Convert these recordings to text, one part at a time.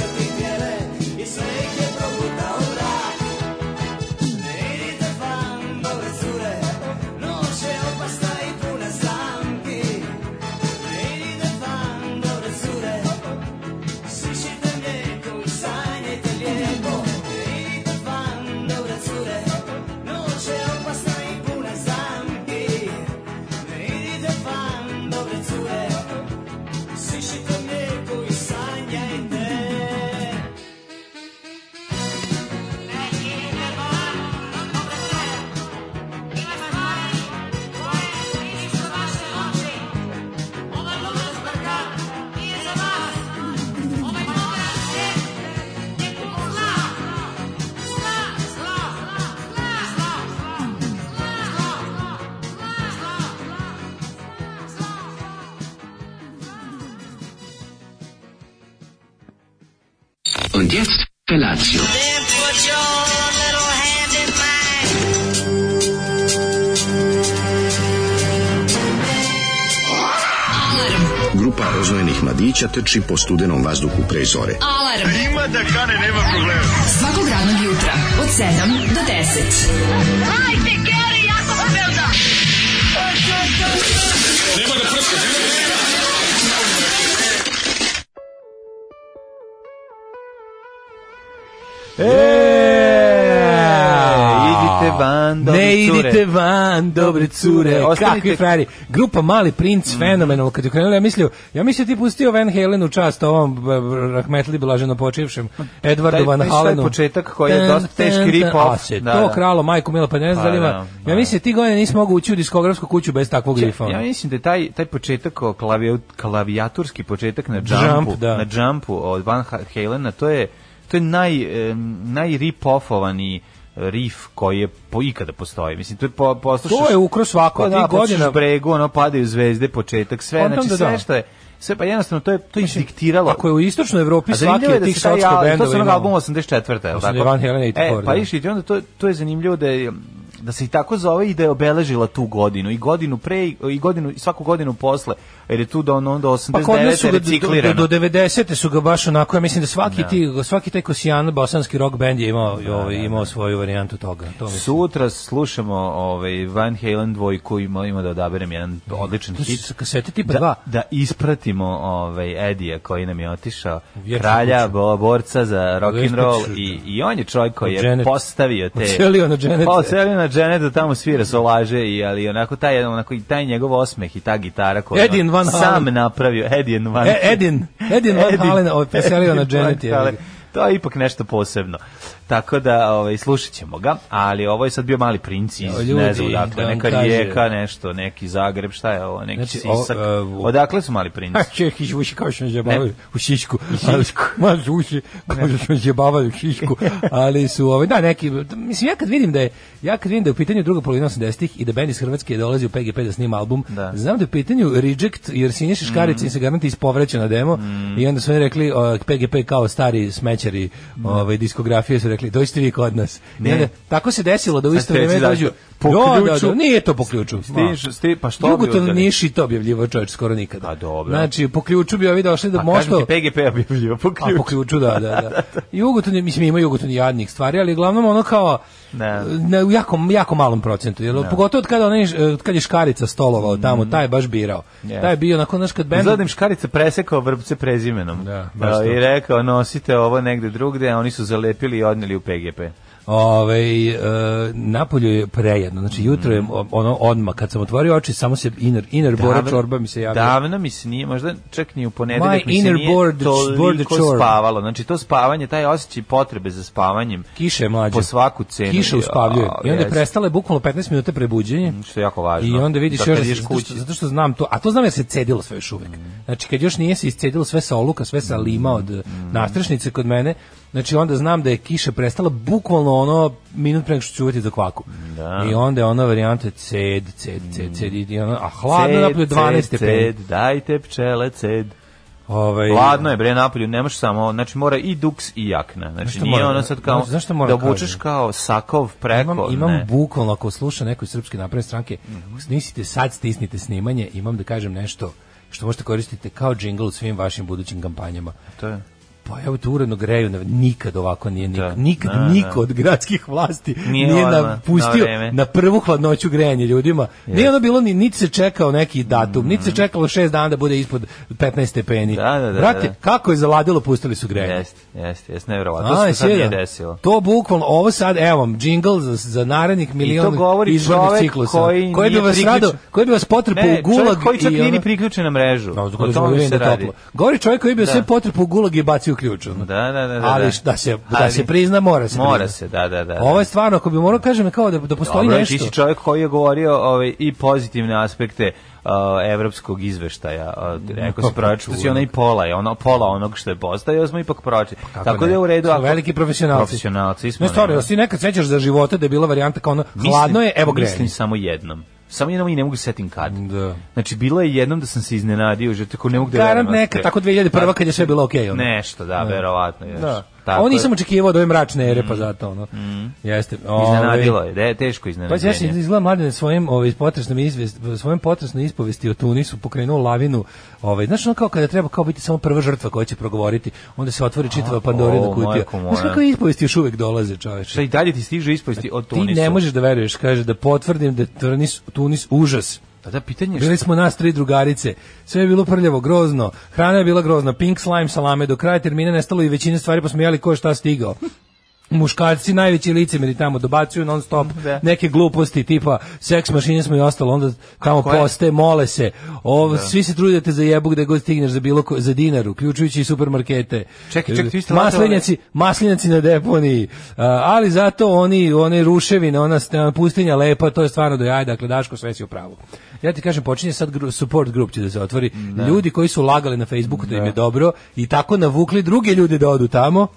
Ovaj Und jetzt Felatio. Grupa roznojenih mladića teči po studenom vazduhu pre zore. Alarm. Ima da kane, nema problema. Svakog radnog jutra, od 7 do 10. Hajde, Geri, jako se velda! Nema da prska, nema da prska. idite van, dobre ne cure. idite van, dobre cure. Ostanite- Mm. Kakvi frajeri. Grupa Mali princ, fenomenalno. Kad je krenula, ja mislio, ja mislio ti pustio Van Halen u čast ovom b- b- rahmetli blaženo počivšem Edwardu Taj- Van taj- taj Halenu. početak koji je dosta teški rip-off. A se Da, to da. kralo, majko Mila, pa ne znam Pa da li ima- da, da. Ja mislim, ti godine nisi mogao ući u diskografsku kuću bez takvog rifa. ono. Ja mislim da je taj taj početak o klavi- klavijaturski početak na Jump, jumpu, da. na jumpu od Van Ha- Halena, to je to je naj em, naj ripofovani rif koji je po ikada postoji. Mislim to je po, poslušaš. To je ukro svako, Pa ti da, godina- poslušaš bregu, ono padaju zvezde, početak, sve, Kontam znači da da. sve što je sve pa jednostavno to je to je diktiralo. Ako je u istočnoj Evropi A svaki zanimljivo je od da tih se taj šotska al- to bendova su onog imao. albuma 84. je li ono- Mislim da je tako? Van Halen 84, E, pa da. išli, i onda to, to je zanimljivo da je da se i tako zove i da je obeležila tu godinu i godinu pre i i godinu i svaku godinu posle jer je tu do ono- onda Pa kod nas 89 su je ga do, reciklirano do, do 90. su ga baš onako, ja mislim da svaki, ti, svaki taj kosijan bosanski rock band je imao, ovaj, imao svoju varijantu toga. To mislim. sutra slušamo ovaj Van Halen dvojku i molimo da odaberem jedan odličan To su hit sa kasete tipa da, 2. da ispratimo ovaj Edija koji nam je otišao Vječna kralja kuća. bo- borca za rock and Vječna roll kuća. i i on je čovjek koji je Janet. postavio te Odselio na Janet. Pa odselio na Janet da tamo svira solaže i ali onako taj onako i taj njegov osmeh i ta gitara koju je Edin on Van Halen. sam napravio Edin Van E, Edin, Edin Van Halen, ovaj, preselio na Edin Van Janet. je. Halen. To je ipak nešto posebno. Tako da ovaj, slušat ćemo ga, ali ovo je sad bio mali princ iz, O, ljudi, ne znam, da dakle, vam neka kažem. rijeka, nešto, neki Zagreb, šta je ovo, neki Znači, o, Sisak. e, u- Odakle su mali princi? A Čeh izvuši kao što smo zabavali Ne. u Šišku. Ali, ma zvuči kao što smo zabavali u Šišku. Ali su, ovaj, da, neki, mislim, ja kad vidim da je, ja kad vidim da je u pitanju druga polovina 80-ih i da bend iz Hrvatske dolazi u PGP da snima album, Da. Mm. znam da je u pitanju Reject, jer Siniša Škarić im se garanti ispovreća na demo i onda su oni rekli o, PGP kao stari srećari ovaj, diskografije su rekli, dođite vi kod nas. Ne. I onda, tako se desilo da u isto ti reći vreme dođu. zašto? Po Da, da, ključu- da, nije to po ključu. Stiš, sti, pa što bi Jugoton udari? Niš i to objavljivo čovječ skoro nikada. A, dobro. Znači, po ključu bi ovi došli da A kažem ti možda... PGP bi bio po A po ključu. ključu, da, da, da. Jugoton, je- mislim, ima Jugoton i jadnih stvari, ali uglavnom ono kao Ne. na, u jako, jako malom procentu. Jer, pogotovo od kada, onaj, š- od kada je Škarica stolovao tamo, taj je baš birao. Mm. Yes. Taj je bio, onako, znaš, kad bend... Izgleda da im škarica presekao vrpce prezimenom. Da, baš to. I rekao, nosite ovo negde drugde, a oni su zalepili i odneli u PGP. Ovaj e, napolju je prejedno. Znači jutro Mm. je o- ono odma kad sam otvorio oči samo se inner inner bora Davno- čorba mi se javila. Davno mi se nije, možda čak ni u ponedeljak My mi se inner nije board- board toliko chore. spavalo. Znači to spavanje, taj osjećaj potrebe za spavanjem Kiše mlađe. po svaku cenu. Kiša uspavljuje. Ja, I onda je jes. prestala je bukvalno 15 minuta prebuđenje. Mm, Što je jako važno. I onda vidiš Da još da kad se, ideš zato, što, kući. Mm. zato što znam to, a to znam jer se cedilo sve još uvek. Znači kad još nije se iscedilo sve sa oluka, sve sa lima od Mm. nastrešnice kod mene, znači onda znam da je kiša prestala bukvalno ono minut pre nego što ću uvjeti za kvaku. I onda je ona varijanta ced, ced, ced, ced, i ono, a hladno Mm. Ced, napolju 12 ced, stepeni. ced, Dajte pčele ced. Ovaj, Hladno je bre napolju, nemaš samo, znači mora i duks i jakna. Znači šta nije moram- ono sad kao znaš- znaš šta moram da obučeš kažem? kao sakov preko, imam, imam ne. Mhm. bukvalno ako sluša neko iz srpske napredne stranke, snisite sad stisnite snimanje, imam da kažem nešto što možete koristiti kao džingl u svim vašim budućim kampanjama. To je. Pa evo te uredno greju, na- nikad ovako nije niko, Da. nikad Da, niko od gradskih vlasti Nije nije, odmah, na napustio na, vreme. prvu hladnoću grejanje ljudima. Nije ono bilo, ni, niti se čekao neki datum, niti se čekalo šest dana da bude ispod 15 stepeni. Mhm. Da, da, da, Brate, da. kako je zaladilo, pustili su grejanje. Jeste, jeste, jeste, nevjerovatno. To se je sad nije sjeda. desilo. To bukvalno, ovo sad, evo vam, džingl za, za narednih milion govori izbornih čovek ciklusa. koji bi nije vas priključen- rado, koji bi vas potrpao Ne, u gulag čovjek koji čak i nije ono- ni priključen na mrežu. Da, o zgodno tome življenje se da radi. toplo. Govori čovjek koji bi Da. sve potrpao u gulag i bacio u ključ. ono. Da, da, da, da. Ali da. š- da se, da Ali se prizna, mora se Mora prizna. se, da, da, da. Ovo je stvarno, ako bi morao kažem, kao da, da postoji Dobro, nešto. Ti si čovjek koji je govorio ovaj, i pozitivne aspekte uh, evropskog izveštaja. Mm, Uh, rekao si Kako proču, si čudno. ona i pola, je, ono, pola onog što je postajao smo ipak proči. pa, Kako Tako da ne? je u redu. Smo ako- veliki profesionalci. Profesionalci smo. Ne, stvarno, ne. jel si nekad sećaš za života da je bila varijanta kao ono, Mislim- hladno je, evo grejanje. Mislim samo jednom. Samo jednom i ne mogu se setim kad. Da. Znači, bilo je jednom da sam se iznenadio, že tako ne mogu da Garant verujem, neka, ok. tako 2001. kad je sve bilo okej. ono. Nešto, da, verovatno. Još. Da. Tako Ovo je. Mm. nisam očekivao da ove mračne ere, pa zato, ono. Jeste. ovaj, Iznenadilo je, da je teško Pa ja sam iznenađenje. izgleda mladen svojim ovaj potresnom izvest svojim potresnom ispovesti o Tunisu pokrenuo lavinu. Ovaj znaš ono kao kada treba kao biti samo prva žrtva koja će progovoriti, onda se otvori čitava Pandorina o, kutija. majko moja. Znaš kako ispovesti još uvek dolaze, čoveče. Šta i dalje ti stiže ispovesti od Pa Ti Tunisu? ne možeš da veruješ, kaže da potvrdim da je Tunis, Tunis užas. Pa da, pitanje je Bili smo nas tri drugarice. Sve je bilo prljavo, grozno. Hrana je bila grozna. Pink slime, salame. Do kraja termina nestalo i većina stvari pa smo jeli ko je šta stigao. Muškarci najveći licemeri tamo dobacuju non stop Da. neke gluposti tipa seks mašine smo i ostalo onda tamo Kako je? poste mole se o, svi se trudite za jebu gde god stigneš za bilo ko, za dinar uključujući i supermarkete Čekaj, čekaj, vi ste maslinjaci maslinjaci na deponiji A, ali zato oni one ruševine ona st- pustinja lepa to je stvarno do jaja dakle Daško sve si u pravu ja ti kažem počinje sad gru- support grup će da se otvori ljudi koji su lagali na Facebooku da im je dobro i tako navukli druge ljude da odu tamo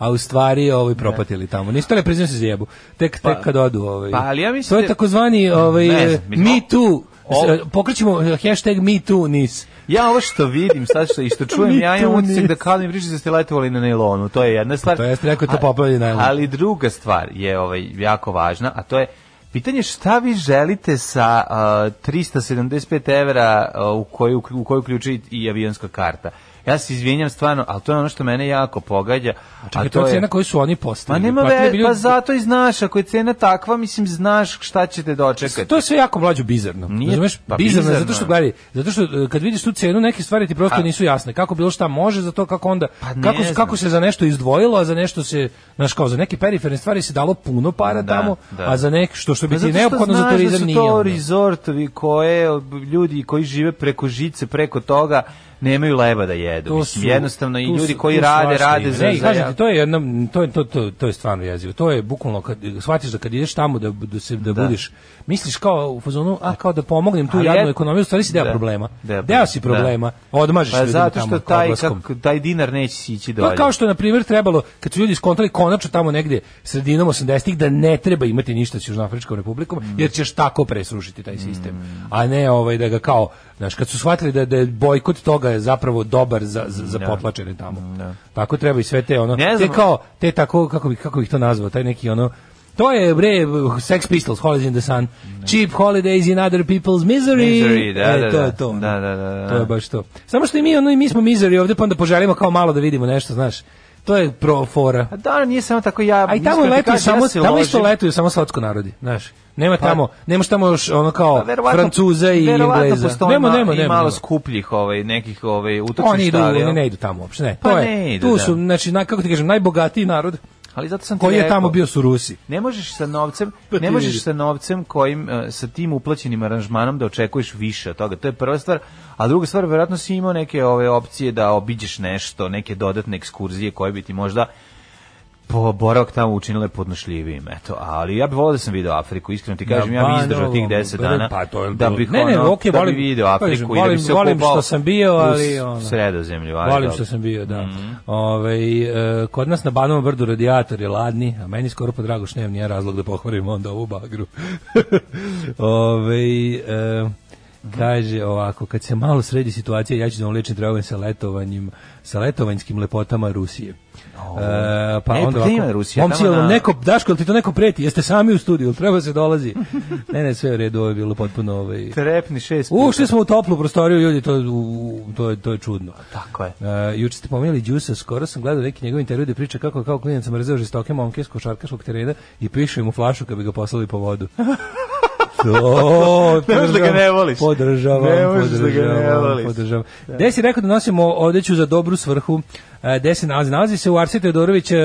a u stvari ovaj propatili tamo. Niste li priznaju se za jebu. Tek tek kad odu ovaj. pa, ali ja mislim to je da- takozvani ovaj Ne znam, mislim, me too ovo- pokrećemo hashtag me too nis. Ja ovo što vidim, sad što, i što čujem, Ni ja imam tu, utisak ni- da kao da mi pričate da ste letovali na nailonu, to je jedna stvar. To jeste rekao da to A- popravlja najlon. Ali druga stvar je ovaj, jako važna, a to je Pitanje je šta vi želite sa uh, 375 evra uh, u koju u koju uključi i avionska karta. Ja se izvinjam stvarno, ali to je ono što mene jako pogađa. A, Čekaj, to je cena koju su oni postavili. Ma nema Platili veze, bi ljudi- pa zato i znaš, ako je cena takva, mislim, znaš šta ćete dočekati. To je sve jako mlađu bizarno. Nije- Razumeš? pa bizarno, je bizarno zato što je. gledaj, zato što e, kad vidiš tu cenu neke stvari ti prosto A- nisu jasne. Kako bilo šta može za to kako onda Pa ne kako se- znam. kako se za nešto izdvojilo, a za nešto se znaš kao za neke periferne stvari se dalo puno para Da, tamo, da. a za nek što što bi Pa ti zato što neophodno za znaš turizam da su nije. to ono. rezortovi koje ljudi koji žive preko žice, preko toga nemaju leba da jedu. To Mislim, su- jednostavno i tu su- ljudi tu koji su rade, svašta rade ima. za Ne, i kažem ti, za to je jedno to je to to to je stvarno jezivo. To je bukvalno kad shvatiš da kad ideš tamo da da se da, budeš misliš kao u fazonu a kao da pomognem tu Ali jadnu je- ekonomiju, u stvari si deo Da. problema. Deo Deo si problema, problema. Odmažeš Pa ljudima zato tamo što kao taj, odlaskom. kak- taj dinar neće sići Pa dolje. kao što je, na primjer trebalo kad su ljudi skontali konačno tamo negdje sredinom 80-ih da ne treba Mm. imati ništa s Južnoafričkom republikom jer ćeš tako presrušiti taj sistem. A ne ovaj da ga kao Znaš, kad su shvatili da, da je bojkot toga je zapravo dobar za, za, za potlačene tamo. Tako treba i sve te ono, Ne te znam. kao, te tako, kako bih kako bih to nazvao, taj neki ono, To je, bre, Sex Pistols, Holidays in the Sun, Cheap Holidays in Other People's Misery. Misery, da, E, da, to da. je to. ono. Da, da, da, da. To je baš to. Samo što i mi, ono, i mi smo mizeri ovde, pa onda poželimo kao malo da vidimo nešto, znaš. To je pro fora. A da, nije samo tako ja... A i iskreno tamo Pa, ti letuju kažem, samo, ja se tamo ložim. isto letuju samo slatko narodi, znaš. Nema tamo, nemaš tamo još ono kao Pa verovatno- Francuza i verovatno Engleza. postoji Nema, ma- nema, i nema. malo nema. skupljih ovaj, nekih ovaj, utočišta. Oni idu, ali, oni ne idu tamo uopšte, ne. Pa to je, ne idu, tu da. su, znači, naj, kako ti kažem, najbogatiji narod ali zato sam ti koji je rekao, tamo bio su Rusi. Ne možeš sa novcem, Pa ti ne vidi. možeš sa novcem kojim e, sa tim uplaćenim aranžmanom da očekuješ više od toga. To je prva stvar, a druga stvar verovatno si imao neke ove opcije da obiđeš nešto, neke dodatne ekskurzije koje bi ti možda po boravak tamo učinile podnošljivijim, eto. Ali ja bih voleo da sam video Afriku, iskreno ti kažem, ja bih izdržao tih 10 Banovo, dana. pa to je da bilo- bih Ne, ne, ono, okej, da bih volim- video kažem, Afriku i da volim- bih se volim okupao što sam bio, u ali, ono, Sredozemlju, ali Volim dobro. Mhm. što sam bio, da. Ovaj, e, kod nas na Banovom brdu radijator je ladni, a meni skoro po drago šnem nije razlog da pohvarim onda ovu bagru. Ovaj, e, Mhm. kaže ovako, kad se malo sredi situacija, ja ću da vam lečim traume sa letovanjem, sa letovanjskim lepotama Rusije. E, pa Ne, onda pa gde ima ovako, Rusija? Momci, Tamo jel vam na- neko, Daško, jel ti to neko preti? Jeste sami u studiju, jel treba se dolazi? ne, ne, sve je u redu, ovo je bilo potpuno ovaj, Trepni šest. Ušli smo u toplu prostoriju, ljudi, to, u- to, je, to je čudno. Tako je. E, juče ste pomenuli Đusa, skoro sam gledao neki njegov intervju gde priča kako je kao klinac mrzeo žestoke momke s košarkaškog terena i piše im u flašu kad bi ga poslali po vodu. To, Ne možeš da ga ne voliš. Podržavam, Ne možeš da ga ne podržavam, voliš. podržavam. Gde si rekao da nosimo odeću za dobru svrhu? E, Gde se nalazi? Nalazi se u Arsi Teodorović e,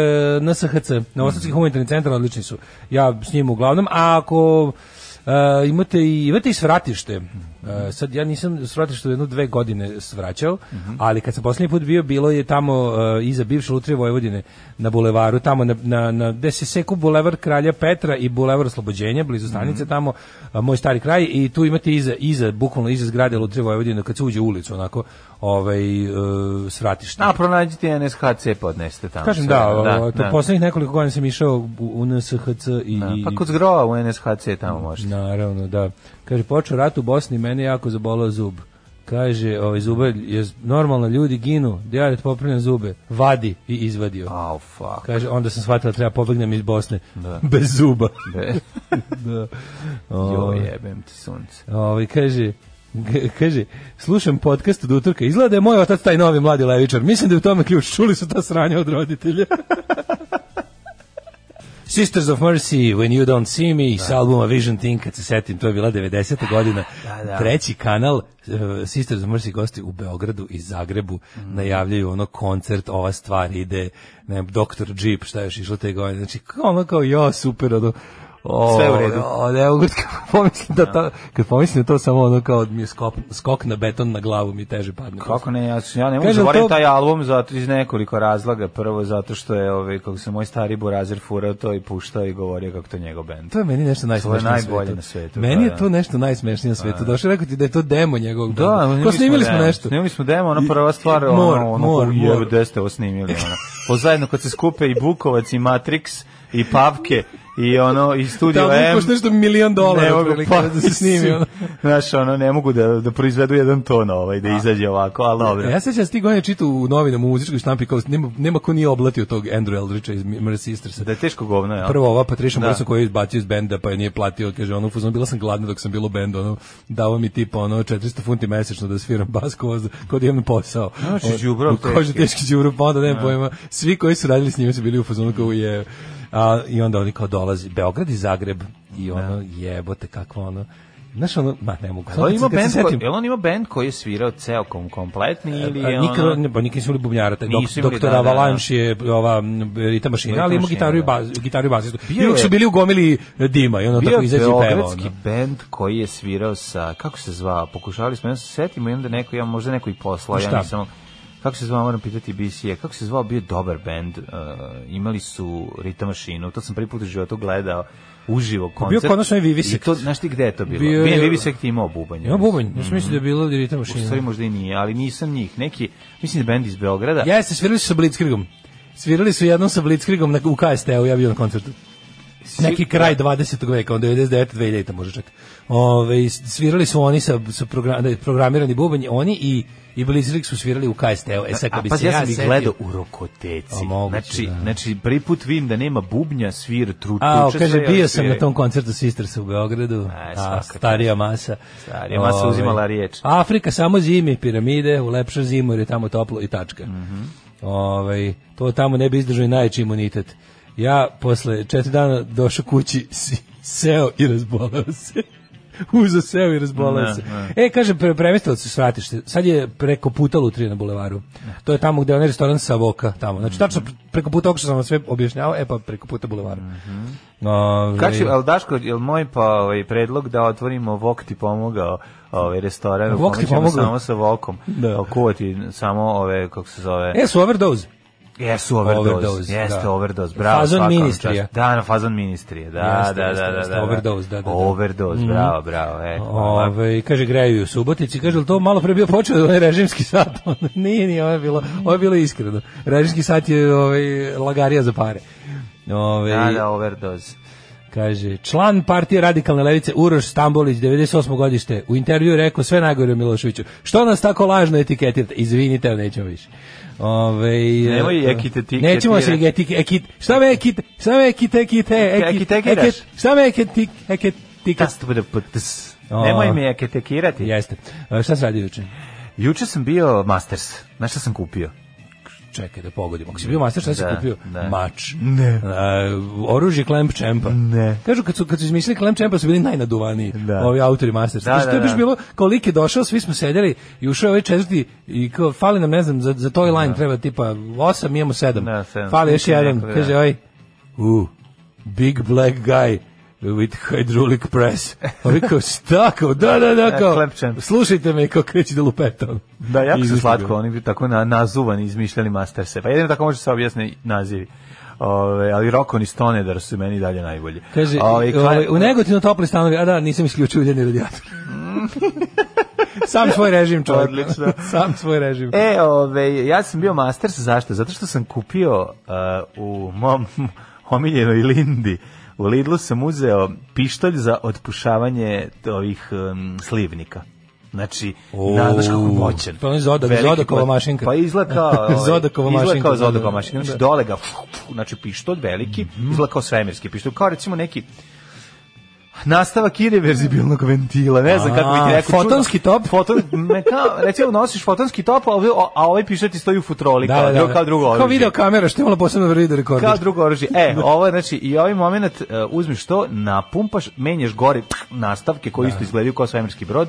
NSHC, Novosadski Mhm. humanitarni centar, odlični su. Ja s njim uglavnom, a ako e, imate i imate i svratište. E, sad ja nisam svratište jedno dve godine svraćao, Mhm. ali kad sam posljednji put bio, bilo je tamo e, iza bivše lutrije Vojvodine na bulevaru, tamo na, na, na gde se seku bulevar Kralja Petra i bulevar Oslobođenja, blizu stanice Mhm. tamo, a, moj stari kraj i tu imate iza iza bukvalno iza zgrade Lutrije Vojvodine kad se uđe u ulicu onako ovaj e, svratište. A pronađite NSHC pa odnesete tamo. Kažem sve, da, o- to poslednjih nekoliko godina sam išao u- u NSHC i, Da, i Pa kod zgrova u NSHC tamo možete. Naravno, da. Kaže, počeo rat u Bosni, mene je jako zabolao zub. Kaže, ovaj zubar je normalno, ljudi ginu, djadet popravljam zube, vadi i izvadio. Au, fuck. Kaže, onda sam shvatila da treba pobegnem iz Bosne. Bez zuba. Be. da. Jo, Ovaj, jebem ti sunce. ovaj, kaže, g- kaže, slušam podcast od utorka, izgleda da je moj otac taj novi mladi levičar. Mislim da je u tome ključ. Čuli su ta sranja od roditelja. Sisters of Mercy, When You Don't See Me, s albuma Vision Thing, kad se setim, to je bila 90. godina. da. Treći kanal, eh, Sisters of Mercy gosti u Beogradu i Zagrebu, Mm. najavljaju ono koncert, ova stvar ide, ne, Dr. Jeep, šta je još išlo te godine, znači ono kao, jo, super, ono, o, Sve u redu. O, ne, mogu, kad pomislim da to, kad pomislim da to samo ono kao mi je skok, skok na beton na glavu mi teže padne. Kako ne, ja, ja ne mogu Kažem, zaboraviti to- taj album zato iz nekoliko razloga. Prvo zato što je, ovaj, kako se moj stari burazer furao to i puštao i govorio kako to je njegov bend. To je meni nešto najsmešnije na svetu. najbolje na svetu, Meni pa je da. to nešto najsmešnije na svetu. Došao rekao ti da je to demo njegovog. benda. Da, Kao snimili smo demo, nešto. Snimili smo demo, ona prva stvar, I- ono, mor, ono, mor, u mor. jebu, gde ste ovo snimili, ono. O, zajedno kad se skupe i Bukovac i Matrix i Pavke i ono i Studio Tamo M. košta nešto milion dolara. ne mogu otprilike, pa, da se snimi. ono. Znaš, ono, ne mogu da, da proizvedu jedan ton ovaj, da izađe ovako, ali dobro. Ja sećam da ti godine čitu u novinama u muzičkoj štampi kao nema, nema ko nije oblatio tog Andrew Eldridgea iz Mercy Sistersa. Da je teško govno, ono, jel? Prvo ova Patricia Da. Morrison koja je izbacio iz benda pa je nije platio, kaže ono u fazonu bila sam gladna dok sam bilo u bendu, ono davo mi tipa ono 400 funti mesečno da sviram bas kao da- kao da imam posao. Znači, Ono, đubrov u- Kaže teški. teški đubrov, pa onda nema pojma. Svi koji su radili s njima su bili u fazonu kao je a i onda oni kao dolazi Beograd i Zagreb i ono jebote kakvo ono Znaš ono, ma ne mogu. Jel on Sad ima kad se band, ko, setim- jel on ima band koji je svirao ceo kom, kompletni ili je a, nikad, ono... ne, pa nikad nisu bili bubnjara, taj dok, Nisu bili, doktor da, da, da. Avalanche je ova m, ritam mašina, Ritam ali ima mašina, gitaru i, da. baz, gitaru i basistu. I je- uvijek su bili u gomili dima i ono Bio tako je izađe i peva. beogradski Ono. band koji je svirao sa, kako se zvao, pokušali smo, ja se setimo i onda neko, ja možda neko i poslao, ja Šta? nisam, kako se zvao, moram pitati BC-a, kako se zvao, bio je dobar band, uh, imali su Rita Mašinu, to sam prvi put u životu gledao, uživo koncert. Pa kod nas onaj Vivisekt. I to, znaš ti gde je to bilo? Bio Bio, je- je Vivisekt je imao bubanj. Ima bubanj, ja sam mislio da je bila ritam U stvari mašina. možda i nije, ali nisam njih. Neki, mislim da je band iz Beograda. Jeste, svirali su sa Blitzkrigom. Svirali su jednom sa Blitzkrigom na, u KST-u, ja bio na koncertu. neki kraj 20. veka, onda 99. 2000 može čak. Ove, svirali su oni sa, sa progra- da je programirani bubanj, oni i i Blizzard su svirali u KST-u. E sad, A kad bi pa se ja ja, sam ih setio- gledao u rokoteci. A, moguće, znači, da. znači prvi put vidim da nema bubnja, svir, tru, A, tuče kaže, sve, bio ali sam na sviraju. tom koncertu Sisters u Beogradu, E, a, svaka starija masa. Starija masa Ovaj, uzimala riječ. Afrika samo zimi, piramide, ulepša zimu jer je tamo toplo i tačka. Ovaj, to tamo ne bi izdržao i najjači imunitet. Ja posle četiri dana došao kući, si- seo i razbolao se. Uzo seo i razbolao Ne, se. ne. E, kaže, pre, premestilo se svratište. Sad je preko puta Lutrije na bulevaru. To je tamo gde je onaj restoran Savoka. Tamo. Znači, tačno preko puta, ovog što sam vam sve objašnjavao, e pa preko puta bulevara. Ovaj, Kako je, ali Daško, je li moj pa, ovaj, predlog da otvorimo Vok ti pomogao ovaj, restoran? u Vok kome ti ćemo pomogao? Samo sa Vokom. Da. Da. Kuvati samo ove, kako se zove... E, su overdose. Jesu overdose, Overdose, jeste da. overdose, bravo. Fazon svaka vam ministrija. čast. Da, na fazon ministrije, da, Jeste, da, jeste, da, da, jeste, da, da. overdose, da, Mhm. ovaj, da, da. Overdose, bravo, bravo, e. hvala. Ove, kaže, greju i u Subotici. Kaže, jel to malo pre bio počeo onaj režimski sat? Ono, nije, nije, ovo je bilo, ovo je bilo iskreno. Režimski sat je ovaj, lagarija za pare. Ove, Da, da, overdose. Kaže, član partije radikalne levice Uroš Stambolić, 98. godište, u intervju je rekao sve najgore o Miloševiću. Što nas tako lažno etiketirate? Izvinite, ali nećemo više. Ove, Nemoj e, ekiteti- Nećemo se etiketirat. ekit, ekit, šta me ekit, šta me ekit, ekit, Ekitekiraš? šta me ekit, ekit, ekit, Ta stup- da- pa- ts. O. Nemoj mi eketekirati. Jeste. E, Šta se radi juče? Juče sam bio Masters. Znaš šta sam kupio? Čekaj da pogodimo. Ako si bio master, šta si Da, kupio? da. Mač. Ne. E, oružje Clamp Champa. Ne. Kažu, kad su, kad su izmislili Clamp Champa, su bili najnaduvaniji. Da. Ovi autori masters. Da, Znači, to je da, baš da. bilo, kao lik je došao, svi smo sedeli i ušao je ovaj četvrti i kao, fali nam, ne znam, za, za toj line treba tipa osam, mi imamo sedam. Da, sedam. Fali još Mislim jedan. nekog, da. Kaže, oj, u, big black guy with hydraulic press. Ovi kao, šta, kao, da, da, da, kao, Clamp Champ. slušajte me, kao kreći da lupeta. ono. Da, jako su Izmislio slatko, ga. oni bi tako na, nazuvani izmišljali Masterse. Pa jedino tako može se objasni nazivi. Ove, ali Rokon i Stonedar su meni dalje najbolji. Kaže, Ove, kla- ovaj, u negotinu topli stanovi, a da, nisam isključio uljeni radijator. Sam svoj režim, čovjek. Odlično. Sam svoj režim. E, ove, ja sam bio Masters, zašto? Zato što sam kupio uh, u mom omiljenoj Lindi, u Lidlu sam uzeo pištolj za otpušavanje ovih um, slivnika. Znači, O, na, znaš kako moćan. to je Zodak- Veliki Zodakova moć- mašinka. Pa izgleda kao... ovaj, Zodakova izgleda mašinka, kao da, da, Zodakova da. mašinka. Da. Mhm. Znači, dole ga, znači pištolj veliki, izgleda kao svemirski pištolj. Kao recimo neki nastavak irreverzibilnog ventila, ne znam kako bi A, ti rekao. čudno. fotonski top? Foton, me kao, recimo nosiš fotonski top, a, ovaj, a ovaj pišet ti stoji u futroli, kao, dru- kao drugo oružje. Kao video kamera, što je imala posebno video rekorder. Kao drugo oružje. E, ovo je, znači, i ovaj moment e, uzmiš to, napumpaš, menjaš gore pff, nastavke koji isto izgledaju kao svemirski brod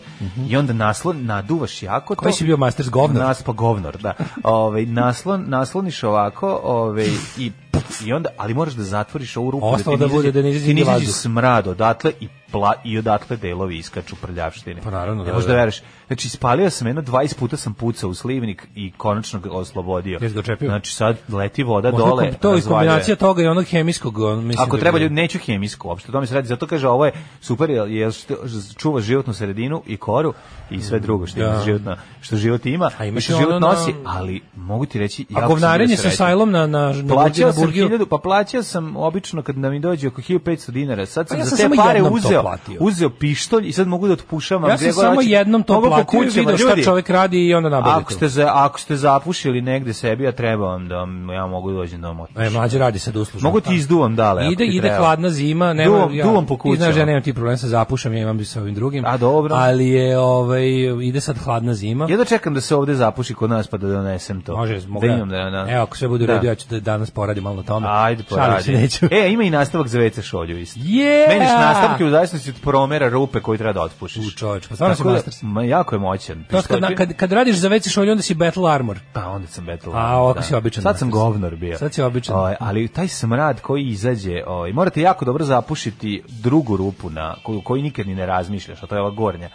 i onda naslon naduvaš jako. to. Mhm. Koji si bio Masters govnar? Nas pa govnor, da. Ove, naslon, nasloniš ovako ove, i, i onda, ali moraš da zatvoriš ovu ruku. Ostalo ti da bude, da ne izađe ti ne vazduh. izađe smrad odatle i, pla, i odatle delovi iskaču prljavštine. Pa naravno, Ne da, možeš da. da veruješ. Znači, ispalio sam jedno, 20 puta sam pucao u slivnik i konačno ga oslobodio. Jesi ga očepio? Znači, sad leti voda Možda dole. kom- to je razvaljuje. kombinacija toga i onog hemijskog. on, Mislim Ako da treba bi- ljudi neću hemijsku uopšte, to mi se radi. Zato kaže ovo je super jer, jer što- čuva životnu sredinu i koru i sve drugo što Da. ima životna, što život ima, A imaš i što i ono život na- nosi, ali mogu ti reći A jako sam govnarenje bio sa srećan. sajlom na, na, na, Plaćao na sam Burgiju. 1000, pa plaćao sam obično kad nam mi dođe oko 1500 dinara. Sad sam Pa ja za sam te samo pare jednom to uzeo, platio. uzeo pištolj i sad mogu da otpušavam. Ja gde sam god samo hoću. jednom to Mogu po platio i kućama, vidio šta ljudi. čovjek radi i onda nabavio Ako to. ste, za, ako ste zapušili negde sebi, a treba vam da vam, ja mogu dođem da vam E, otpušim. mlađe radi sad uslužno. Mogu ti izduvam dale. ako Ide, ti ide treba. hladna zima, nema Duvam- ja, duvam po Ti znaš, kućama. ja nemam ti problem sa zapušam, ja imam sa ovim drugim. A, dobro. Ali je, ovaj, ide sad hladna zima. Ja da čekam da se ovde zapuši kod nas pa da donesem to. Može, mogu. da ja. imam da, da. Evo, ako sve bude u Da. redu, ja ću da danas poradim malo na tome. Ajde, Šalim se, poradi. neću. E, ima i nastavak za WC šolju isto. Yeah! Meniš nastavke u zavisnosti od promera rupe koju treba da otpušiš. U, čoveč, pa stvarno si Tako da, masters. ma, jako je moćan. To kad, na- kad, kad radiš za veći šolj, onda si battle armor. Pa onda sam battle. A, ovako si običan Sad sam masters. govnor bio. Sad si običan. Ovaj, ali taj smrad koji izađe, ovaj, morate jako dobro zapušiti drugu rupu na koju, koju nikad ni ne razmišljaš, a to je ova gornja.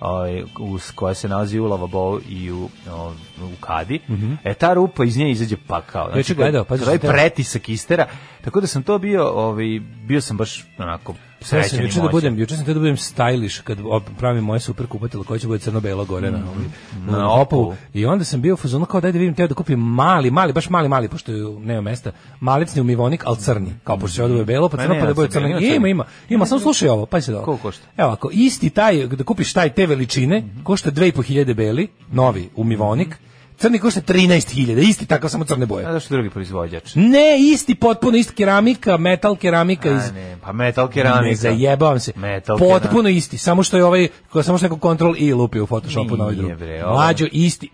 Ovaj, us, koja se nalazi u lavabou i u, o, u kadi. E, ta rupa iz nje izađe pakao. Juče Mhm. gledao, pazi, to je sam te- pretisak istera. Tako da sam to bio, ovaj, bio sam baš onako Sve sam srećan i juče da moćan. budem, juče sam htio da budem stylish kad op- pravim moje super kupatilo koje će bude crno-belo gore na, ovoj- Mm, na, na Opovu. Opovu. I onda sam bio u fazonu kao daj da vidim, teo da kupim mali, mali, baš mali, mali, pošto je- nema mesta, malicni umivonik, ali crni. Kao pošto je odobio belo, pa Ma crno ne, pa da ali bude se crno. menja Ima, crni. ima, ima, ima, samo slušaj ovo, pa se dobro. Koliko košta? Mhm. Evo, ako isti taj, da kupiš taj te veličine, košta 2500 beli, novi umivonik, crni košta 13.000, isti takav, samo crne boje. A zašto drugi proizvođač? Ne, isti, potpuno isti keramika, metal keramika iz A ne, pa metal keramika. ne zajebavam se. Metal Potpuno keramika. isti, samo što je ovaj ko- samo što je Ctrl I lupio u Photoshopu na ovaj drugi. Nije, bre, ovo- Mlađo isti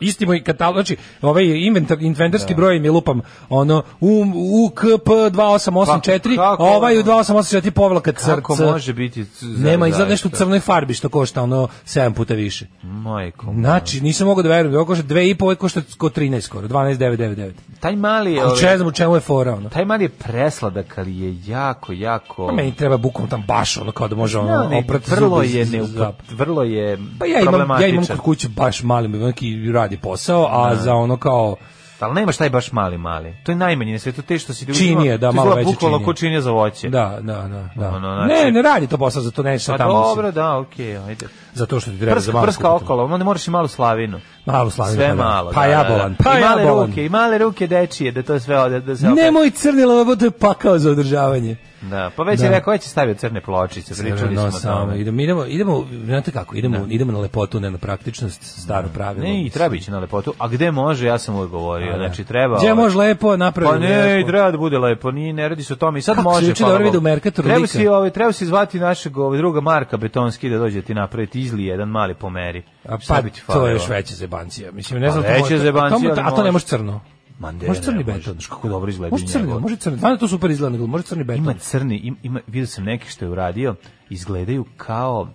isti moj katalog, znači ovaj inventar, inventarski broj mi lupam, ono U, UKP 2884, Pa, kako- a ovaj u 2884 povlaka crca. Kako može biti... c- za- Nema, izgleda zaista? nešto u crnoj farbi što košta ono 7 puta više. Majko. moja. Znači, nisam mogao da verujem, ovo košta 2,5, ovo košta ko 13 skoro, 12,999. Taj mali je... Ali ovaj- če znam u čemu je fora, ono. Taj mali je presladak, ali je jako, jako... Pa meni treba bukom tam baš ono kao da može Ne, ono ali oprat vrlo zube iz- je iz- neupo, zap. vrlo je Pa ja imam, ja problematičan. imam kod kuće baš mali umivonik i radi posao, a za ono kao Ali nemaš taj baš mali mali. To je najmanji na svetu, te što si ti Činije, da, malo veće bukvalno činije. ko činije za voće. Da, da, da, da. Ono, znači- ne, ne radi to posao, zato neće Pa sad tamo. mislim, dobro, da, okej, ajde. Zato što ti treba za Prska, malo. prska kupiti. okolo, onda moraš i malu slavinu. Malo slavinu, Sve pa da. malo. Pa da, da, jabolan, da. pa I male jabolan. ruke, i male ruke dečije, da to sve ode, da se opet- Nemoj crni lavabo, to je pakao za održavanje. Da, pa već je Da. rekao, već je stavio crne pločice, pričali Crno smo o samo, tome. idemo, idemo, idemo, znate kako, idemo, idemo na lepotu, ne na praktičnost, staro pravilo. Ne, i treba ići na lepotu. A gde može, ja sam uvijek govorio. Znači, treba... Gdje ovaj, može lepo napraviti? Pa ne, i treba da bude lepo, nije, ne radi se o tome. I sad Kako se može. juče hvala dobro vidi Bogu. u Mercatoru Treba lika? si, ovaj, treba si zvati našeg ovaj, druga Marka Betonski da dođe ti napraviti izli jedan mali po meri. A Šta pa bi ti to falilo? je još veća zebancija. Mislim, ne znam, Pa to veća može- zebancija, to mu- ali A to ne može. može crno. Ma ne, može crni ne, beton. Može, kako dobro izgleda Može crni, njegov. može crni. Vana to super izgleda, nego može crni beton. Ima crni, im- ima, vidio sam neki što je uradio, izgledaju kao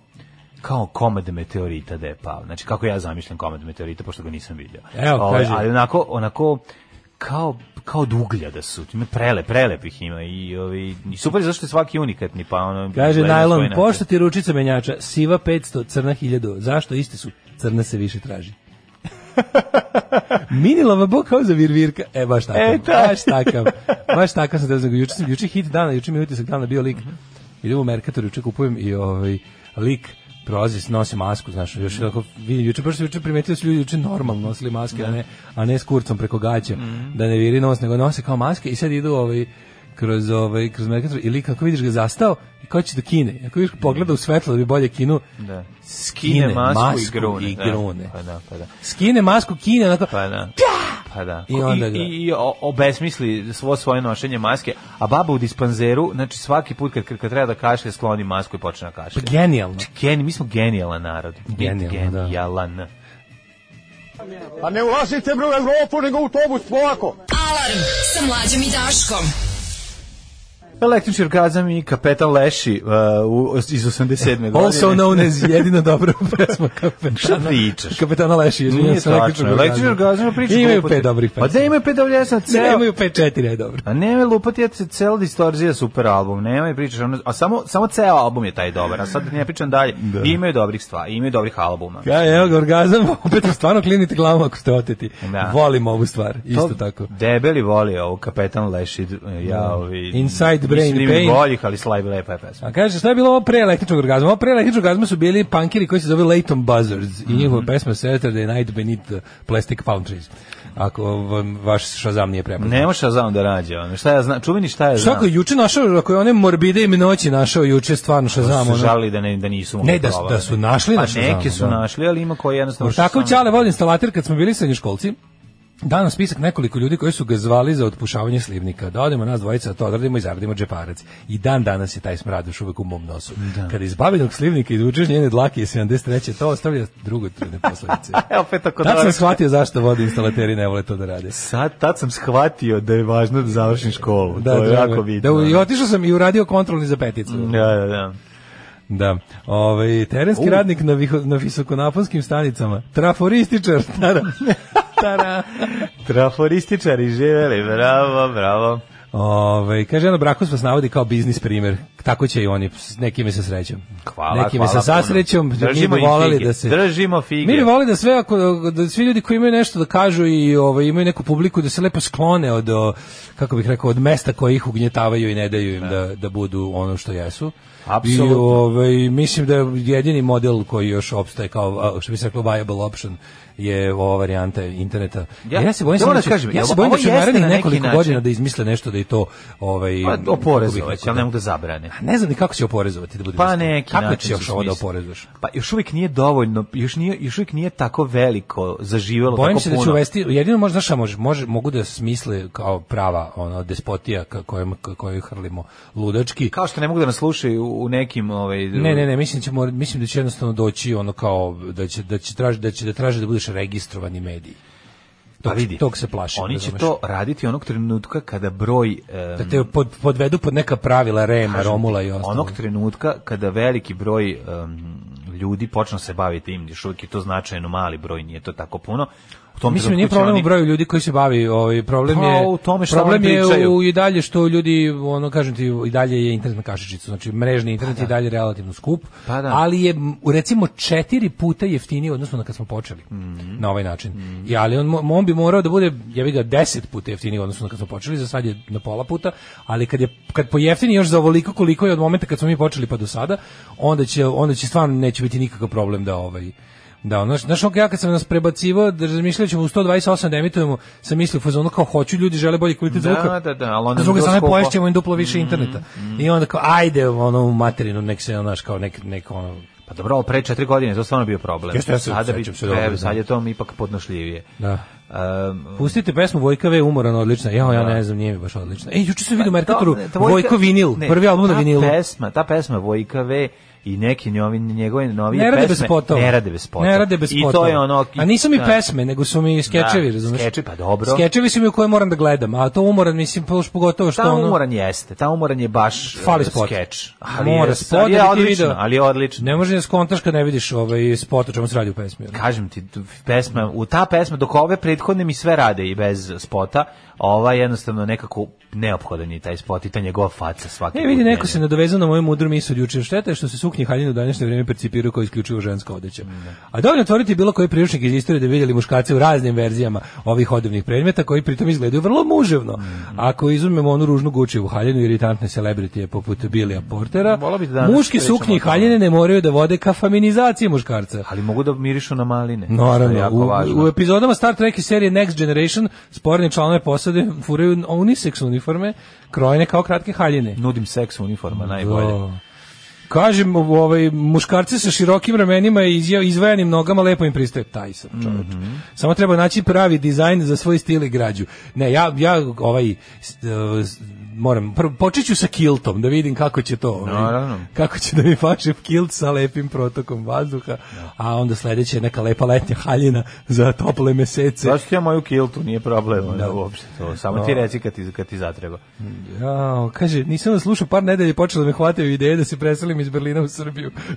kao komad meteorita da je pao. Znači, kako ja zamišljam komad meteorita, pošto ga nisam vidio. Evo, Ovaj, kaži. Ali onako, onako, kao kao od uglja da su. Ima prele, prelepih ima i ovi i super je zašto je svaki unikatni, pa ono Kaže izgleda na svoj najlon, način. pošto ti ručica menjača, siva 500, crna 1000. Zašto iste su? Crna se više traži. Mini lavabo kao za virvirka. E, baš takav. E, da. baš takav. Baš takav sam da znam. Juče, sam, juče hit dana, juče mi je utisak dana bio lik. Idem u Mercator, juče kupujem i ovaj, lik prolazi, nosi masku, znaš, još tako vidim, juče, baš sam juče primetio da su ljudi juče normalno nosili maske, a ne, a ne s kurcom preko gaća, da ne viri nos, nego nose kao maske i sad idu ovaj, kroz ovaj kroz Mercator i lik kako vidiš ga zastao i kao će do Kine. Ako vidiš pogleda u svetlo da bi bolje kinu. Da. Skine masku, i grune. da. Pa da, pa da. Skine masku Kine onako. Pa da. Pa da. I onda ga- I, i, o- obesmisli svo svoje nošenje maske, a baba u dispanzeru, znači svaki put kad, kad treba da kašlje, skloni masku i počne da Pa kašlje. genijalno. Gen, mi smo genijalan narod. Genijalan, da. genijalan. A ne ulazite bre u Evropu, nego u autobus, polako. Alarm sa mlađom i Daškom. Električni orgazam i kapetan Leši uh, u, iz 87. godine. Also known as jedino dobro pesma kapetana. Šta pričaš? Kapetana Leši, izvinjam Nije se. tačno. Električni orgazam priča. Imaju gluposti. pet dobrih pesma. Pa da imaju pet dobrih, ja sam Ne, ceo- imaju pet četiri, je dobro. A ne, lupati je se cel distorzija super album. Nemoj pričaš, ono, a samo samo ceo album je taj dobar. A sad ne pričam dalje. I imaju dobrih stvari, i imaju dobrih albuma. Ja, evo ga, orgazam, opet stvarno klinite glavom ako ste oteti. Da. Volim ovu stvar, isto To tako. Debeli voli ovo Kapetan Lešid, e, ja ovi. mislim Inside Brain da ima Pain. boljih, ali slab lepa je pesma. A kaže, šta je bilo ovo pre električnog orgazma? Ovo pre električnog orgazma su bili punkiri koji se zove Leighton Buzzards i njihova Mhm. pesma Saturday Night Beneath the Plastic Palm Trees. Ako vam vaš šazam nije prepoznat. Ne može Shazam da rađe, ono. Šta ja znam, čuveni šta ja znam. Šta ako je juče našao, ako je one morbide i noći našao juče, stvarno šazam. su Ono. žalili da ne da nisu mogli Ne, da su- probati. da su našli pa na Shazamu, neke su da. našli, ali ima koji jednostavno Tako Shazam- ćale vodim instalater kad smo bili srednjoškolci. Danas spisak nekoliko ljudi koji su ga zvali za otpušavanje slivnika. Da odemo nas dvojica, da to odradimo i zaradimo džeparac. I dan danas je taj smrad još uvek u mom nosu. Kada iz babinog slivnika izvučeš njene dlake iz 73. to ostavlja drugo trudne posledice. E, opet tako Tad sam dobro. shvatio zašto vodi instalateri ne vole to da rade. Sad, tad sam shvatio da je važno da završim školu. to je drago. jako vidno. Da, I otišao sam i uradio kontrolni za peticu. Da, da, da. Da. Ovaj terenski radnik na, viho, na visokonaponskim stanicama. Traforističar. Tara. Tara. Traforističari živeli, bravo, bravo. Ove, kaže, ono, brakus vas navodi kao biznis primer. Tako će i oni, s nekime sa srećom. Hvala, nekime hvala sa puno. sasrećom, mi Držimo bi im volali fige. da se... Držimo fige. Mi bi volali da sve, ako, da svi ljudi koji imaju nešto da kažu i ovaj, imaju neku publiku, da se lepo sklone od, o, kako bih rekao, od mesta koji ih ugnjetavaju i ne daju im da, da budu ono što jesu. Apsolutno. I, ovaj, mislim da je jedini model koji još opstaje kao, a, što bi se reklo, viable option je ova varijanta interneta. Ja- Ja, se bojim, ja samo moram da, da će, kažem, ja ovo- se bojim da ovo će u jeste narednih na neki nekoliko način- godina da izmisle nešto da i to ovaj Pa, kako bih oporezovać, rekao, ali ne mogu da zabrane. a ne znam ni kako će oporezovati da bude. Pa iskren. neki kako način će još su ovo da smislili. oporezuješ? Pa još uvijek nije dovoljno, još, nije, još uvijek nije tako veliko zaživelo Bojim tako se puno. da će uvesti, jedino možda šta može, može, mogu da smisle kao prava ono, despotija ka- kojom, ka- koju hrlimo ludački. Kao što ne mogu da nas slušaju u u nekim... Ovaj, Ne, ne, ne, mislim, da će, mora- mislim da će jednostavno doći ono kao da će da će traži da će da traže da budeš registrovani mediji. Pa Tog, vidi, tog se plašim. Oni će razumeš? to raditi onog trenutka kada broj... eh, em, da te pod, podvedu pod neka pravila Rema, Romula i ostalo. onog trenutka kada veliki broj em, ljudi počne se baviti tim, još uvijek je to značajno mali broj, nije to tako puno. U tom Mislim trenutku nije će problem oni- u broju ljudi koji se bavi, ovaj problem Pa, je u tome šta problem oni je pričaju. u, i dalje što ljudi ono kažem ti i dalje je internet na kašičicu, znači mrežni internet je i dalje relativno skup, Pa da. ali je m, u recimo četiri puta jeftiniji odnosno na kad smo počeli Mhm. na ovaj način. I ali on, mo- on bi morao da bude jebi ga 10 puta jeftiniji odnosno na kad smo počeli, za sad je na pola puta, ali kad je kad pojeftini još za ovoliko koliko je od momenta kad smo mi počeli pa do sada, onda će onda će stvarno neće biti nikakav problem da ovaj da, ono, znaš, ono, ja kad sam nas prebacivao, da razmišljali ćemo u 128 da emitujemo, sam mislio, u fazonu kao hoću, ljudi žele bolji kvalitet Da, zvuka. da, da, ali onda A S druge mi to strane, skupo. Mm-hmm. poješćemo im duplo više interneta. I onda kao, ajde, ono, u materinu, nek se, ono, znaš, kao, nek, nek, ono, Pa dobro, ali pre četiri godine je to stvarno bio problem. Jeste, ja se Sada bi- sećam se dobro, evo, da. sad je to ipak podnošljivije. da. Em, Pustite pesmu Vojka V, umorana, odlična. Ja, ja ne znam, nije mi baš odlična. E, juče sam vidio u Merkatoru, Pa To- to Vojko vinil, ne, prvi album na vinilu. Ta pesma, ta pesma Vojka V i neki njovi, njegove novije Ne rade pesme bez spotova. ne rade bez spotova. Ne rade bez I to spotova. je ono... i- A nisu mi da. pesme, nego su mi skečevi, Da, razumeš? skeči, pa dobro. Skečevi su mi u koje moram da gledam, a to umoran, mislim, pa još pogotovo što Ta ono... umoran jeste, ta umoran je baš Fali e, spot. skeč. Mora je, spot ali da je bi ti odlično, video. ali je odlično. Ne može da skontaš kad ne vidiš ovaj spot o čemu se radi u pesmi. ono. Kažem ti, tu pesma, u ta pesma, dok ove prethodne mi sve rade i bez spota, ova je jednostavno nekako neophodan je taj spot i ta njegova faca svaki E, vidi, put neko se meni. nadovezao na moju mudru misl od juče. Šteta je što se suknje haljine u današnje vrijeme percipiraju kao isključivo ženska odeća. A dovoljno otvoriti bilo koji priručnik iz istorije da vidjeli muškarce u raznim verzijama ovih odevnih predmeta koji pritom izgledaju vrlo Mm. muževno. Ako izumemo onu ružnu gučevu haljinu i iritantne celebritije poput Bilija Portera, Volao bih da danas muške pričamo suknje i o tome. haljine ne moraju da vode ka faminizaciji muškarca. Ali mogu da mirišu na maline. što je Naravno, jako važno. u, u epizodama Star Trek i serije Next Generation sporni članove posade furaju unisex uniforme krojene kao kratke haljine. Nudim seks uniforma, najbolje. Da. Kažem, ovaj, muškarci sa širokim ramenima i izja- izvajanim nogama lepo im pristaje. Taj sam čovječ. Mhm. Samo treba naći pravi dizajn za svoj stil i građu. Ne, ja, ja ovaj, s- e, s- moram, prvo, počet ću sa kiltom, da vidim kako će to. ovaj, Naravno. kako će da mi faše kilt sa lepim protokom vazduha, a onda sledeće je neka lepa letnja haljina za tople mesece. Zašto ja moju kiltu, nije problem ono, Da. uopšte to. Samo ti reci kad ti, kad ti zatreba. Jao, kaže, nisam vas slušao par nedelje i počela da me hvataju ideje da se preselim iz Berlina u Srbiju.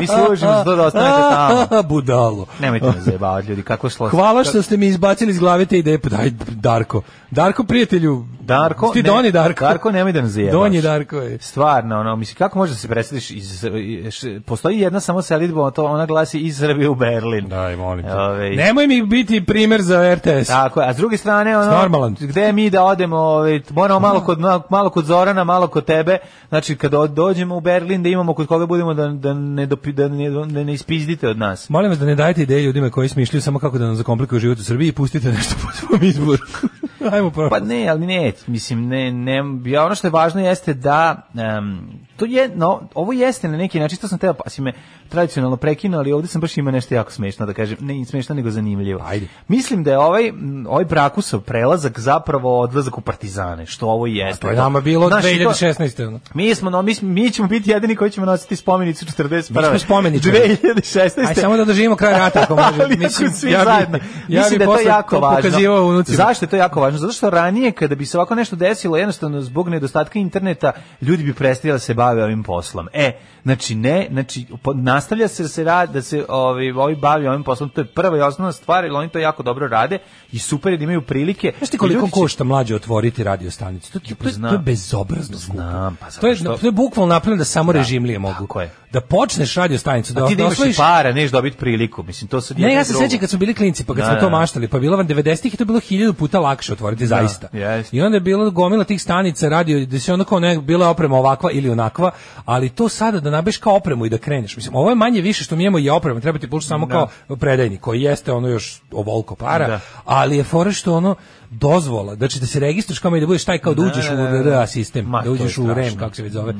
Mi se uložimo za to da ostanete tamo. Budalo. Nemojte me zajebavati ljudi, kako šlo. Hvala što ste mi izbacili iz glave te ideje. Pa Daj, Darko. Darko, prijatelju. Darko, Ti ne- Doni Darko. Darko, nemoj da nas zajebaš. Donji Darko je. Stvarno, ono, mislim, kako možeš da se preseliš iz... š- Postoji jedna samo selitba, to ona glasi iz Srbije u Berlin. Daj, molim te. Ovaj, Nemoj mi biti primer za RTS. Tako, je, a s druge strane ono Normalan. gde mi da odemo, ovaj moramo malo kod malo kod Zorana, malo kod tebe. Znači kad od- dođemo u Berlin da imamo kod koga budemo da da ne dopi, da ne da ne ispizdite od nas. Molim vas da ne dajete ideje ljudima koji smišljaju samo kako da nam zakomplikuju život u Srbiji i pustite nešto po svom izboru. Ajmo prvo. Pa ne, ali ne, mislim, ne, ne, ja ono što je važno jeste da, em, to je, no, ovo jeste na neki način, to sam teo, pa si me tradicionalno prekinuo, ali ovdje sam baš imao nešto jako smešno da kažem, ne smešno nego zanimljivo. Ajde. Mislim da je ovaj, m, ovaj brakusov prelazak zapravo odlazak u partizane, što ovo i jeste. To je Pa nama bilo od Znaš, i to- 2016. ono. Mi smo no mi, smo- mi ćemo biti jedini koji ćemo nositi spomenicu 41. Mi smo spomeničari. 2016. Aj samo da doživimo kraj rata ako može. Ali ako Mislim, svi ja bi, zajedno. ja Mislim da bi je to posle jako to važno. pokazivao unucima. Zašto je to jako važno, zato što ranije kada bi se ovako nešto desilo, jednostavno zbog nedostatka interneta, ljudi bi prestali da se bave ovim poslom. E, znači ne, znači po- nastavlja se da se rad, da se ovi, ovi bavi ovim poslom, to je prva i osnovna stvar, jer oni to jako dobro rade i super je da imaju prilike. Znaš ti koliko Ljudi će- košta mlađe otvoriti radio stanicu? To, ti- to, je- Znam. to je bezobrazno skupo. Znam, pa zato to, je, što- to je bukvalno napravljeno da samo režimlije mogu. tako je. Da počneš radio stanicu, da, A ti da imaš i osvojiš- para, neš dobiti priliku. Mislim, to sad je Ne, ja jedno se drugo. sećam kad smo bili klinci, pa kad Da, smo da. to maštali, pa bilo vam 90-ih i to je bilo hiljadu puta lakše otvoriti, zaista. jest. I onda je bilo gomila tih stanica, radio, da se ono kao ne, bila oprema ovakva ili onakva, ali to sada da nabeš kao opremu i da kreneš. Mislim, ovo je manje više što mi imamo i oprema, treba ti pušiti samo kao predajnik, koji jeste ono još ovoliko para, Da. ali je fora što ono dozvola, znači da se registruješ kao i da budeš taj kao da uđeš da, da, u da. RRA sistem, Ma, da to je uđeš u REM, strašno. Mhm. kako se već zove.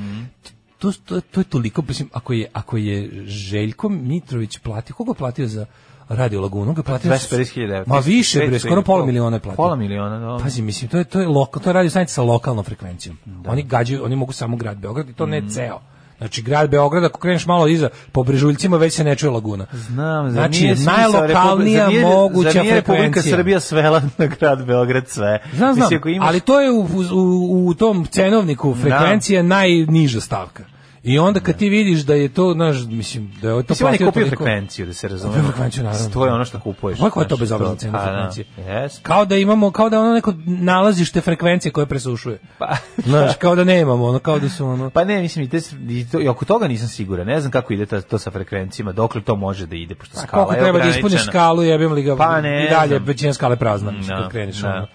To, to, to je toliko, mislim, ako je, ako je Željko Mitrović platio, koga je platio za Radio Lagunu? On ga je platio... 250.000 evra. Ma više, bre, 500.000, skoro pola miliona je platio. Pola miliona, da. Pazi, mislim, to je, to je, loka, to je radio stanica sa lokalnom frekvencijom. Oni gađaju, oni mogu samo grad Beograd i to Mm. ne ceo. Znači, grad Beograd, ako kreneš malo iza, po brežuljcima već se ne čuje laguna. Znam, zar znači, nije smisao Republika- najlokalnija zar nije- moguća zar nije Republika frekvencija. Srbija svela na grad Beograd sve. Pa Znam, znam, Mislim, ako imaš- ali to je u, u, u tom cenovniku frekvencija najniža stavka. I onda kad ti vidiš da je to, znaš, mislim, da je to Mislim, on je platio kupio toliko- frekvenciju, da se razume. Kupio frekvenciju, naravno. To je ono što kupuješ. Kako je to znaš, bezobrazna cena Pa, da, frekvencije? Jes. Kao da imamo, kao da ono neko nalazište frekvencije koje presušuje. Pa, Znaš, kao da nemamo, ono, kao da su ono... Pa ne, mislim, i, te, i, to, i oko toga nisam siguran. Ne znam kako ide ta, to sa frekvencijama, dokle to može da ide, pošto A skala Pa koliko je treba da ograničena. ispuniš skalu, jebim li ga, Pa ne i dalje znam. većina skale prazna, mislim, Da, kad kreneš da. ono.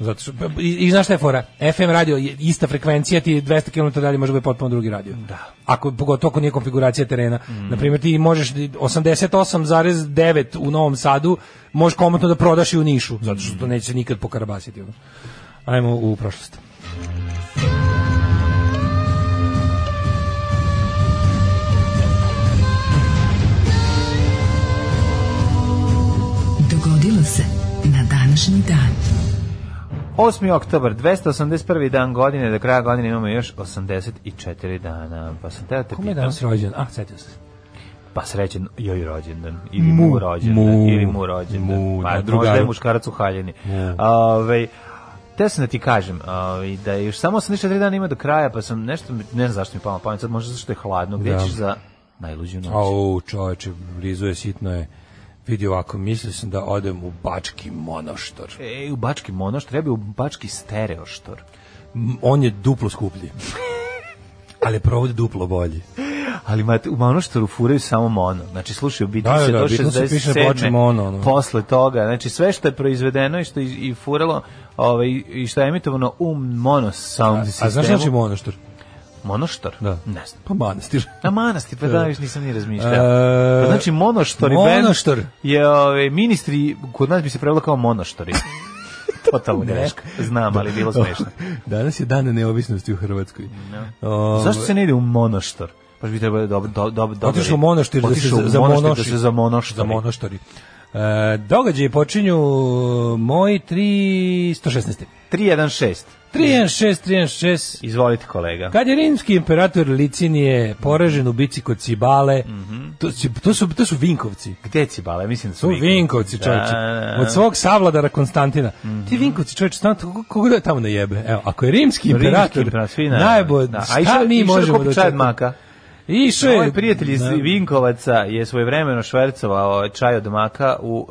Zato što, i, i znaš šta je fora? FM radio je ista frekvencija, ti 200 km dalje može biti potpuno drugi radio. Da. Mm. Ako, pogotovo ako nije konfiguracija terena. Na Naprimjer, ti možeš 88,9 u Novom Sadu, možeš komotno da prodaš i u Nišu, zato što to neće se nikad pokarabasiti. Ono. Ajmo u prošlost. Dogodilo se na današnji dan. 8. oktober, 281. dan godine, do kraja godine imamo još 84 dana. Pa sam teo te Kome je pitam, danas rođen? A, setio sam se. pa srećen joj rođendan, ili mu, rođendan, mu, ili mu rođendan, mu, pa možda da, je drugaru. muškarac u haljini. Ovaj, Teo sam da ti kažem ovaj, da je još samo 84 dana ima do kraja, pa sam nešto, ne znam zašto mi palo na pamet, sad možda zato što je hladno, gde Da. ćeš za najluđu noć? Au, čoveče, rizuje sitno je. Vidi ovako, mislio sam da odem u Bački monoštor. E, u Bački monoš, treba je u Bački stereoštor. M, On je duplo skuplji. Ali je provod duplo bolji. Ali mate, u monoštoru furaju samo mono. Znači, slušaj, u Beatles Da, da, je da, do Beatles se piše na 67. ploči mono, ono. Posle toga, znači, sve što je proizvedeno i što je i furalo ovaj, i što je emitovano u mono sound sistemu. A znaš znači monoštor? Monoštor? Da. Ne znam. Pa manastir. Na manastir, pa da, Da. još nisam ni razmišljao. E, Pa znači, monoštor i Monoštor. band je ovaj, ministri, kod nas bi se prevelo kao monoštori. Totalno greška. Znam, ali bilo smešno. Danas je dan neovisnosti u Hrvatskoj. Ovaj, O, Zašto se ne ide u monoštor? Pa bi trebalo dobro dobro dobro. dobro- Otišao u monaštir da se Otišao u za monaštir monoši. da se za monoštor. Za monoštori. E, događaji počinju moji 316. 316. 316, 316. Izvolite kolega. Kad je rimski imperator Licinije poražen u bici kod Cibale, Mhm. to, si- to, su, to su Vinkovci. Gde je Cibale? Mislim da su To su Vinkovci, čovječe. Da, da, Mhm. da. Od svog savladara Konstantina. Ti Vinkovci, čovječe, stvarno, to- koga da je tamo na jebe? Evo, ako je rimski Rimski imperator, imperator, svi naravno. najbolje, Da, a šta išao- mi išao da možemo kupi da čaj od očekujemo? maka? Išao je... Moj prijatelj iz Da. Vinkovaca je svojevremeno švercovao čaj od maka u,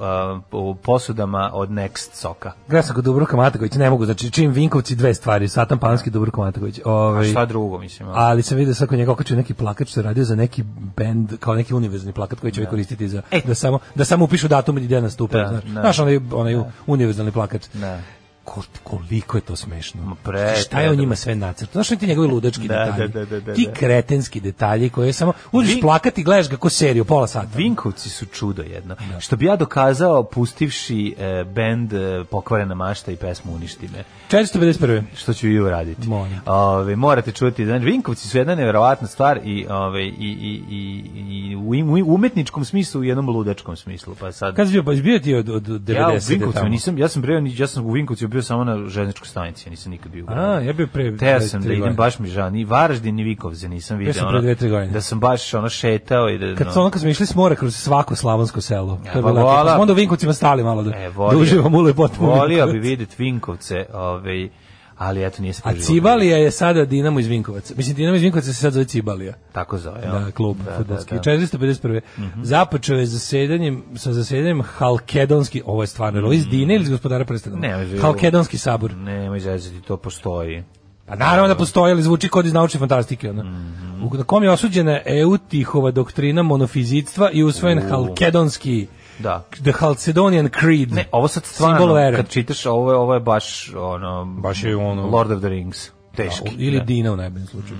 uh, u posudama od Next soka. Gledao sam kod Dubroka Mataković, ne mogu, znači čim Vinkovci dve stvari, Satan Panski, Dubroka Mataković. Ovaj, Šta drugo, mislim. ono? ali- ali sam vidio sad kod njega okačio neki plakat što je radio za neki bend, kao neki univerzni plakat koji će ovaj koristiti za, E. da, samo, da samo upišu datum i gde nastupa. Da, znaš, da. znaš onaj, onaj univerzalni plakat. Da. Ko, koliko je to smešno. pre- Šta je o pre- njima sve nacrtano? Znaš oni ti njegovi ludački Da, detalji? da, da, da, da, ti da. kretenski detalji koje je samo... Uđeš Vi- plakat i gledaš ga ko seriju, pola sata. Vinkovci su čudo jedno. Što bi ja dokazao pustivši e, bend e, Pokvarena mašta i pesmu Uništi me. 451. što ću i uraditi. Molim. Ove, morate čuti, znači Vinkovci su jedna neverovatna stvar i ove i i i, i u, im- u umetničkom smislu i u jednom ludačkom smislu. Pa sad Kad si bio, pa si bio ti od, od 90. ja u Vinkovcima tamo? nisam, ja sam bio ja sam u Vinkovcima bio samo na železničkoj stanici, ja nisam nikad bio u gradu. A, ja bio pre- Teo pre sam tri da idem, godine. baš mi žao, ni Varaždin, ni Vikovze nisam vidio. sam ono, pre dve, tri godine. Da sam baš ono šetao i da... Kad smo, ono, kad smo išli s mora kroz svako slavonsko selo. to je pa bilo lepo. vola- Pa smo onda u Vinkovcima stali malo da, E, da volio, uživamo u lepotama volio bi Vinkovaca. vidjeti Vinkovce, ovaj, ali eto nije se A preživio. Cibalija je sada Dinamo iz Vinkovaca. Mislim, Dinamo iz Vinkovaca se sad zove Cibalija. Tako zove, jel? Da, klub fudbalski. 451. Mhm. Započeo je zasedanjem sa zasedanjem Halkedonski, ovo je stvarno, mm. ovo je iz Dine ili iz gospodara prstena? Mhm. Ne, živo. Halkedonski sabor. Nemoj zezati, to postoji. Pa naravno da postoji, ali zvuči kod iz naučne fantastike. Ono. Mhm. U, na kom je osuđena Eutihova doktrina monofizitstva i usvojen Halkedonski Da. The Halcedonian Creed. Ne, ovo sad stvarno, Simbol vere. kad čitaš ovo, je- ovo je baš, ono, Baš je ono- Lord of the Rings. Teški. da. ili Mhm. Dina u najboljem slučaju.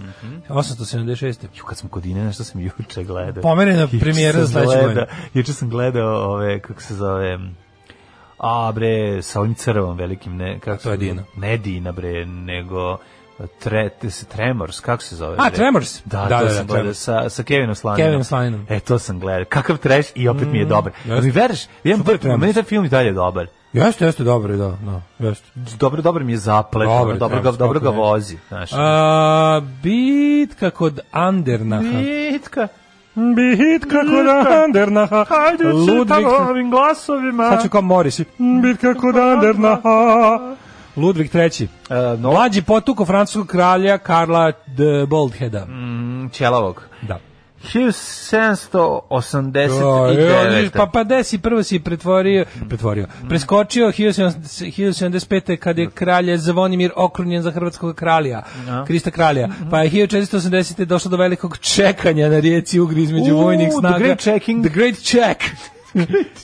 876. Ju, kad sam kod Ine, nešto sam juče gledao. Pomerena Juče premijera sam za sledeću gledao- godinu. Juče sam gledao ove, kako se zove, a bre, sa ovim crvom velikim, ne, kako To je se- Dina. Ne Dina bre, nego tre, te se- Tremors, kako se zove? A, bre? Tremors. Da, Da, to da, sam da, gledao Tremors. sa, sa Kevinom Slaninom. Kevinom Slaninom. Mm. E, to sam gledao. Kakav trash i opet mi je dobar. jeste. Mi veriš, jedan Super prvi, Tremors. meni taj film i dalje je dobar. Jeste, jeste, dobro, je, da, da, jeste. Dobro, dobro mi je zaplet, Dobar dobro, je dobro, ga, Tremors, dobro ga kako ne. vozi. Znaš. A, bitka kod Andernaha. Bitka. Bitka kod Andernaha. Hajde, Ludvig, čitam ovim glasovima. sad ću kao Morisi. Bitka kod Andernaha. Ludvig III. E, no, Mlađi potuko francuskog kralja Karla de Boldheada. Mm. Ćelavog. Da. 1789. Pa pa desi prvo si pretvorio, pretvorio. Preskočio 1075. kad je kralj Zvonimir okrunjen za hrvatskog kralja, Krista kralja. Pa je 1480. došlo do velikog čekanja na rijeci Ugri između U, vojnih the snaga. great checking. The Great Check.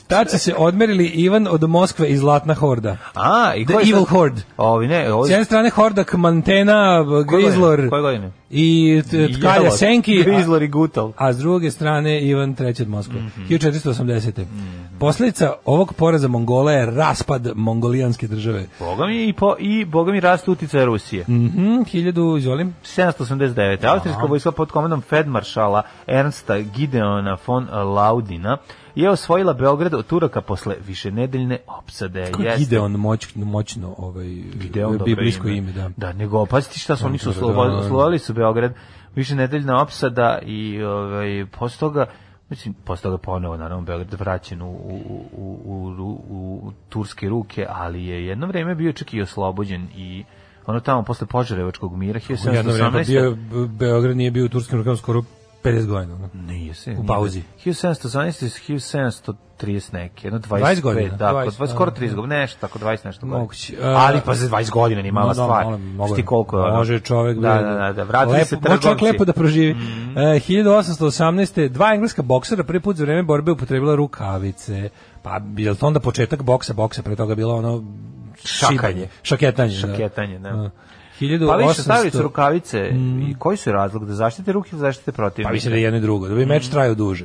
Tad su se odmerili Ivan od Moskve i Zlatna horda. A, i The ko je Evil sad- Horde. Ovi ne, ovi... S jedne strane horda Kmantena, koje godine? Grizlor Koje godine? i t- Tkalja Jelavog. E, Senki. a- Grizlor i Gutal. a s druge strane Ivan III od Moskve, Mhm. 1480. Posljedica ovog poraza Mongola je raspad mongolijanske države. Boga mi i, po, i boga mi rast utica Rusije. Mhm, 1000, izvolim. E, 789. Austrijska vojska pod komandom Feldmaršala Ernsta Gideona von Laudina je osvojila Beograd od Turaka posle višenedeljne opsade. Ko je Jeste. Gideon moć, moćno ovaj, Gideon, dobro biblijsko ime. ime. da. Da, nego paziti šta su oni su Dobro, da, da. oslo- oslovali su Beograd, više nedeljna opsada i ovaj posle toga Mislim, posle toga ponovo, naravno, Beograd vraćen u, u, u, u, u, u turske ruke, ali je jedno vreme bio čak i oslobođen i ono tamo posle Požarevačkog mira U jedno 1718. vrijeme bio, Be- Beograd nije bio u turskim rukama skoro 50 godina. ono. Nije se. U pauzi. 1718 i 1730 neke, jedno 25. 20 godina, Da, oko 20, 20, skoro da. 30 godina, nešto, tako 20 nešto godina. Moguće. E, Ali pa za 20 godina ni mala No, da, stvar. malo- mnogo je. Šti koliko je ono? Može čovek da, bre, da, da, da, vratili lepo, se može čovek trgovci. Mm. lepo da proživi. E, 1818. dva engleska boksera prvi put za vreme borbe upotrebila rukavice. Pa je li to onda početak boksa, boksa pre toga bilo ono Šakanje. šibanje, šaketanje, Šaketanje, da. da. A, Pa više stavili su 1800. rukavice i koji su razlog da zaštite ruke ili zaštite protivnika? Mm. Pa mislim da je jedno i drugo, da bi meč trajao duže.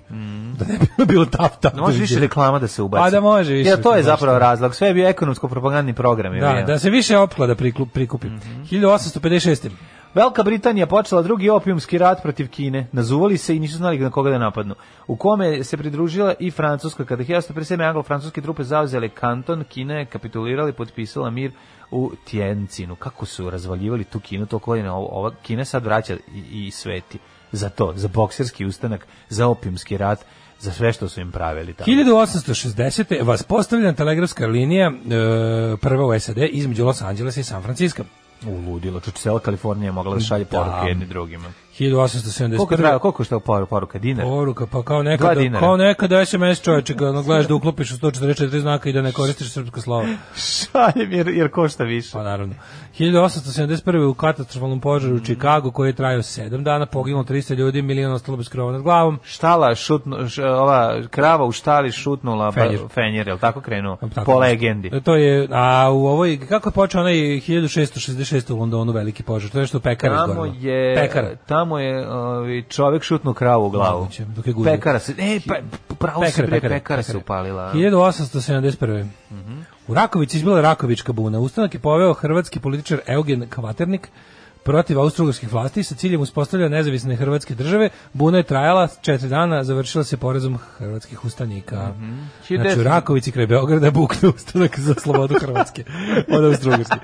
Da ne bi bilo tap tap. Da Mm. može više reklama da se ubaci. Pa da može više Jer to je reklama, zapravo razlog. Sve je bio ekonomsko-propagandni program. je Da, bio. da se više opklada priklu- prikupi. Mhm. 1856. Velika Britanija počela drugi opijumski rat protiv Kine. Nazuvali se i nisu znali na koga da napadnu. U kome se pridružila i Francuska. Kada je 1957. anglo-francuske trupe zauzele kanton, Kina je kapitulirala i potpisala mir u Tjencinu. Kako su razvaljivali tu Kinu toliko godina? Ovo- Ova Kina sad vraća i, i sveti. Za to, za bokserski ustanak, za opijumski rat, za sve što su im pravili. Tamo. 1860. vas postavljena telegrafska linija e, prva u SAD između Los Angelesa i San Francisco. Uludilo. Čuči, cela Kalifornija je mogla da šalje poruke jedni drugima. Koliko, je 1871. trajao- koliko je što poruka? Dinar? Poruka, pa kao nekada, Dva dinara. kao nekada SMS čoveče, kad ono gledaš da uklopiš u 144 znaka i da ne koristiš srpsko slovo. Šaljem jer, jer košta više. Pa naravno. 1871. u katastrofalnom požaru Mhm. u Čikagu koji je trajao 7 dana, poginulo 300 ljudi, milion ostalo bez krova nad glavom. štala šutnu, š, ova krava u štali šutnula Fenjer. Pa fenjer, fenjer jel tako krenuo? Tako po nešto. legendi. E, To je, a u ovoj, kako je počeo onaj 1666. u Londonu veliki požar, to je nešto u pekara Tamo izgorelo. je, Pekara. tamo je ovaj, čovjek šutnu kravu u glavu. Moguće, dok je guzio. Pekara se, e, pa, pravo se prije, pekara, se upalila. Mhm. 1871. U Raković izbila Rakovička buna. Ustanak je poveo hrvatski političar Eugen Kvaternik, protiv austrougarskih vlasti sa ciljem uspostavljanja nezavisne hrvatske države. Buna je trajala četiri dana, završila se porazom hrvatskih ustanika. Mhm. Znači, u 1900 Rakovici kraj Beograda bukne ustanak za slobodu Hrvatske od Austrougarske.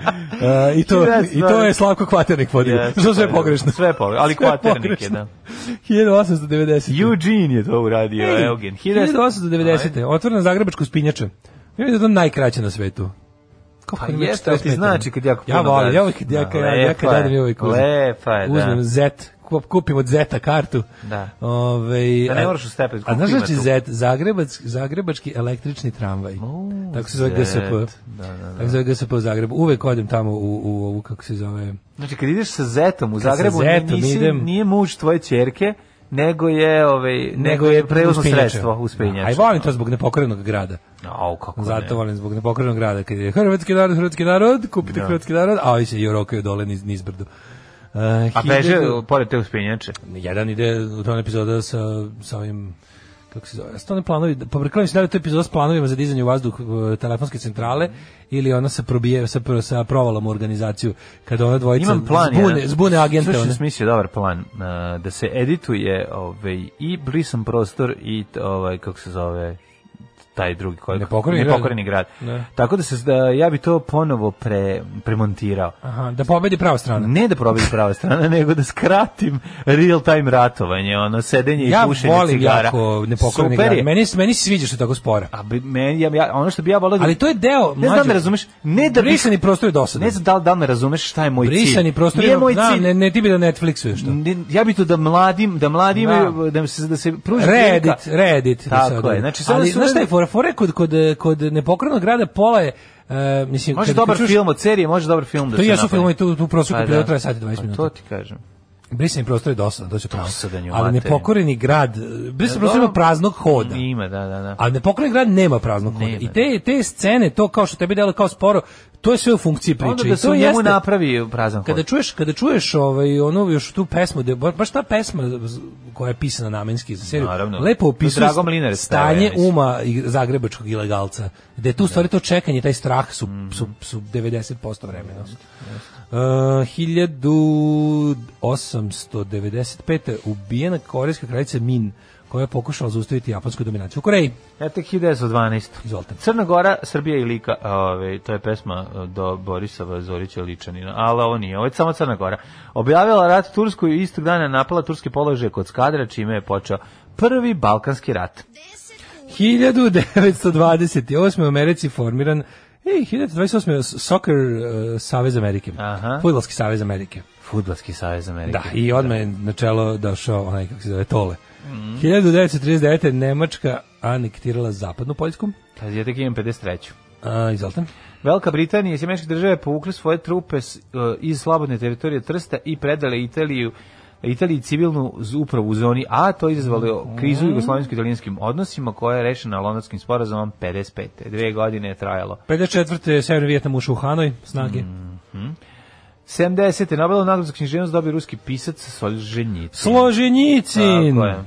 E, i, to, I to je Slavko Kvaternik vodio. Jeste, Što sve pa, pogrešno. sve je pogrešno, ali Sve je Kvaternik je, da. 1890. Eugene je to uradio, Eugen. 1890. Otvorena Zagrebačko spinjače. Ja vidim da je to najkraće na svetu. Kako Pa ne jeste, smeta ti mi? znači kad jako Ja puno volim, daš. ja uvijek, ja, Da, ja, ja kad lepa je. dadem, ja uvijek uzmem. Lepa je, da. Uzmem zet, kup- kupim od zeta kartu. Da. Ove, Da ne moraš u stepen, A znaš kupim znači na tu. zet, Zagrebac, zagrebački električni tramvaj. tako se zove zet. GSP. Da, da, da. Tako se zove GSP u Zagrebu. Uvek odem tamo u, u ovu, kako se zove, Znači kad ideš sa Zetom u Kad sa Zagrebu, Zetom nisi, idem- nije muž tvoje ćerke, nego je ovaj nego je prevozno uspinjače. sredstvo A i uspinjač. volim to zbog nepokrenog grada. Au kako ne. Zato volim zbog nepokrenog grada kad je hrvatski narod, hrvatski narod, kupite hrvatski narod, a ovi se jorokaju dole niz, nizbrdo. Uh, A beže e, pored te uspinjače. Jedan ide u tom epizoda sa, sa ovim kako se zove, stone planovi, pobrkali se da li je to epizoda s planovima za dizanje u vazduh e, telefonske centrale ili ona se probije sa, pro- sa provalom u organizaciju kada ona dvojica Imam plan zbune, jedan. zbune agente. ono. Slušaj, One. smislio dobar plan uh, da se edituje ovaj i brisan prostor i t- ovaj kako se zove taj drugi koji Nepokoreni grad. nepokoreni grad. Ne. Tako da se da ja bi to ponovo pre premontirao. Aha, da pobedi prava strana. Ne da probim prava strana, nego da skratim real time ratovanje, ono sedenje ja i pušenje volim cigara. jako nepokorni Super grad. je. Meni, meni se sviđa što je tako spora. A bi, meni, ja, ja, ono što bi ja volao... da- Ali to je deo, Ne znam mlađo. da razumeš, ne da bih... Brisani prostor je dosadan. Ne znam da li, da li me razumeš šta je moj cilj. Brisani prostor Nije moj znam, cilj. ne, ne ti bi da Netflixu još to. Ne, Ja bih to da mladim, da mladim, Da. da, da se, da se pruži prilika. Reddit, Reddit. Tako sad. je, znači sada Ali, su- znaš šta je fora? Fora je kod, kod, kod nepokrenog grada pola je, e, mislim... Može kad- dobar kad čuješ- film od serije, može dobar film da To se jesu napravi. filmovi, tu, tu prosjeku Pa period da. traje sat i 20 Pa minuta. To ti kažem. Brisani prostor je dosadan, to će pravo. Dosadan je u Ali materinu. nepokoreni grad, e, Brisani prostor ima dobro. praznog hoda. Ima, da, da, da. A nepokoreni grad nema praznog hoda. Nema. I te, te scene, to kao što tebi delo kao sporo, to je sve u funkciji priče. Onda I da se to u njemu jeste- napravi prazan Kada hod. čuješ, kada čuješ ovaj onu još tu pesmu, da baš ta pesma z- koja je pisana namenski za seriju, Naravno. lepo opisuje Drago Mlinarić peva, ja stanje mislim. uma i- zagrebačkog ilegalca. Da je tu u stvari to čekanje, taj strah su Mhm. su su 90% vremena. Uh, 1895. ubijena korejska kraljica Min koja je pokušala zaustaviti japansku dominaciju u Koreji. Ja tek 1912. Izvolite. Crna Gora, Srbija i Lika, ove, to je pesma e, do Borisova Zorića Ličanina, ali ovo nije, ovo je samo Crna Gora. Objavila rat Tursku i istog dana napala turske položaje kod Skadra, čime je počeo prvi Balkanski rat. 1928. u Americi formiran Ej, 1928. Soccer uh, Savez Amerike. Aha. Fudbalski Savez Amerike. Futbalski savez Amerike. Da, i odmah je na čelo došao onaj, kako se zove, Tole. Mhm. 1939. Nemačka anektirala zapadnu Poljsku. Kad ja tek imam 53. A, izvolite. Velika Britanija i Sjemeničke države povukli svoje trupe s- e, iz slobodne teritorije Trsta i predale Italiju Italiji civilnu z- upravu u zoni A, to je izazvalo Mm. krizu u jugoslovensko-italijanskim odnosima koja je rešena londonskim sporazumom 55. Dve godine je trajalo. 54. Severni Vijetnam ušao u Hanoj, snage. Mhm. 70. Nobelov nagradu za književnost dobio ruski pisac Solženjici. Složenjicin! Tako je.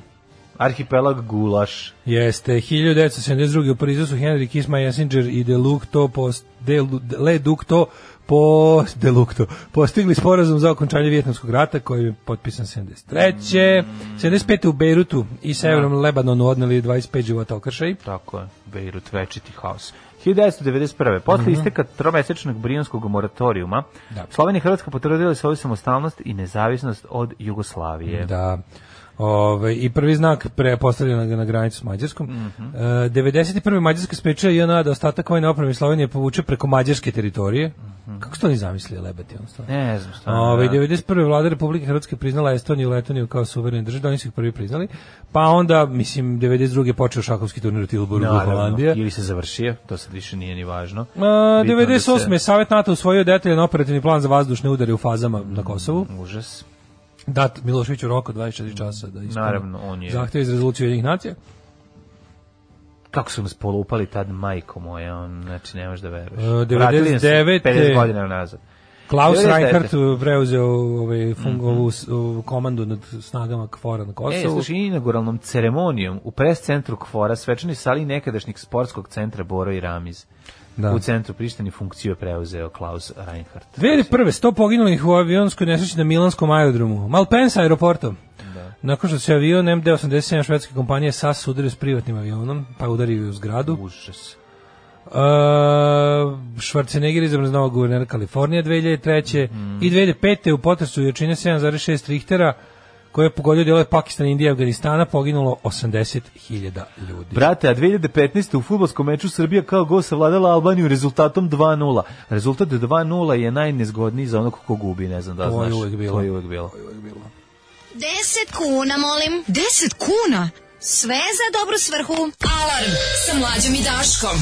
Arhipelag Gulaš. Jeste, 1972. u Parizu su Henry Kiss, Jessinger i Delucto post, Delu- Le Ducto po Delucto postigli sporazum za okončanje Vjetnamskog rata koji je potpisan 73. 75. u Beirutu i severnom Lebanonu odneli 25 života okršaj. Tako je, Beirut, večiti haos. 1991. Posle isteka tromesečnog brijanskog moratorijuma, Mhm. Da. Slovenija i Hrvatska potvrdila svoju samostalnost i nezavisnost od Jugoslavije. Da. Ove, I prvi znak prepostavljen na, na granicu s Mađarskom. E, 91. Mađarska sprečila JNA da ostatak vojne opreme Slovenije povuče preko mađarske teritorije. Kako ste oni zamislili lebati? Ono stvarno? Ne znam šta. Ove, da. 91. Ovaj, vlada Republike Hrvatske priznala Estoniju i Letoniju kao suverene države, oni su ih prvi priznali, pa onda, mislim, 92. počeo šahovski turnir u Tilburgu, Naravno, Holandija. Ili se završio, to sad više nije ni važno. Ma, Bitno da 98. se- Savet NATO usvojio detaljan operativni plan za vazdušne udare u fazama na Kosovu. Užas. Dat Miloševiću rok od 24 časa da ispuni Naravno, on je- zahtjev iz rezolucije jednih nacija. Kako su nas polupali tad, majko moja, on, znači, ne možeš da veruješ. E, Vratili nas 99.. 50 godina nazad. Klaus 99. Reinhardt uh, preuzeo ovaj, fun, ovu s- ovu komandu nad snagama Kfora na Mhm. E, Kosovu. slušaj, inauguralnom ceremonijom u pres centru Kvora svečani sali nekadašnjeg sportskog centra Boro i Ramiz. Da. U centru Prištini funkciju je preuzeo Klaus Reinhardt. 2001. 100 poginulih u avionskoj nesreći na Milanskom aerodromu. Malpensa aeroportom. Nakon što se avion MD-87 švedske kompanije SAS sudario s privatnim avionom, pa udario u zgradu. Užas. Uh, Schwarzenegger izabran za novog guvernera Kalifornije 2003. Mhm. I 2005. u potresu jačine 7,6 Richtera koje je pogodio delove Pakistana, Indije i Afganistana, poginulo 80.000 ljudi. Brate, a 2015. u futbolskom meču Srbija kao gost savladala Albaniju rezultatom 2-0. Rezultat 2-0 je najnezgodniji za onog ko gubi, ne znam da li To je znaš. uvek bilo. To je uvek bilo. 10 kuna, molim. 10 kuna? Sve za dobru svrhu. Alarm sa mlađom i Daškom.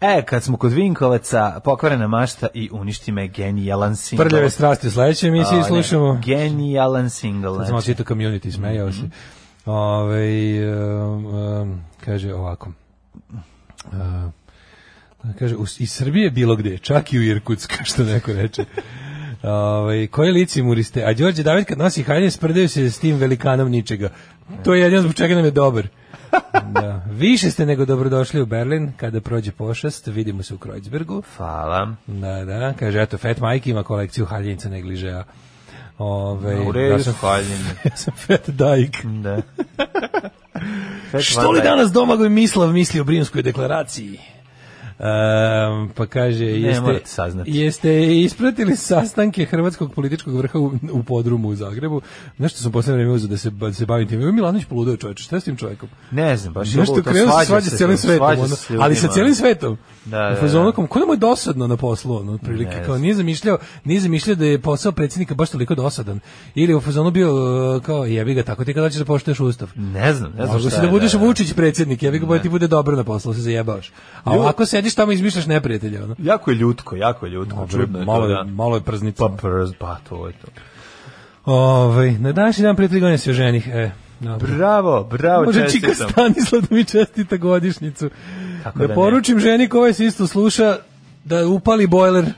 E, kad smo kod Vinkovaca, pokvarena mašta i uništi me genijalan single. Prljave strasti u sledećoj emisiji A, ne, slušamo. Genijalan single. Sad Znači. sam očito community, smejao Mhm. se. Ove, um, um, kaže ovako. Uh, kaže, u- iz Srbije bilo gde, čak i u Irkutska, što neko reče. Ove, koje licimuriste? A Đorđe David kad nosi haljine sprdaju se s tim velikanom ničega. To je jedino zbog čega nam je dobar. Da. Više ste nego dobrodošli u Berlin kada prođe pošast, vidimo se u Kreuzbergu. Hvala. Da, da, kaže, eto, Fat Mike ima kolekciju haljinica negližeja. Ove, U redu ja sam- haljine. ja sam Fat Dajk. Da. Fat Što li Van Dyke. danas Domagoj Mislav misli o Brinskoj deklaraciji? Um, pa kaže, jeste, morate saznati. jeste ispratili sastanke hrvatskog političkog vrha u, u podrumu u Zagrebu. Nešto sam poslednje vreme uzeo da se, da se bavim tim. Evo Milanović poludeo čoveče, šta je s tim čovjekom? Ne znam, baš je Znaš što luto, krenuo se svađa svađa s celim se, svetom, svađa ono, se s ljudima. ali sa celim svetom. Da, da, da. U fazonu kao, ko nam je dosadno na poslu, ono, otprilike, Ne kao znam. nije zamišljao, nije zamišljao da je posao predsjednika baš toliko dosadan. Ili u fazonu bio e, kao, jebi ga, tako ti kada ćeš da poštuješ ustav. Ne znam, ne znam Mogu šta si je, da budeš da, da. Vučić predsjednik, jebi ga, bolje ti bude dobro na poslu, se zajebaoš. A ovako sediš tamo i izmišljaš neprijatelje, ono. Jako je ljutko, jako je ljutko. čudno je malo, to, da. je- malo je prznica. Pa prz, pa to je to. Ovaj, na današnji dan prije tri godine se oženih. E, dobro. Bravo, bravo, Može Čika čestitam. Stanislav da mi čestita godišnicu. Kako da, da ne? poručim ženi koja se isto sluša da upali bojler.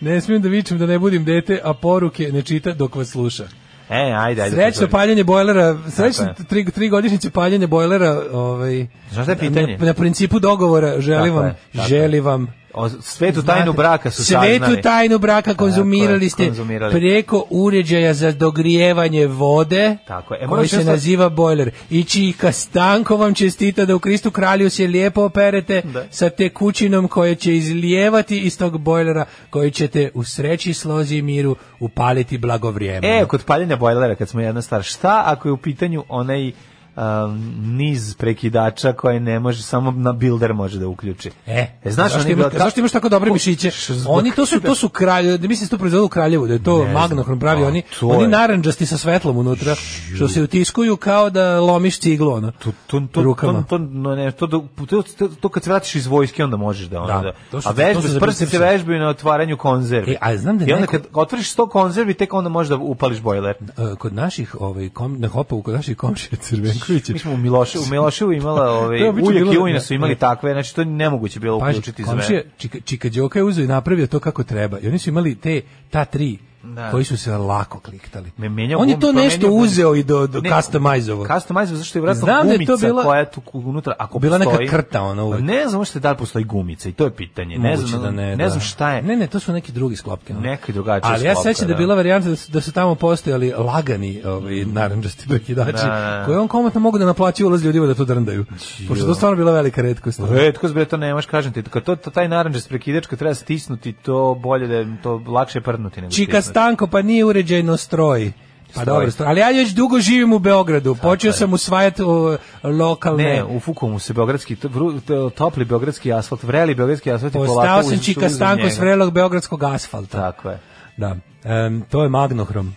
ne smijem da vičem da ne budim dete, a poruke ne čita dok vas sluša. E, ajde, ajde. Srećno pozdrav. paljenje bojlera, srećno Tako je. tri, tri godišnjice paljenje bojlera. Ovaj, Znaš šta je pitanje? Na, na principu dogovora želim Tako vam, je, tako je. želi vam. O, svetu tajnu braka su Svetu saznali. tajnu braka konzumirali ste konzumirali. preko uređaja za dogrijevanje vode, Tako je. E, moram koji se često- naziva bojler. I Čika Stanko vam čestita da u Kristu kralju se lijepo operete Da. sa tekućinom koja će izlijevati iz tog bojlera koju ćete u sreći, slozi i miru upaliti blagovrijeme. E, kod paljenja bojlera, kad smo jedna stvar, šta ako je u pitanju onaj um, niz prekidača koje ne može, samo na builder može da uključi. E, znaš, zašto, oni ima, bila- zašto imaš tako dobre Ko- mišiće? š- zbog- Oni to su to su kralje, da mislim da se to proizvode u Kraljevu, da je to Ne znam, magnohrom pravi, a, oni to oni je- narandžasti sa svetlom unutra, što se utiskuju kao da lomiš ciglu ono. Tu, tu, tu, rukama. To, to, no, ne, to, do- to, to, to kad se vratiš iz vojske, onda možeš da... Onda, Da, to su- a to vežbe, su za prsti se brcirce. vežbaju na otvaranju konzervi. E, a znam da I onda neko- kad otvoriš 100 konzervi, tek onda možeš da upališ bojler. E, kod naših ovaj kom, na hopa kod naših komšija Crvenkovića. Mi smo u Miloševu, u Miloševu imala, To ovaj, je obično uljak bilo- i ujna su imali ne. takve, znači to je nemoguće bilo Pazi, uključiti sve. komšija Čika, Čika Đoka je uzeo i napravio to kako treba. I oni su imali te ta tri Da. koji su se lako kliktali. Me menjao pa On je gum- to promenio nešto gum. uzeo i do, do Ne, customizeovo. Customize zašto je vratno Znam da je gumica to bila- koja je tu ku- unutra, ako Bila neka postoji. krta ona uvek. Ne znam što da li postoji gumica i to je pitanje. Ne Moguće znam, da ne, ne, da. znam šta je. Ne, ne, to su neki drugi sklopke. ono. Neki drugačiji Ali ja sklopka, sećam da je da. bila varijanta da su, da su tamo postojali lagani ovaj, naranđasti prekidači, Da, da, da. koje on komotno mogu da naplaćuje ulaz ljudima da to drndaju. Pošto je to stvarno bila velika redkost. Retko zbre E, to nemaš, kažem ti, kad to, to taj narandžast prekidač kad treba stisnuti, to bolje da je- to lakše je prdnuti nego Čika stisnuti. Stanko, pa nije uređajno stroj. Pa Stroj. dobro, stroj. ali ja još dugo živim u Beogradu. Počeo sam usvajati o, lokalne... Ne, u Fukomu se beogradski to- vru- to- topli beogradski asfalt, vreli beogradski asfalt i Postao polako sam uz- Čika uz Stanko njega. s vrelog beogradskog asfalta. Tako je. Da, Em, to je magnohrom.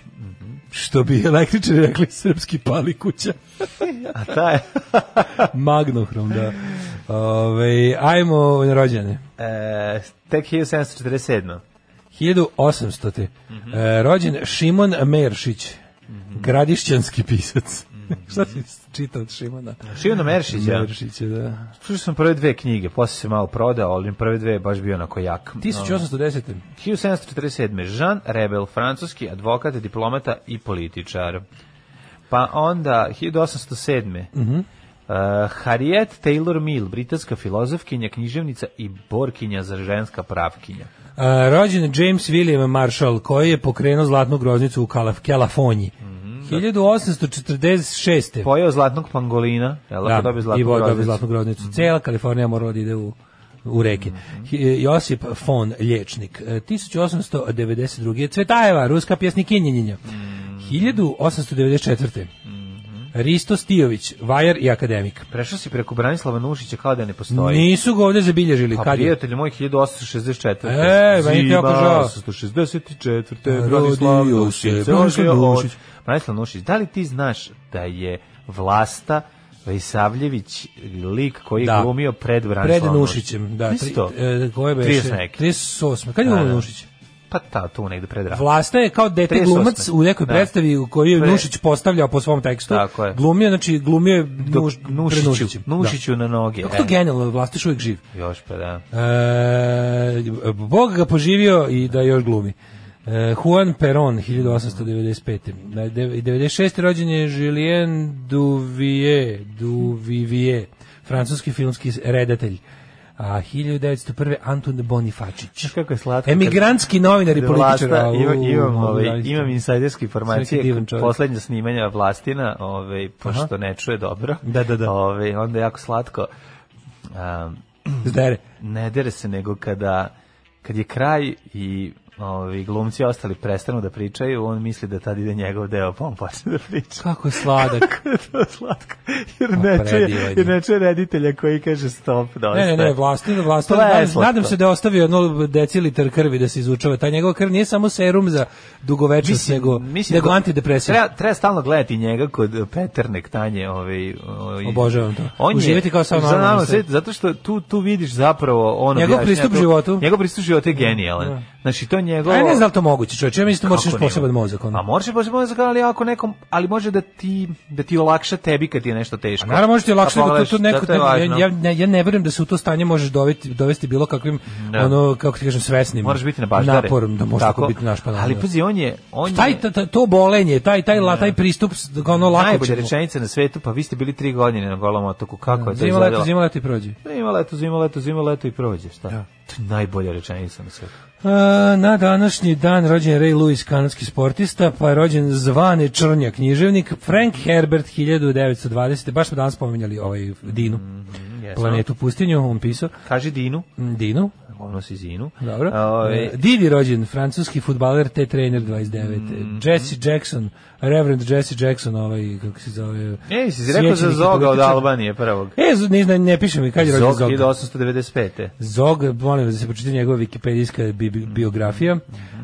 Što bi električari rekli, srpski pali kuća. A taj Magnohrom, da. Ove, ajmo na rođene. e, tek 1747. 1800. e, rođen Šimon Meršić, gradišćanski pisac. Šta si čitao od Šimona? Šivno Meršića. Meršića, da. Slušao sam prve dve knjige, posle se malo prodao, ali prve dve je baš bio onako jak. ono, 1810. 1747. Jean Rebel, francuski advokat, diplomata i političar. Pa onda 1807. Uh, Harriet Taylor Mill, britanska filozofkinja, književnica i borkinja za ženska pravkinja. A, E, rođen je James William Marshall, koji je pokrenuo zlatnu groznicu u Kalaf, Kalafonji. 1846. Pojeo zlatnog pangolina, jel? Da, dobio i zlatnu bo- dobio groznicu. Mhm. zlatnu groznicu. Cela Kalifornija morala da ide u u reke. Hi- e, Josip von Lječnik, e, 1892. Cvetajeva, ruska pjesnikinjenjenja. Mhm. 1894. Risto Stijović, vajar i akademik. Prešao si preko Branislava Nušića kao da ne postoji. Nisu ga ovdje zabilježili. Pa Kad je? prijatelj moj 1864. E, meni ti jako žao. 1864. Branislav Rodio Nušić. se Branislav rodio od- Nušić. Branislav Nušić, da li ti znaš da je vlasta Vejsavljević lik koji je Da. glumio pred Pred Branislavom Nušićem, da. Isto? Tri, e, koje beše? 30 neki. 38. Kad je Da, umro da. Nušić? Pa ta, tu negde pred Ranislavom. Vlasta je kao dete 38. glumac u nekoj Da. predstavi u kojoj je Pre- Nušić postavljao po svom tekstu. Tako je. Glumio, znači glumio je Nuš, Dok- pred Nušiću, Nušićem. Da. Nušiću na noge. Kako to e. genijalno, vlast još uvijek živ. Još pa da. E, Bog ga poživio i da još glumi. E, Juan Perón, 1895. Na de- i 96. rođen je Julien Duvivier, Duvivier francuski filmski redatelj. A 1901. Antun Bonifačić. Znaš kako je slatko kad- Emigrantski novinar i Da političar. Vlasta, a, ima- u, imam, mogu ovaj, zamisliti. imam insajderske Svaki informacije divan čovjek. poslednja snimanja Vlastina, ovaj, pošto ne čuje dobro. Da, da, da. Ovaj, onda je jako slatko. Um, Zdere. ne dere se nego kada kad je kraj i ovi glumci ostali prestanu da pričaju, on misli da tad ide njegov deo, pa on počne da priča. Kako je sladak. Kako je to slatko. Jer Pa ne čuje, predivno. jer ne čuje reditelja koji kaže stop, dosta. Ne, ne, ne, vlastno, vlastno. To je Nadam, slatko. nadam se da je ostavio jedno decilitar krvi da se izučava. Ta njegova krv nije samo serum za dugovečnost, Mislim, nego, mislim nego da- antidepresiv. Treba, treba stalno gledati njega kod Petrnek Tanje. Ovaj, ovaj, Obožavam to. On je- Uživati kao samo za normalno normalno svet. svet, Zato što tu, tu vidiš zapravo ono... Njegov objašnjenje, pristup to- životu. Njegov pristup životu je genijalan. Znači, to je njegovo... Pa A ja ne znam da li to moguće, čovječe. Ja mislim da moraš Kako imati nije? poseban mozak. Ono. A možeš poseban mozak, ali ako nekom, ali može da ti da ti olakša tebi kad ti je nešto teško. A Pa Naravno možete lakše Da da to, pogledaš, to neko zato je ja, važno. ja, ne, ja ne verujem da se u to stanje možeš dovesti dovesti bilo kakvim Da. ono kako ti kažem svesnim. Moraš biti na baždare. Naporom da može tako biti naš pa Ali pazi, on je... On taj je, ta- ta- to bolenje, taj taj la, taj pristup s- ono lako najbolja ćemo. rečenica na svetu, pa vi ste bili tri godine na golom otoku, kako je to Zima leto, izgledalo? zima leto i prođe. Zima leto, zima leto, zima leto i prođe, šta? Da. To je najbolja rečenica na svetu. E, na današnji dan rođen je Ray Lewis, kanadski sportista, pa je rođen Zvane Črnja, književnik, Frank Herbert, 1920. Baš smo danas spominjali ovaj Dinu, Mm, jesmo. planetu pustinju, on pisao. Kaži Dinu, Mm, Dinu, ono si Zinu. Ovaj, Dobro. Ove, E, Didi rođen, francuski futbaler, te trener 29. Mm, Jesse Jackson, Reverend Jesse Jackson, ovaj, kako se zove... Ej, E, si rekao za svećenik i Zoga od političar. Albanije prvog. E, z- ne, znam, ne piše mi, kad je rođen Zog Zog. 1895. Zog, molim vas da se pročita njegova wikipedijska bi, bi- biografija.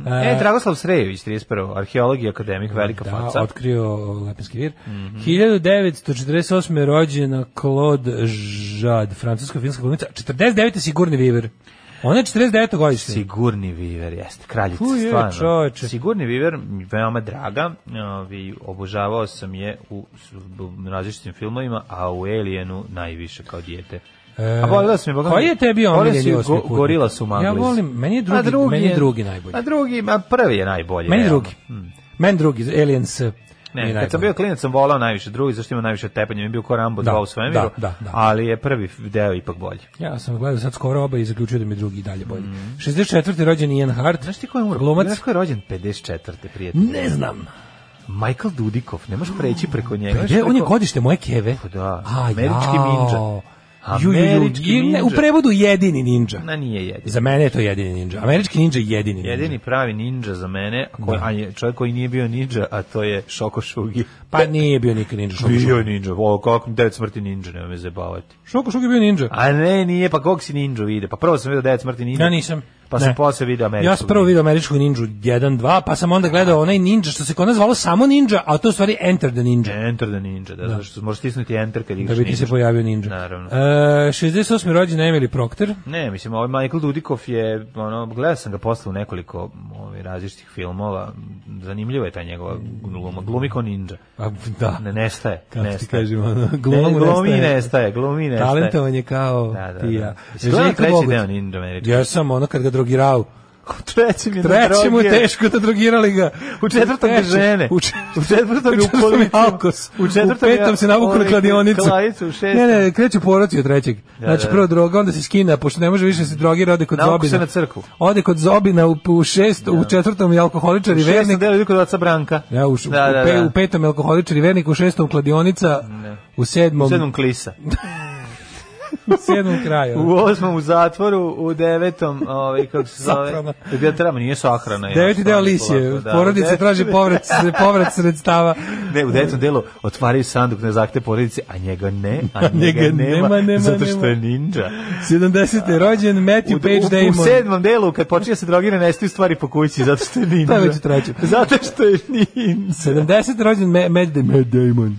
E, E, Dragoslav Srejević, 31. Arheolog i akademik, velika da, faca. Mhm. otkrio Lepenski vir. 1948. je rođena Claude Jade, francusko-finska glumica. 49. je Sigurni Viver. Ona je 49. godište. Sigurni viver, jeste, kraljica, Tu je, stvarno. čoveče. Sigurni viver, mi je veoma draga, ovi, obožavao sam je u s- u različitim filmovima, a u Alienu najviše kao dijete. E, a volio sam je, Boga mi. koji je tebi Volio omiljeni sam je, osmi go- putnik? Gorila su Pa Manglis. Ja volim, meni je drugi- A meni je drugi najbolji. A drugi, a prvi je najbolji. Meni realno. drugi. Meni drugi, Aliens. eh, Ne, Hmm. Ne, kad sam bio klinac sam volao najviše drugi, zašto ima najviše tepanja, mi je bio ko Rambo Da, 2 u svemiru, da, da, da. ali je prvi deo ipak bolji. Ja sam gledao sad skoro oba i zaključio da mi je drugi i dalje bolji. 64. rođen Ian Hart. Mhm. Znaš ti ko je umro? Glumac. Znaš ko je rođen 54. prijatelj? Ne znam. Michael Dudikov, ne možeš preći preko njega. Pa Gde, on je godište moje keve. E, Pa da, A, američki jao. ninja. Ju, ju, ju, Američki i ne, U ninja. prevodu jedini ninja. Na nije jedini. Za mene je to jedini ninja. Američki ninja je jedini ninja. Jedini pravi ninja za mene, a koji, a je čovjek koji nije bio ninja, a to je Shoko Shugi. Pa nije bio nikad ninja. Šoko Bio Šugi. je ninja, o, kako devet smrti ninja, nema me zabavati. Šoko Šugi je bio ninja. A ne, nije, pa kog si ninja vide? Pa prvo sam vidio devet smrti ninja. Ja nisam. Pa Ne. sam posle vidio američku. Ja sam prvo vidio američkog ninju 1, 2, pa sam onda gledao onaj ninja što se kod nas zvalo samo ninja, a to je u stvari Enter the Ninja. Enter the ninja, da, zato što možeš stisnuti enter kad igraš Da bi ti se ninja. pojavio ninja. Naravno. E, 68. rođena Emily Proctor. Ne, mislim, ovaj Michael Dudikov je, ono, gledao sam ga posle u nekoliko ovaj, različitih filmova, zanimljiva je ta njegova gluma, glumi ko ninja. A, da. Ne, nestaje. Kako ti nestaje. kažemo, ono, ne, gluma mu glumi nestaje. nestaje, glumi nestaje. Talentovan je kao Da, da, ti i da. ja. Jesi gledao Željko treći Bogović. deo Ninja Američki? Ja sam ono kad ga drogirao. Treći mi Treći mu droge. teško da drogirali ga. U četvrtom ga Treći. žene. U, čet... U četvrtom je u u četvrtom je kolicima. alkos. U U četvrtom je petom se navuku na ovaj, kladionicu. kladionicu, u šestom. Ne, ne, kreću poroci od trećeg. znači da. prvo droga, onda se skina, pošto ne može više se drogira, ode kod Navuku Zobina. se na crkvu. Ode kod Zobina u, u šest, u četvrtom je alkoholičar i Ja sam vernik. deo kod oca Branka. Ja, u, š- da, da, u, pe, da. u petom je alkoholičar i vernik, u šestom kladionica, u sedmom, U sedmom klisa. u sedmom kraju. U osmom u zatvoru, u devetom, ovaj, kako se zove? Sahrana. Gdje treba, nije sahrana. ja, Deveti šta deo je Lisije, polako, da. porodica Ne, traži povrat, povrat sredstava. Ne, u devetom delu otvaraju sanduk na zahtev porodice, a njega ne, a njega, njega nema, nema, nema, zato što je nema. ninja. 70. je rođen Matthew U, Page u, Damon. u sedmom delu, kad počinje se drogira, nestaju stvari po kući, zato što je ninja. To je već u trećem. Zato što je ninja. 70. je rođen Ma- Matt, Da- Matt Damon.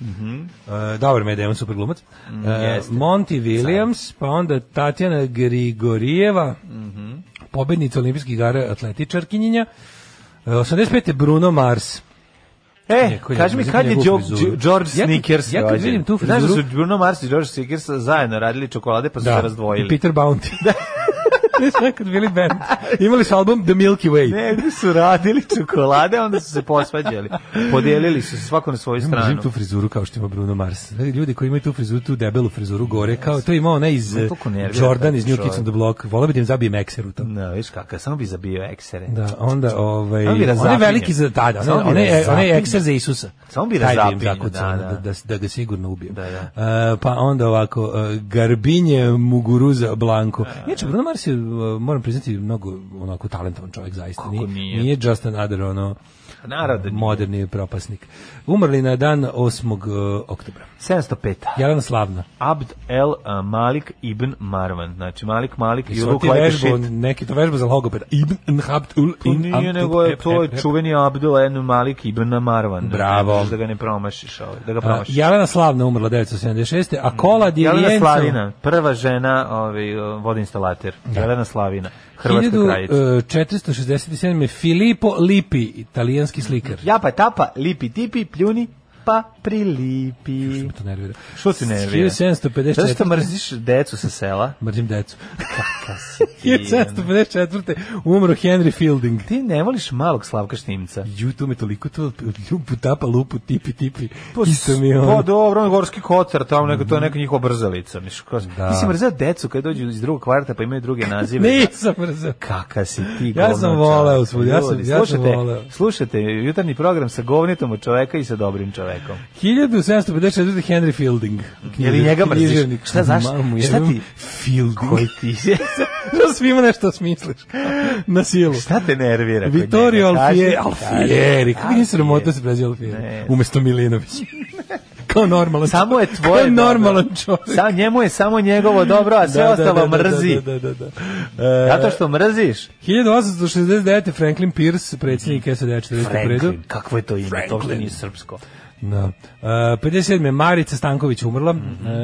E, dobar, Matt Damon, super glumac. E, Mm, jeste. Monty Williams, pa onda Tatjana Grigorijeva, Mhm. pobednica olimpijskih igara atletičarkinjenja. E, 85. je Bruno Mars. E, Neko je kaži mi, uzeo kad je njegovu Jo- frizuru. Đo- George Ja kad- Snickers ja kad rođen? vidim tu Znaš da su frizuru- Bruno Mars i George Snickers zajedno radili čokolade, pa su se razdvojili. Peter Bounty. Ne znam kad bili band. Imali su album The Milky Way. Ne, gde su radili čokolade, onda su se posvađali. Podelili su se svako na svoju Ja mrzim stranu. tu frizuru kao što ima Bruno Mars. Ljudi koji imaju tu frizuru, tu debelu frizuru gore, kao to je imao onaj iz eh, Me toliko nervira Jordan taj iz New čovjek. Kids on the Block. Volao bi da im zabijem ekser u tom. No, viš kakav, samo bi zabio eksere. Da, onda ovaj Samo bi on je razapinjao. veliki za tada, Samo bi on je on razapinjao. je eh, ekser za Isusa. Samo bi Taj im razapinjao, zakucao, da, da, da. da, da ga sigurno ubijem. Da, da. E, pa onda ovako e, Garbinje Muguruza Blanco. Inače Bruno Mars je e, moram priznati mnogo onako talentovan čovjek zaista. Kako nije? nije just another ono Naravno da Pa nije. moderni propasnik. Umrli na dan 8. e, oktobra. 705. Jelena Slavna. Abd el uh, Malik ibn Marwan. Znači Malik Malik i Jesu Luke ti like a vežbu, shit. neki to vežba za logopeda. Ibn Habd ul To nije nego je to je čuveni Abdul Enu Malik ibn Marwan. Bravo. Ne možeš Da ga ne promašiš, ovaj, da ga A, promašiš. Jelena Slavna umrla 976. A Kola Dirijenco... Mm. Jelena Slavina, prva žena ovaj, vodoinstalater. Jelena Slavina, hrvatska kraljica. e, 1467. je Filippo Lippi, italijanski slikar. Ja pa tapa, lipi tipi, pljuni, pa prilipi. Me to nervira. Što ti nervira? 1754. Zato što mrziš decu sa sela. Mrzim decu. Kaka si ti, ono. 1754. umro Henry Fielding. Ti ne voliš malog Slavka Štimca. Ju, to me toliko to lupu tapa lupu tipi tipi. Pa, Isto mi je ono. Mhm. Pa dobro, on je gorski kotar, tamo neko, to je neka njihova brzalica. Miš, kao, Da. da. Ti si mrzeo decu kad dođu iz drugog kvarta pa imaju druge nazive. Nisam mrzio. Kaka si ti Ja sam govno voleo čovek. svud, ja sam- Ljudi, ja sam slušajte- voleo. Slušajte jutarnji program sa govnitom od čoveka i sa dobrim čovekom. 1754. Henry Fielding. Je li njega mrziš? Književnik. Šta, znaš? Mamu, Šta jebem. ti? Fielding. Koji ti je? Što svima nešto smisliš. Na silu. Šta te nervira? kod Vittorio njega? Kaži, Alfieri, kaži. Alfieri, kako nije sramota da se prezio Ne. Alfieri, umesto Milinović. Kao normalan Samo je čovjek. tvoje Kao dobro. normalan čovjek. Sa, njemu je samo njegovo dobro, a sve Da, da, ostalo da, da, mrzi. Da, da, da, da. E, Zato što mrziš? 1869. Franklin Pierce, predsjednik SAD 40. predu. Franklin, kakvo je to ime? To uopšte nije srpsko. Da. E, 57. Marica Stanković umrla.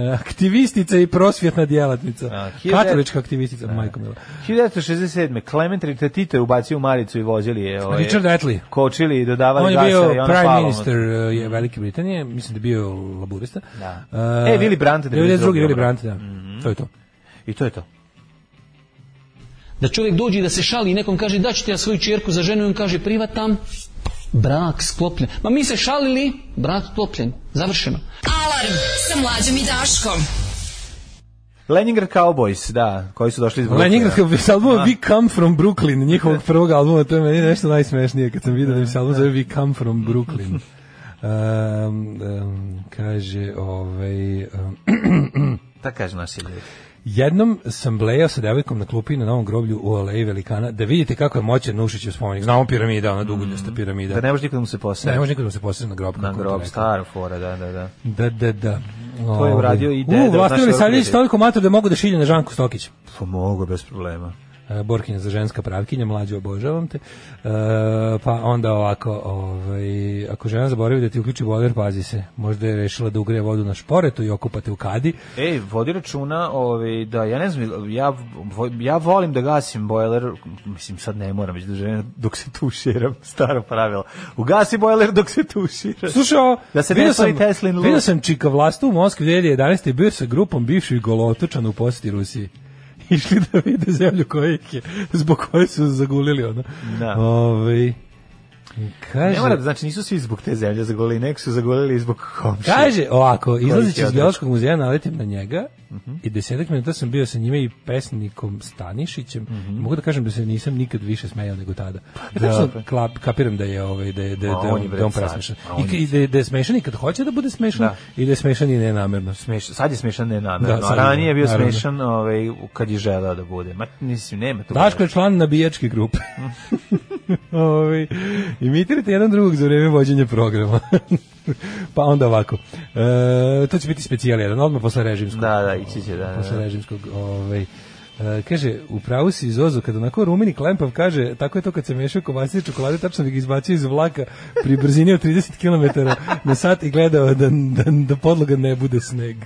E, aktivistica i prosvjetna djelatnica. Mhm. A, hiljadu- Katolička aktivistica, majko mila. 1967. Clement Ritatito je ubacio u maricu i vozili je. Ovaj, Richard Attlee. Kočili i dodavali On je gasa i bio ono prime palo. minister uh, je Velike Britanije, mislim da je bio laburista. Mhm. Da. E, Willy Brandt je 92. 92., Willy Brandt, da. mhm. To je to. I to je to. Da čovjek dođe i da se šali i nekom kaže da ću ti ja svoju čerku za ženu i on kaže privatam, brak sklopljen. Ma mi se šalili, brak sklopljen, završeno. Alarm sa mlađom i Daškom. Leningrad Cowboys, da, koji su došli iz Brooklyna. Leningrad kao s albuma We Come From Brooklyn, njihovog prvog albuma, to je meni nešto najsmešnije kad sam vidio da im se album zove We Come Mhm. From Brooklyn. Um, um, kaže, ovaj, um, Da kaže naši ljudi. jednom sam blejao sa devojkom na klupi na Novom groblju u Aleji Velikana, da vidite kako je moćan Nušićev spomenik. Znamo piramida, ona duguljasta piramida. Mm. Da ne može nikada mu se posao. Ne može nikad da mu se posjeća na grob. Na kako je to grob, rekao. stara fora, da, da, da. Da, da, da. Ovaj. To je uradio i deda U, od Vlastimir naše Savljević orkide. toliko mator da mogu da šilje na Žanku Stokić. Pa mogu, bez problema. E, Borkinja za ženska pravkinja, mlađe obožavam te. E, pa onda ovako, ovaj, ako žena zaboravi da ti uključi boiler, pazi se. Možda je rešila da ugreje vodu na šporetu i okupate u kadi. Ej, E, vodi računa, ovaj, da, ja ne znam, ja, vo- ja volim da gasim bojler, mislim, sad ne moram, već da želim dok se tuširam, staro pravilo. Ugasi bojler dok se tuširaš. Slušaj, ovo, Da se vidio ne slavi sam- Teslin luk. Vidio sam Čika Vlastu u Moskvi 2011. i bio sa grupom bivših golotočana u posjeti Rusiji. Išli da vide zemlju koja ih je, zbog koje su zagulili ono. Da. Ovaj, kaže, Ne mora, da- znači nisu svi zbog te zemlje zagolili, nek su zagolili i zbog komšije. Kaže ovako, izlazeći iz odličan. Geološkog muzeja naletim na njega Mhm. i desetak minuta sam bio sa njime i pesnikom Stanišićem. Mhm. Mogu da kažem da se nisam nikad više smejao nego tada. Pa Da, klap, kapiram da je ovaj da je, da, je- A da, je on on, je da je on bre car. presmešan. A on I, ka- i da, je- da je smešan i kad hoće da bude smešan Da. i da je smešan i nenamerno. Smeš, sad je smešan nenamerno, Da, a sad je, ranije je bio naravno. smešan ovaj, kad je želeo da bude. Ma, mislim, nema tu. Daško je član nabijačke grupe. Ovaj, imitirajte jedan drugog za vreme vođenja programa. pa onda ovako. E, to će biti specijal jedan, odmah posle režimskog. Da, da, ići će, da, da, Posle da. režimskog, ovaj, e, kaže, u pravu si Zozo, kada onako rumeni klempav kaže, tako je to kad se mešaju kobasice i čokolade, tačno bi ga izbacio iz vlaka pri brzini od 30 km na sat i gledao da, da, da podloga ne bude sneg.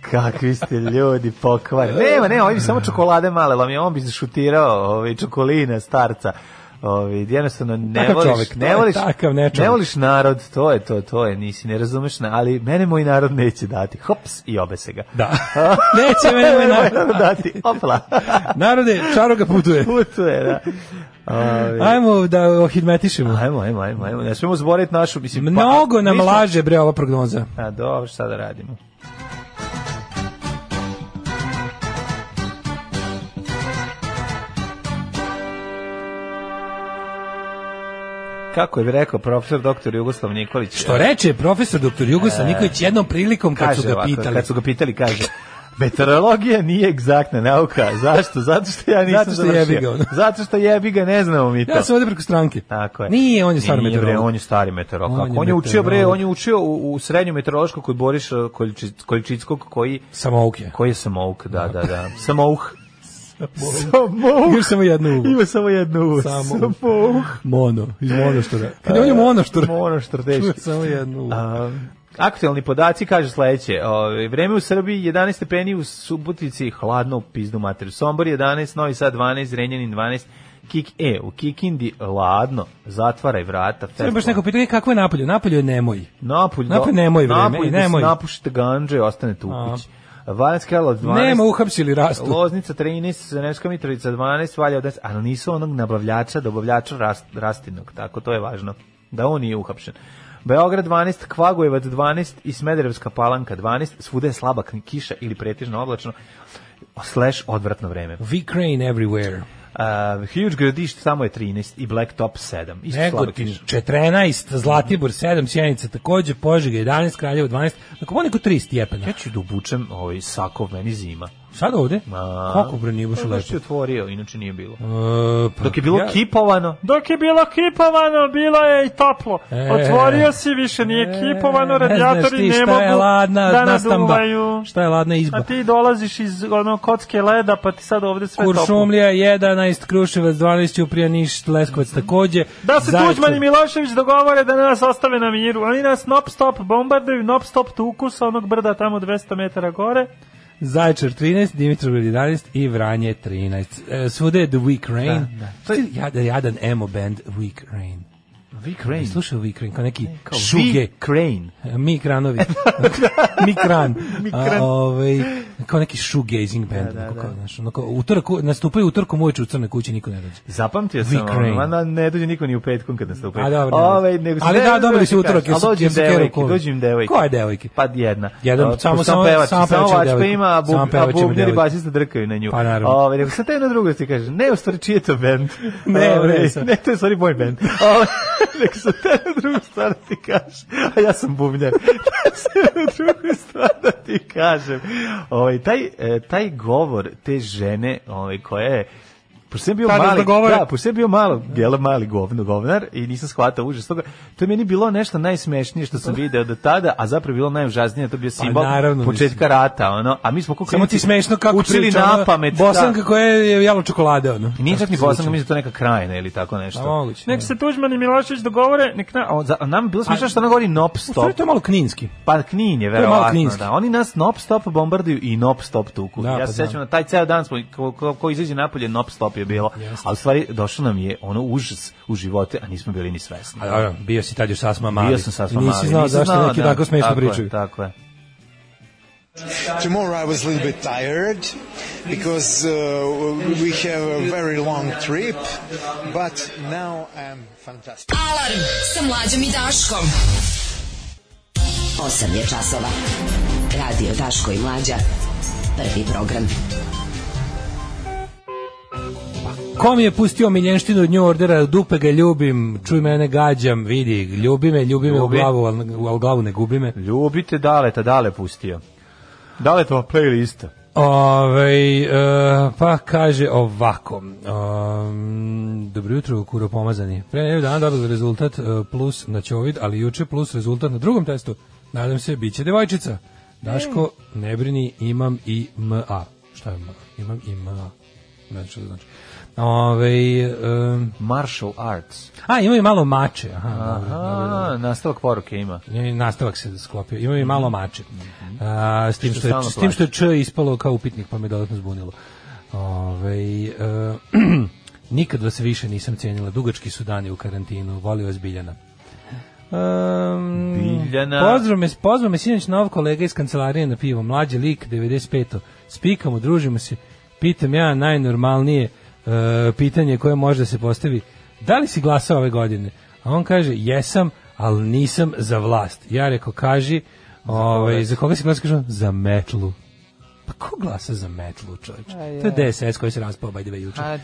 Kakvi ste ljudi pokvareni. Nema, nema, on bi samo čokolade male lomio, on bi šutirao ovaj, čokolina starca. Ovaj jednostavno ne Takav voliš, čovek, to ne je voliš, takav nečovek. ne voliš narod, to je to, to je, nisi ne razumeš, na, ali mene moj narod neće dati. Hops i obese ga. Da. Neće meni moj narod dati. Opla. Narode, čaroga putuje. Putuje, da. Ovaj, Ajmo da ohidmetišemo. Ajmo, ajmo, ajmo, ajmo. Ne smemo zaboraviti našu, mislim, pa- Mnogo nam mi smo- laže bre ova prognoza. A dobro, šta da radimo? Kako je rekao profesor doktor Jugoslav Nikolić? eh, Što reče profesor dr. Jugoslav Nikolić jednom prilikom kad E, Kaže su ga ovako, pitali. Kad su ga pitali, kaže... Meteorologija nije egzaktna nauka. Zašto? Zato što ja nisam Zato što završio. jebi ga, ono. Zato što jebi ga, ne znamo mi to. Ja sam ovde preko stranke. Tako je. Nije, on je stvarno Nije, bre, meteorolog. on je stari meteorolog. On On, je on je učio bre, meteorolog. on je učio u, u srednju meteorološku kod Boriša Kolčić- Kolčickog koji Samouk je. koji je samouk, da, da, da. Samouh. Samouk. Imaš samo jednu uvu. Ima samo jednu uvu. Samouk. Samouk. Mono, iz monoštora. Kad je on je monoštor. Monoštor, Čuje teški. Samo jednu. uvu. Um, aktualni podaci kaže sledeće. Ovaj vreme u Srbiji 11 stepeni u Subotici, hladno u pizdu materu. Sombor 11, Novi Sad 12, Renjanin 12. Kik, e, u Kikindi ladno, zatvaraj vrata. Sad mi baš neko pitanje kako je napolje? Napolje je nemoj. Napolj, do- Napolj nemoj vreme, Napolj, da se nemoj. napušite ganđe i ostanete u kući. Valjanska Karlovac 12. Nema uhapsili rastu. Loznica 13, Nemska Mitrovica 12, Valja 10, ali nisu onog nabavljača, dobavljača rast, rastinog, tako to je važno, da on nije uhapšen. Beograd 12, Kvagojevac 12 i Smederevska palanka 12, svuda je slaba kni- kiša ili pretežno oblačno, slash odvratno vreme. Uh, V-Crane everywhere. huge gradišt samo je 13 i Blacktop 7. Isto slaba Negotin kiša. 14, Zlatibor 7, Sjenica takođe, Požega 11, Kraljevo 12, nakon poneko 3 stjepena. Ja ću da obučem ovaj sakov, meni zima. Sad ovde? Ma. Kako bre nije baš Pa, baš lepo? si otvorio, inače nije bilo. E, pa, Dok je bilo ja- kipovano. Dok je bilo kipovano, bilo je i toplo. E. si, više nije E, ne znaš ti šta je ladna nastamba, Šta je ladna izba? ti dolaziš iz ono kocke leda, pa ti sad ovde sve Kuršumlija 11, Kruševac 12, Ćuprija Niš, Leskovac takođe. Zaječar- Milošević dogovore da nas ostave na miru. Oni nas non stop bombarduju, non stop tuku sa onog brda tamo 200 metara gore. Zaječar 13, Dimitrovgrad 11 i Vranje 13. E, svude je The Weak Rain. Da, da. To je jad- jadan emo band Weak Rain. Vic Crane. Slušaj Weak Rain kao neki Kao šuge. Vic Crane. Mikranovi. Mikran. Mikran. A, ovaj, kao neki shoegazing band. Da, da, Kao, znaš, onako, utorak, nastupaju utorkom uveče u crnoj kući, niko ne dođe. Zapamtio Vic sam, ono, Crane. ma ne dođe niko ni u petkom kad nastupaju. A, dobro, dobro. Ovaj, nego Ali sve- da, dobili su utorak, jer Ali su- dođu im jer su devojke, Kerokol. dođu im devojke. Koje devojke? Pa jedna. Jedan, O, samo- samo samo- pevač, samo samo pevač ima vačka devojku. ima, a Samo bub, pevač a ima bubnjer i devojku. basista drkaju na nju. Pa, naravno. Ovaj, nego sad taj na drugo ti kaže, ne, u stvari čiji je to bend? Ne, Ovaj, ne, sad. ne, to je u stvari moj bend. Ovaj, nego sad taj na drugu stranu ti kaže, a ja sam bubnjer. Sad na drugu stranu da ti kažem. Ovaj, taj, e, taj govor te žene ovaj, koja je Pošto sam bio Tada mali, da govore. da, pošto sam bio malo, jela mali govno, govnar i nisam shvatao užas toga. To je meni bilo nešto najsmešnije što sam video do tada, a zapravo je bilo najužasnije, to je bio simbol Pa naravno, početka mislim. rata, ono. A mi smo koliko Samo ti smešno kako učili priča, na ono, pamet. Bosanka koja je jalo čokolade, ono. Nije čak ni Tako se Pa Bosanka, zvuči. mislim da je to neka krajina ili tako nešto. Da, moguće, Nek da. se Tuđman i Milošević dogovore, nek na, a za- a nam je bilo smiješno što ona govori non U stvari stop. to je malo kninski. Pa Knin je malo verovatno, kninski. da. Oni nas non stop bombarduju i non stop tuku. Da, ja pa se znam. sećam na taj ceo dan smo ko, ko, ko izađe napolje non stop je bilo. A u stvari došao nam je ono užas u živote, a nismo bili ni svesni. A Pa, dobro, bio si tad još sasma mali. Bio sam sasvim I mali. Nisi znao nisam zašto znao, neki da. tako smešno Tako je, pričaju. Tako je. Tomorrow I was a little bit tired because uh, we have a very long trip, but now I'm fantastic. Alarm sa mlađom i Daškom. 8 je časova. Radio Daško i Mlađa. Prvi program. Ko mi je pustio miljenštinu od New Ordera, dupe ga ljubim, čuj mene gađam, vidi, ljubi me, ljubi me u Ljubi. glavu, ali al glavu ne gubi me. Ljubite Daleta, Dale pustio. Dale to playlista. Ove, pa kaže ovako. Um, dobro jutro, kuro pomazani. Pre nevi dana dobili rezultat e, plus na ćovid, ali juče plus rezultat na drugom testu. Nadam se, bit će devojčica. Daško, ne brini, imam i MA. Šta je MA? Imam i MA. Ne znam što to znači. Ove, Martial Arts. a, ima i malo mače. Aha, dobro, dobro, dobro. A, nastavak poruke ima. I nastavak se sklopio. Imam i malo mače. A, s, tim Mhm. Što što je, stalno s tim što je Č ispalo kao upitnik, pa me dodatno zbunilo. Ove, e, Nikad vas više nisam cijenila. Dugački su dani u karantinu. Volio vas Biljana. Um, Biljana. Pozdrav me, pozvao me sinoć nov kolega iz kancelarije na pivo. Mlađi lik, 95. Spikamo, družimo se. Pitam ja najnormalnije uh, pitanje koje može da se postavi. Da li si glasao ove godine? A on kaže, jesam, ali nisam za vlast. Ja reko, kaži, ovaj, za koga si glasao? Kaže on, za metlu. Pa ko glasa za metlu, čovječ? To je DSS koji se raspao, by the way, juče. A,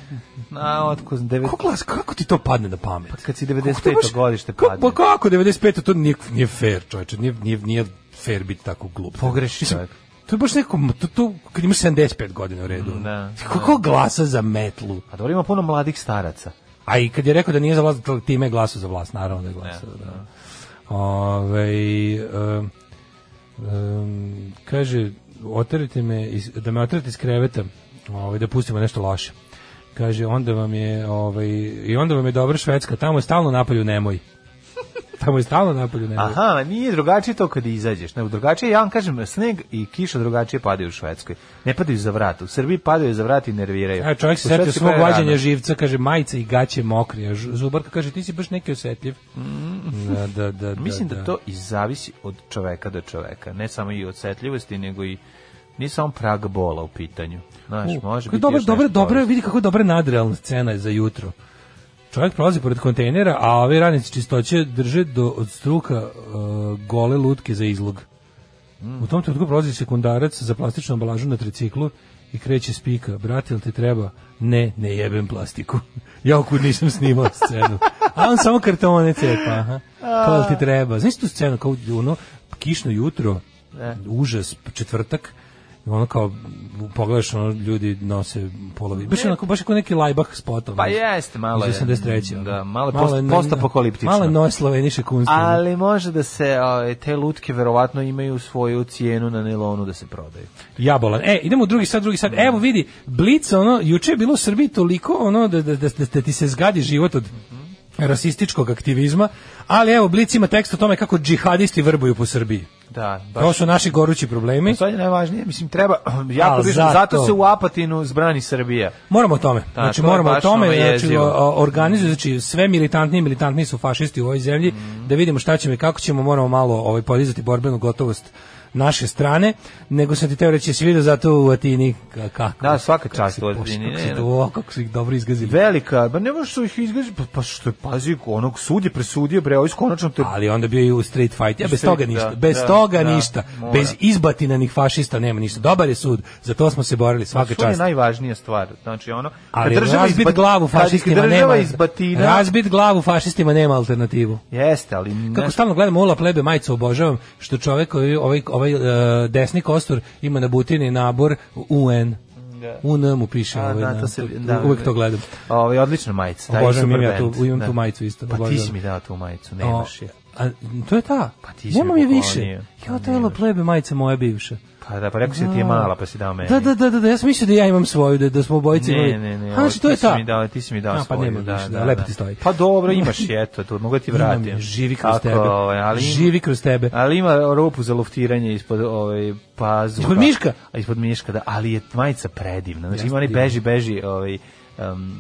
na, otko, devet... Ko glas, kako ti to padne na pamet? Pa kad si 95. godište padne. Pa kako 95. to nije, nije fair, čovječe, nije, nije, nije fair biti tako glup. Pogreši Mislim, čovjek. To je baš neko, to, to, kad imaš 75 godina u redu. da, Kako glasa za metlu? A Pa dobro ima puno mladih staraca. A i kad je rekao da nije za vlast, to- time je glasao za vlast, naravno da je glasao. Da. Ovaj, um, um, kaže, oterite me iz, da me oterate iz kreveta, ovaj, da pustimo nešto loše. Kaže, onda vam je, ovaj, i onda vam je dobra Švedska, tamo je stalno napolju nemoj. Tamo je stalno napolju nemoj. Aha, nije drugačije to kad izađeš. Ne, drugačije, ja vam kažem, sneg i kiša drugačije padaju u Švedskoj. Ne padaju za vrat. U Srbiji padaju za vrat i nerviraju. Evo, E, čovjek U se setio Švedskoj svog padaju vađenja rano. živca, kaže, majica i gaće mokrije. Ž- Zubarka kaže, ti si baš neki osjetljiv. Da, da, da, da, Mm. Mislim da to i zavisi od čoveka do čoveka. Ne samo i od setljivosti, nego i nije samo prag bola u pitanju. Znaš, U, može kako biti dobro, još dobro, nešto dobro, korisno. vidi kako dobra nadrealna scena je za jutro. Čovjek prolazi pored kontejnera, a ovi radnici čistoće drže do, od struka uh, gole lutke za izlog. U tom trenutku prolazi sekundarac za plastičnu ambalažu na triciklu i kreće spika. Brate, jel ti treba? Ne, ne jebem plastiku. ja okud nisam snimao scenu. A on samo kartone cepa. Aha. Kao jel ti treba? Znaš tu scenu kao ono kišno jutro, E. užas, četvrtak, ono kao pogledaš ono ljudi nose polovi baš onako baš kao neki lajbah spotom Pa jeste, malo je. iz ono. 83 Da, malo je post- postapokaliptično. malo je noje sloveniše kunstvo Ali može da se ovaj, te lutke verovatno imaju svoju cijenu na nilonu da se prodaju. Jabolan. E, idemo u drugi sad, drugi sad. Evo vidi, Blic, ono, juče je bilo u Srbiji toliko, ono, da, da, da, da ti se zgadi život od rasističkog aktivizma, ali evo, Blic ima tekst o tome kako džihadisti vrbuju po Srbiji. Da, baš. Pa To su naši gorući problemi. To je najvažnije, mislim treba jako Al biš, zato. zato se u Apatinu zbrani Srbija. Moramo o tome. znači to je moramo o baš ono tome, znači jezivo. o- o- organizuju, znači sve militantni, militantni su fašisti u ovoj zemlji, Mhm. da vidimo šta ćemo i kako ćemo, moramo malo ovaj podizati borbenu gotovost naše strane, nego sam ti teo reći, jesi vidio zato u Atini ka- kako? Da, svaka kako čast si u poš- Atini, Kako ne, si ne. do- kako su ih dobro izgazili. Velika, ba ne možeš su ih izgazi, pa, pa što je pazi, onog sud je presudio, bre, ovo konačno te... ali onda bio i u street fight. Ja, bez Street, toga ništa. da, bez da, toga da, ništa. mora. Bez izbatinanih fašista nema ništa. Dobar je sud. Za to smo se borili svaka Pa, To je čast. najvažnija stvar. Znači ono, Ali kad država razbit izba- glavu kad ih fašistima država nema. iz batina, Razbit glavu fašistima nema alternativu. jeste, ali Kako ne- stalno gledam Ola Plebe majicu obožavam što čovjek koji ovaj ovaj e, desni kostur ima na butini nabor UN. UN mu piše, A, ovaj, da, na- to se- tu- da, uvek to gledam. Ovaj odlična majica, taj Obožavam, imam ja super tu- band, imam da. tu majicu isto, Pa ti obožavam. si mi dao tu majicu, nemaš O, je. a, to je ta. Pa ti si Nemam mi je više. poklonio. Pa Ja to je Ola Plebe majica moja bivša. Pa da, pa rekao si da ti je mala, pa si dao meni. Da, da, da, da, da, ja sam mislio da ja imam svoju, da, da smo obojice imali. Ne, ne, ne. A, ovo znači, to je ti si ta. Mi dao, ti si mi dao A, pa svoju, nema da, više, da, da, lepo da. ti stoji. Pa dobro, imaš i eto, to mogu ti Imam vratiti. je, živi kroz tebe. Ovaj, ali ima- Živi kroz tebe. Ali ima rupu za luftiranje ispod ovaj pazuha. Ispod miška? A, Ispod miška, da, ali je majica predivna. Znači ima oni beži, beži, ovaj um,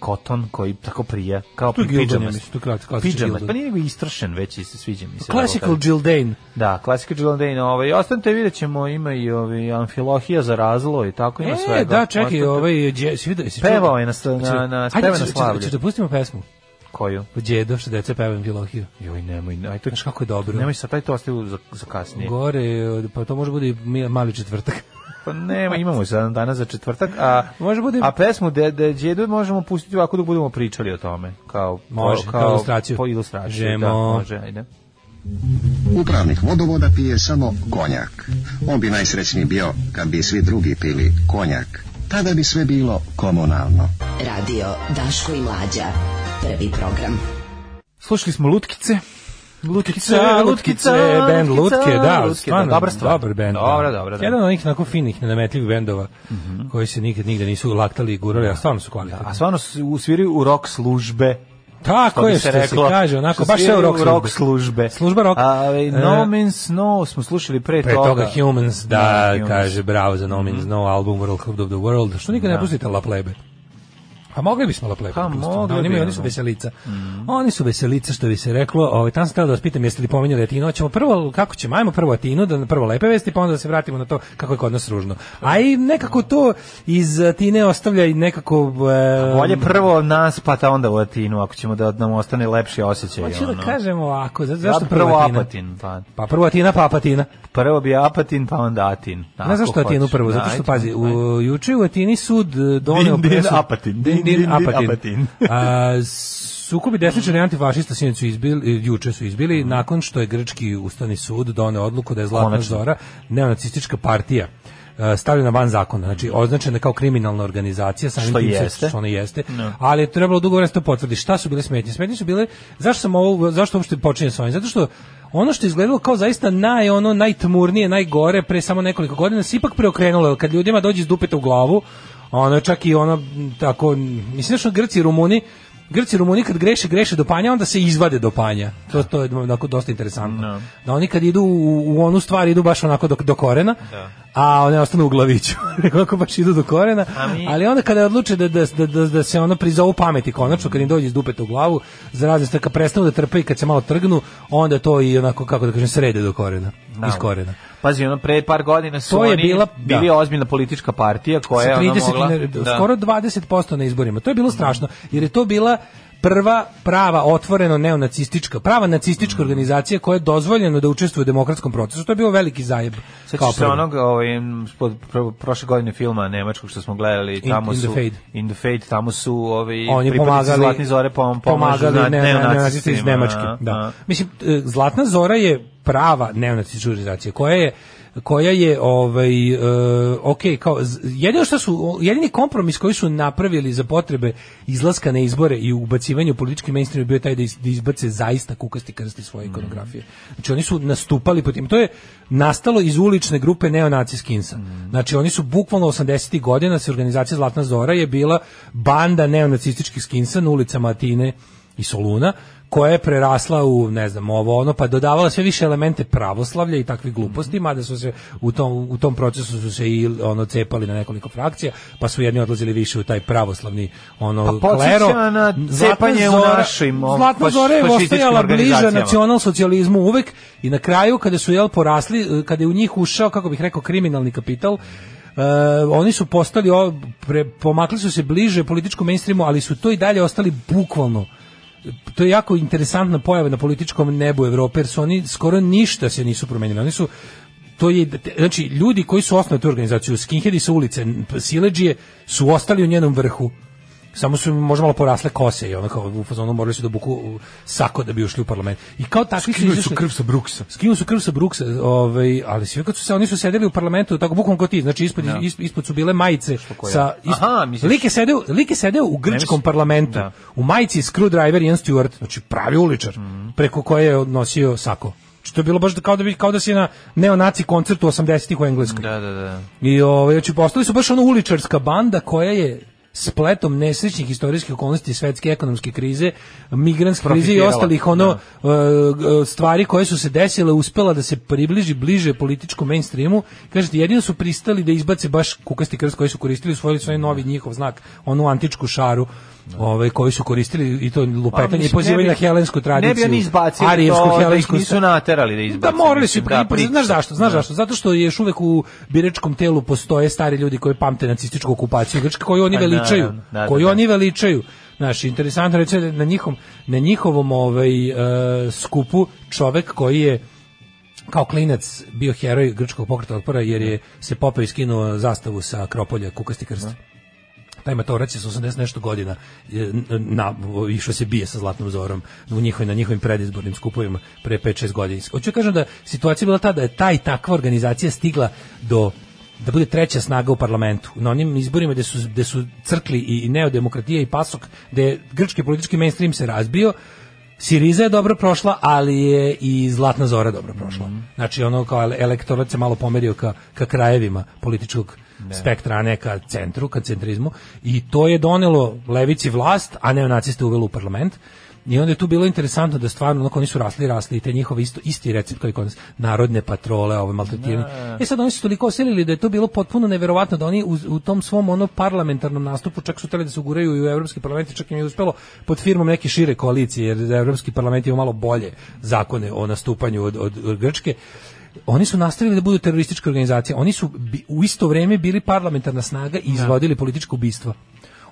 koton koji tako prija, kao To je pi- Gildan, pidžama. ja mislim, to je kratko, klasični Pidžama, Gildan. pa nije nego istrošen, već i se sviđa mi se. Classical da, Jill Dane. da, klasika Gildane, ovaj, ostanite, vidjet ćemo, ima i ovaj, amfilohija za razlo i tako, ima E, svega. da, čekaj, Ostanite- ovaj, dje- si vidio, jesi čuo- Pevao je na sta- Hoće- na- na- Ajde, peva na hoće- hoće- slavlju. hoće da pustimo pesmu? Koju? Od Đedo, što deca pevam Vilohiju. Joj, nemoj, aj to Znaš kako je dobro? Nemoj sad, taj to ostavi za, za kasnije. Gore, od- pa to može bude i mi- mali četvrtak. Pa nema, imamo za danas za četvrtak, a Može bude- a pesmu de de Đedu možemo pustiti ovako dok budemo pričali o tome, kao Može, po- kao ilustraciju. Po ilustraciju, Žemo. da, može, ajde. Upravnik vodovoda pije samo konjak. On bi najsrećniji bio kad bi svi drugi pili konjak. Tada bi sve bilo komunalno. Radio Daško i Mlađa. Prvi program. Slušali smo Lutkice. Lutkica, Lutkice, band Lutke, da, stvarno, dobra stvar. dobar band. Dobra, dobra, da. Mhm. Jedan od onih onako finih, nenametljivih bendova, koji se nikad nigde nisu laktali i gurali, a stvarno su kvalitetni. A stvarno su usviraju u rock službe. Tako bi je što se reklo, kaže, onako što baš sve u sviraju rock službe. službe. Služba rock. A, ovaj, E, no Means No smo slušali pre, Pre toga Humans, da, Humans. Mhm. kaže, bravo za No Means No, album World Cup of the World, što nikad ne pustite La Plebe. Pa mogli bismo Lapley. Pa mogli Mhm. oni, bi, imaju- oni ono. su veselica. Oni su veselica što bi se reklo. Ovaj tamo sam hteo da vas pitam jeste li pominjali Atinu. Hoćemo prvo kako ćemo ajmo prvo Atinu da prvo lepe vesti pa onda da se vratimo na to kako je kod nas ružno. A i nekako to iz Atine ostavlja i nekako e, Pa Bolje prvo nas, pa ta onda u Atinu, ako ćemo da nam ostane lepši osjećaj. Hoću da ono. kažem ovako, za- Ja zašto bi prvo prvo Atina? Apatin, pa Pa prvo Atina, pa Apatina. prvo bi Apatin, pa onda Atin. Ne zašto Atinu prvo, zato što, pazi, u, juče u Atini sud e, doneo Din, din, presudu- Apatin. Din, din, Apatin. Apatin. A, sukobi desničara i antifašista sinoć su izbili, e, juče su izbili, Mhm. nakon što je grčki ustavni sud doneo odluku da je Zlatna Konačno. Zora neonacistička partija e, stavljena van zakona, znači označena kao kriminalna organizacija, samim Što tim se- jeste. što ona ono jeste, ali je trebalo dugo vremena da se to potvrdi. Šta su bile smetnje? Smetnje su bile, zašto sam ovo, zašto uopšte počinjem s ovim? Zato što ono što je izgledalo kao zaista naj, ono, najtmurnije, najgore pre samo nekoliko godina se ipak preokrenulo, jer kad ljudima dođe iz dupeta u glavu, ono čak i ono m, tako, m, mislim da su Grci i Rumuni, Grci i Rumuni kad greše, greše do panja, onda se izvade do panja. To, to je onako dosta interesantno. Da oni kad idu u, u onu stvar, idu baš onako do, do korena, a one ostanu u glaviću. Onako baš idu do korena. A mi- Ali onda kada odluče da, da, da, da, da se ono prizovu pameti konačno, kad im dođe iz dupeta u glavu, za razne stvari, kad prestanu da trpe i kad se malo trgnu, onda to i onako, kako da kažem, srede do korena. Iz korena. Pazi, ono, pre par godina su To oni je bila- bili da. ozbiljna politička partija koja je Pa Sa ona 30 mogla... i ne- skoro 20% na izborima. To je bilo strašno, jer je to bila prva prava otvoreno neonacistička, prava Mm. nacistička organizacija koja je dozvoljeno da učestvuje u demokratskom procesu. To je bio veliki zajeb. kao Sećaš se prvo. onog ovaj, m, spod- pro- prošle godine filma nemačkog što smo gledali tamo in the su Fade. in the fade tamo su ovi oni pripadnici pomagali Zlatne zore pom, pomažu pomagali zna- ne, neonacisti iz neonacistima, Nemačke a, a. da mislim e, Zlatna zora je prava neonacistička organizacija koja je koja je ovaj e, ok kao z- jedino što su jedini kompromis koji su napravili za potrebe izlaska na izbore i ubacivanje u politički mainstream je bio taj da, iz- da izbace zaista kukasti krsti svoje ikonografije. Znači oni su nastupali po tim. To je nastalo iz ulične grupe neonaci skinsa. Znači oni su bukvalno 80-ih godina se organizacija Zlatna zora je bila banda neonacističkih skinsa na ulicama Atine i Soluna koja je prerasla u ne znam ovo ono pa dodavala sve više elemente pravoslavlja i takvih gluposti mada su se u tom, u tom procesu su se i ono cepali na nekoliko frakcija pa su jedni odlazili više u taj pravoslavni ono Pa podsjeća klero na cepanje u našim, o, Zlatna faš- Zora je fašističkim ostajala bliža organizacijama. nacional socijalizmu uvek i na kraju kada su jel porasli e, kada je u njih ušao kako bih rekao kriminalni kapital e, oni su postali o- pre- pomakli su se bliže političkom mainstreamu ali su to i dalje ostali bukvalno to je jako interesantna pojava na političkom nebu Evrope, jer su oni skoro ništa se nisu promenili. Oni su to je znači ljudi koji su osnovali tu organizaciju skinheadi sa ulice sileđije su ostali u njenom vrhu samo su im možda malo porasle kose i ono kao u fazonu morali su da buku sako da bi ušli u parlament. I kao takvi su izašli- sa Bruksa Skinuli su krv sa Bruksa, ovaj, ali sve kad su se oni su sedeli u parlamentu, tako bukvalno kao ti, znači ispod is- ispod su bile majice ko ja? sa Aha, misliš- like sedeo, like sedeo u grčkom mislim- parlamentu. Da. U majici screwdriver i Ian Stewart, znači pravi uličar, preko koje je nosio sako. Znači, to je bilo baš kao da bi kao da si na neonaci koncertu 80-ih u Engleskoj. da da da I ovaj znači postali su baš ona uličarska banda koja je spletom nesrećnih istorijskih okolnosti svetske ekonomske krize, migrantske krize i Profitirala, ostalih ono e, e, stvari koje su se desile uspela da se približi bliže političkom mainstreamu. Kažete jedino su pristali da izbace baš kukasti krst koji su koristili svoj svoj novi njihov znak, onu antičku šaru. Ovaj koji su koristili i to A, lupetanje i Pa mislim, pozivanje ne na bi- helensku tradiciju. ne bi oni izbacili arijevsku, to, da ih helensku- nisu naterali da izbace, Da morali su, mislim, da, i- pa, znaš pritisak. zašto, znaš zašto? Zato što još uvek u biračkom telu postoje stari ljudi koji pamte nacističku okupaciju Grčke, koju oni Pa, veličaju, naravno, da, da, koju da. oni veličaju. Znaš, interesantno reći da na, njihom, na njihovom ovaj, e, skupu čovek koji je kao klinac bio heroj grčkog pokreta otpora jer je se popeo i skinuo zastavu sa Akropolja Kukasti krst. Taj matorac je sa 80 nešto godina je, n- na, išao se bije sa Zlatnom Zorom u njihovim, na njihovim predizbornim skupovima pre 5-6 godina. Hoću da kažem da situacija je bila ta da je taj takva organizacija stigla do da bude treća snaga u parlamentu. Na onim izborima gde su, gde su crkli i i neodemokratija i pasok, gde je grčki politički mainstream se razbio, Siriza je dobro prošla, ali je i Zlatna Zora dobro prošla. Znači ono kao ele- elektorat se malo pomerio ka, ka krajevima političkog spektra, a ne ka centru, ka centrizmu i to je donelo levici vlast, a neonaciste uvelo u parlament I onda je tu bilo interesantno da stvarno onako oni su rasli, rasli i te njihove isto, isti recept kao i kod nas, narodne patrole, ove maltretirani. I sad oni su toliko osilili da je to bilo potpuno neverovatno da oni u, u tom svom ono parlamentarnom nastupu čak su trebali da se uguraju i u evropski parlament, i čak im je uspelo pod firmom neke šire koalicije, jer evropski parlament ima malo bolje zakone o nastupanju od, od, od Grčke oni su nastavili da budu teroristička organizacija. Oni su bi- u isto vrijeme bili parlamentarna snaga i izvodili političko ubistvo.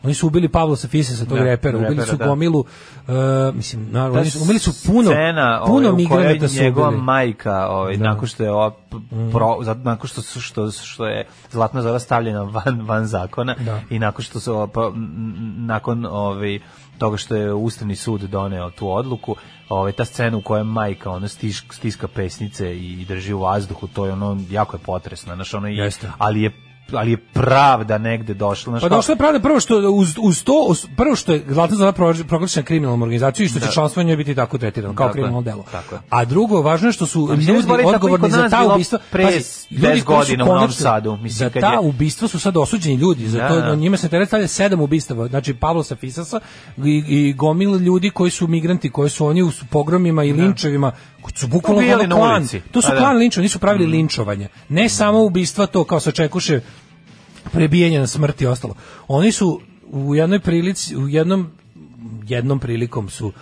Oni su ubili Pavla Safisa sa tog Da, repera, ubili repera, su da. gomilu, e, mislim, naravno, Ta oni su, ubili su puno, scena, puno ovaj, u kojoj migranata su njegova ubili. Mhm. majka, ovaj, nakon što je ova p- pro, zato- nakon što su- što što je Zlatna Zora stavljena van van zakona Da. i nakon što su ova, pa, m, m, nakon ovaj toga što je Ustavni sud doneo tu odluku, ovaj ta scena u kojoj majka ono stiš, stiska pesnice i drži u vazduhu, to je ono jako je potresno, znaš, ono i- Jeste. ali je ali je pravda negde došla, znaš, Pa kao- došlo je pravda prvo što uz, uz to uz- prvo što je Zlatna Zora pro- proglašena kriminalnom organizacijom i što će članstvo u njoj biti tako tretirano kao Tako je, kriminalno delo. tako je. A drugo važno je što su mislim, ne ljudi zaboravite kako je odgovorni kod za nas ta bilo ubistva. pre Pazi, ljudi 10 koji su godina u Novom konačno- Sadu, mislim, za kad ta je- ubistva su sad osuđeni ljudi, za Da, to da. na njima se teret stavlja sedam ubistava, znači Pavlo Safisasa i, i gomil ljudi koji su migranti, koji su oni u s- pogromima i linčevima, koji su bukvalno Ubijali ono na klan. ulici. To su Pa da. klan linčeva, nisu pravili linčovanje. Ne samo ubistva to kao se čekuše prebijanje na smrt i ostalo. Oni su u jednoj prilici, u jednom jednom prilikom su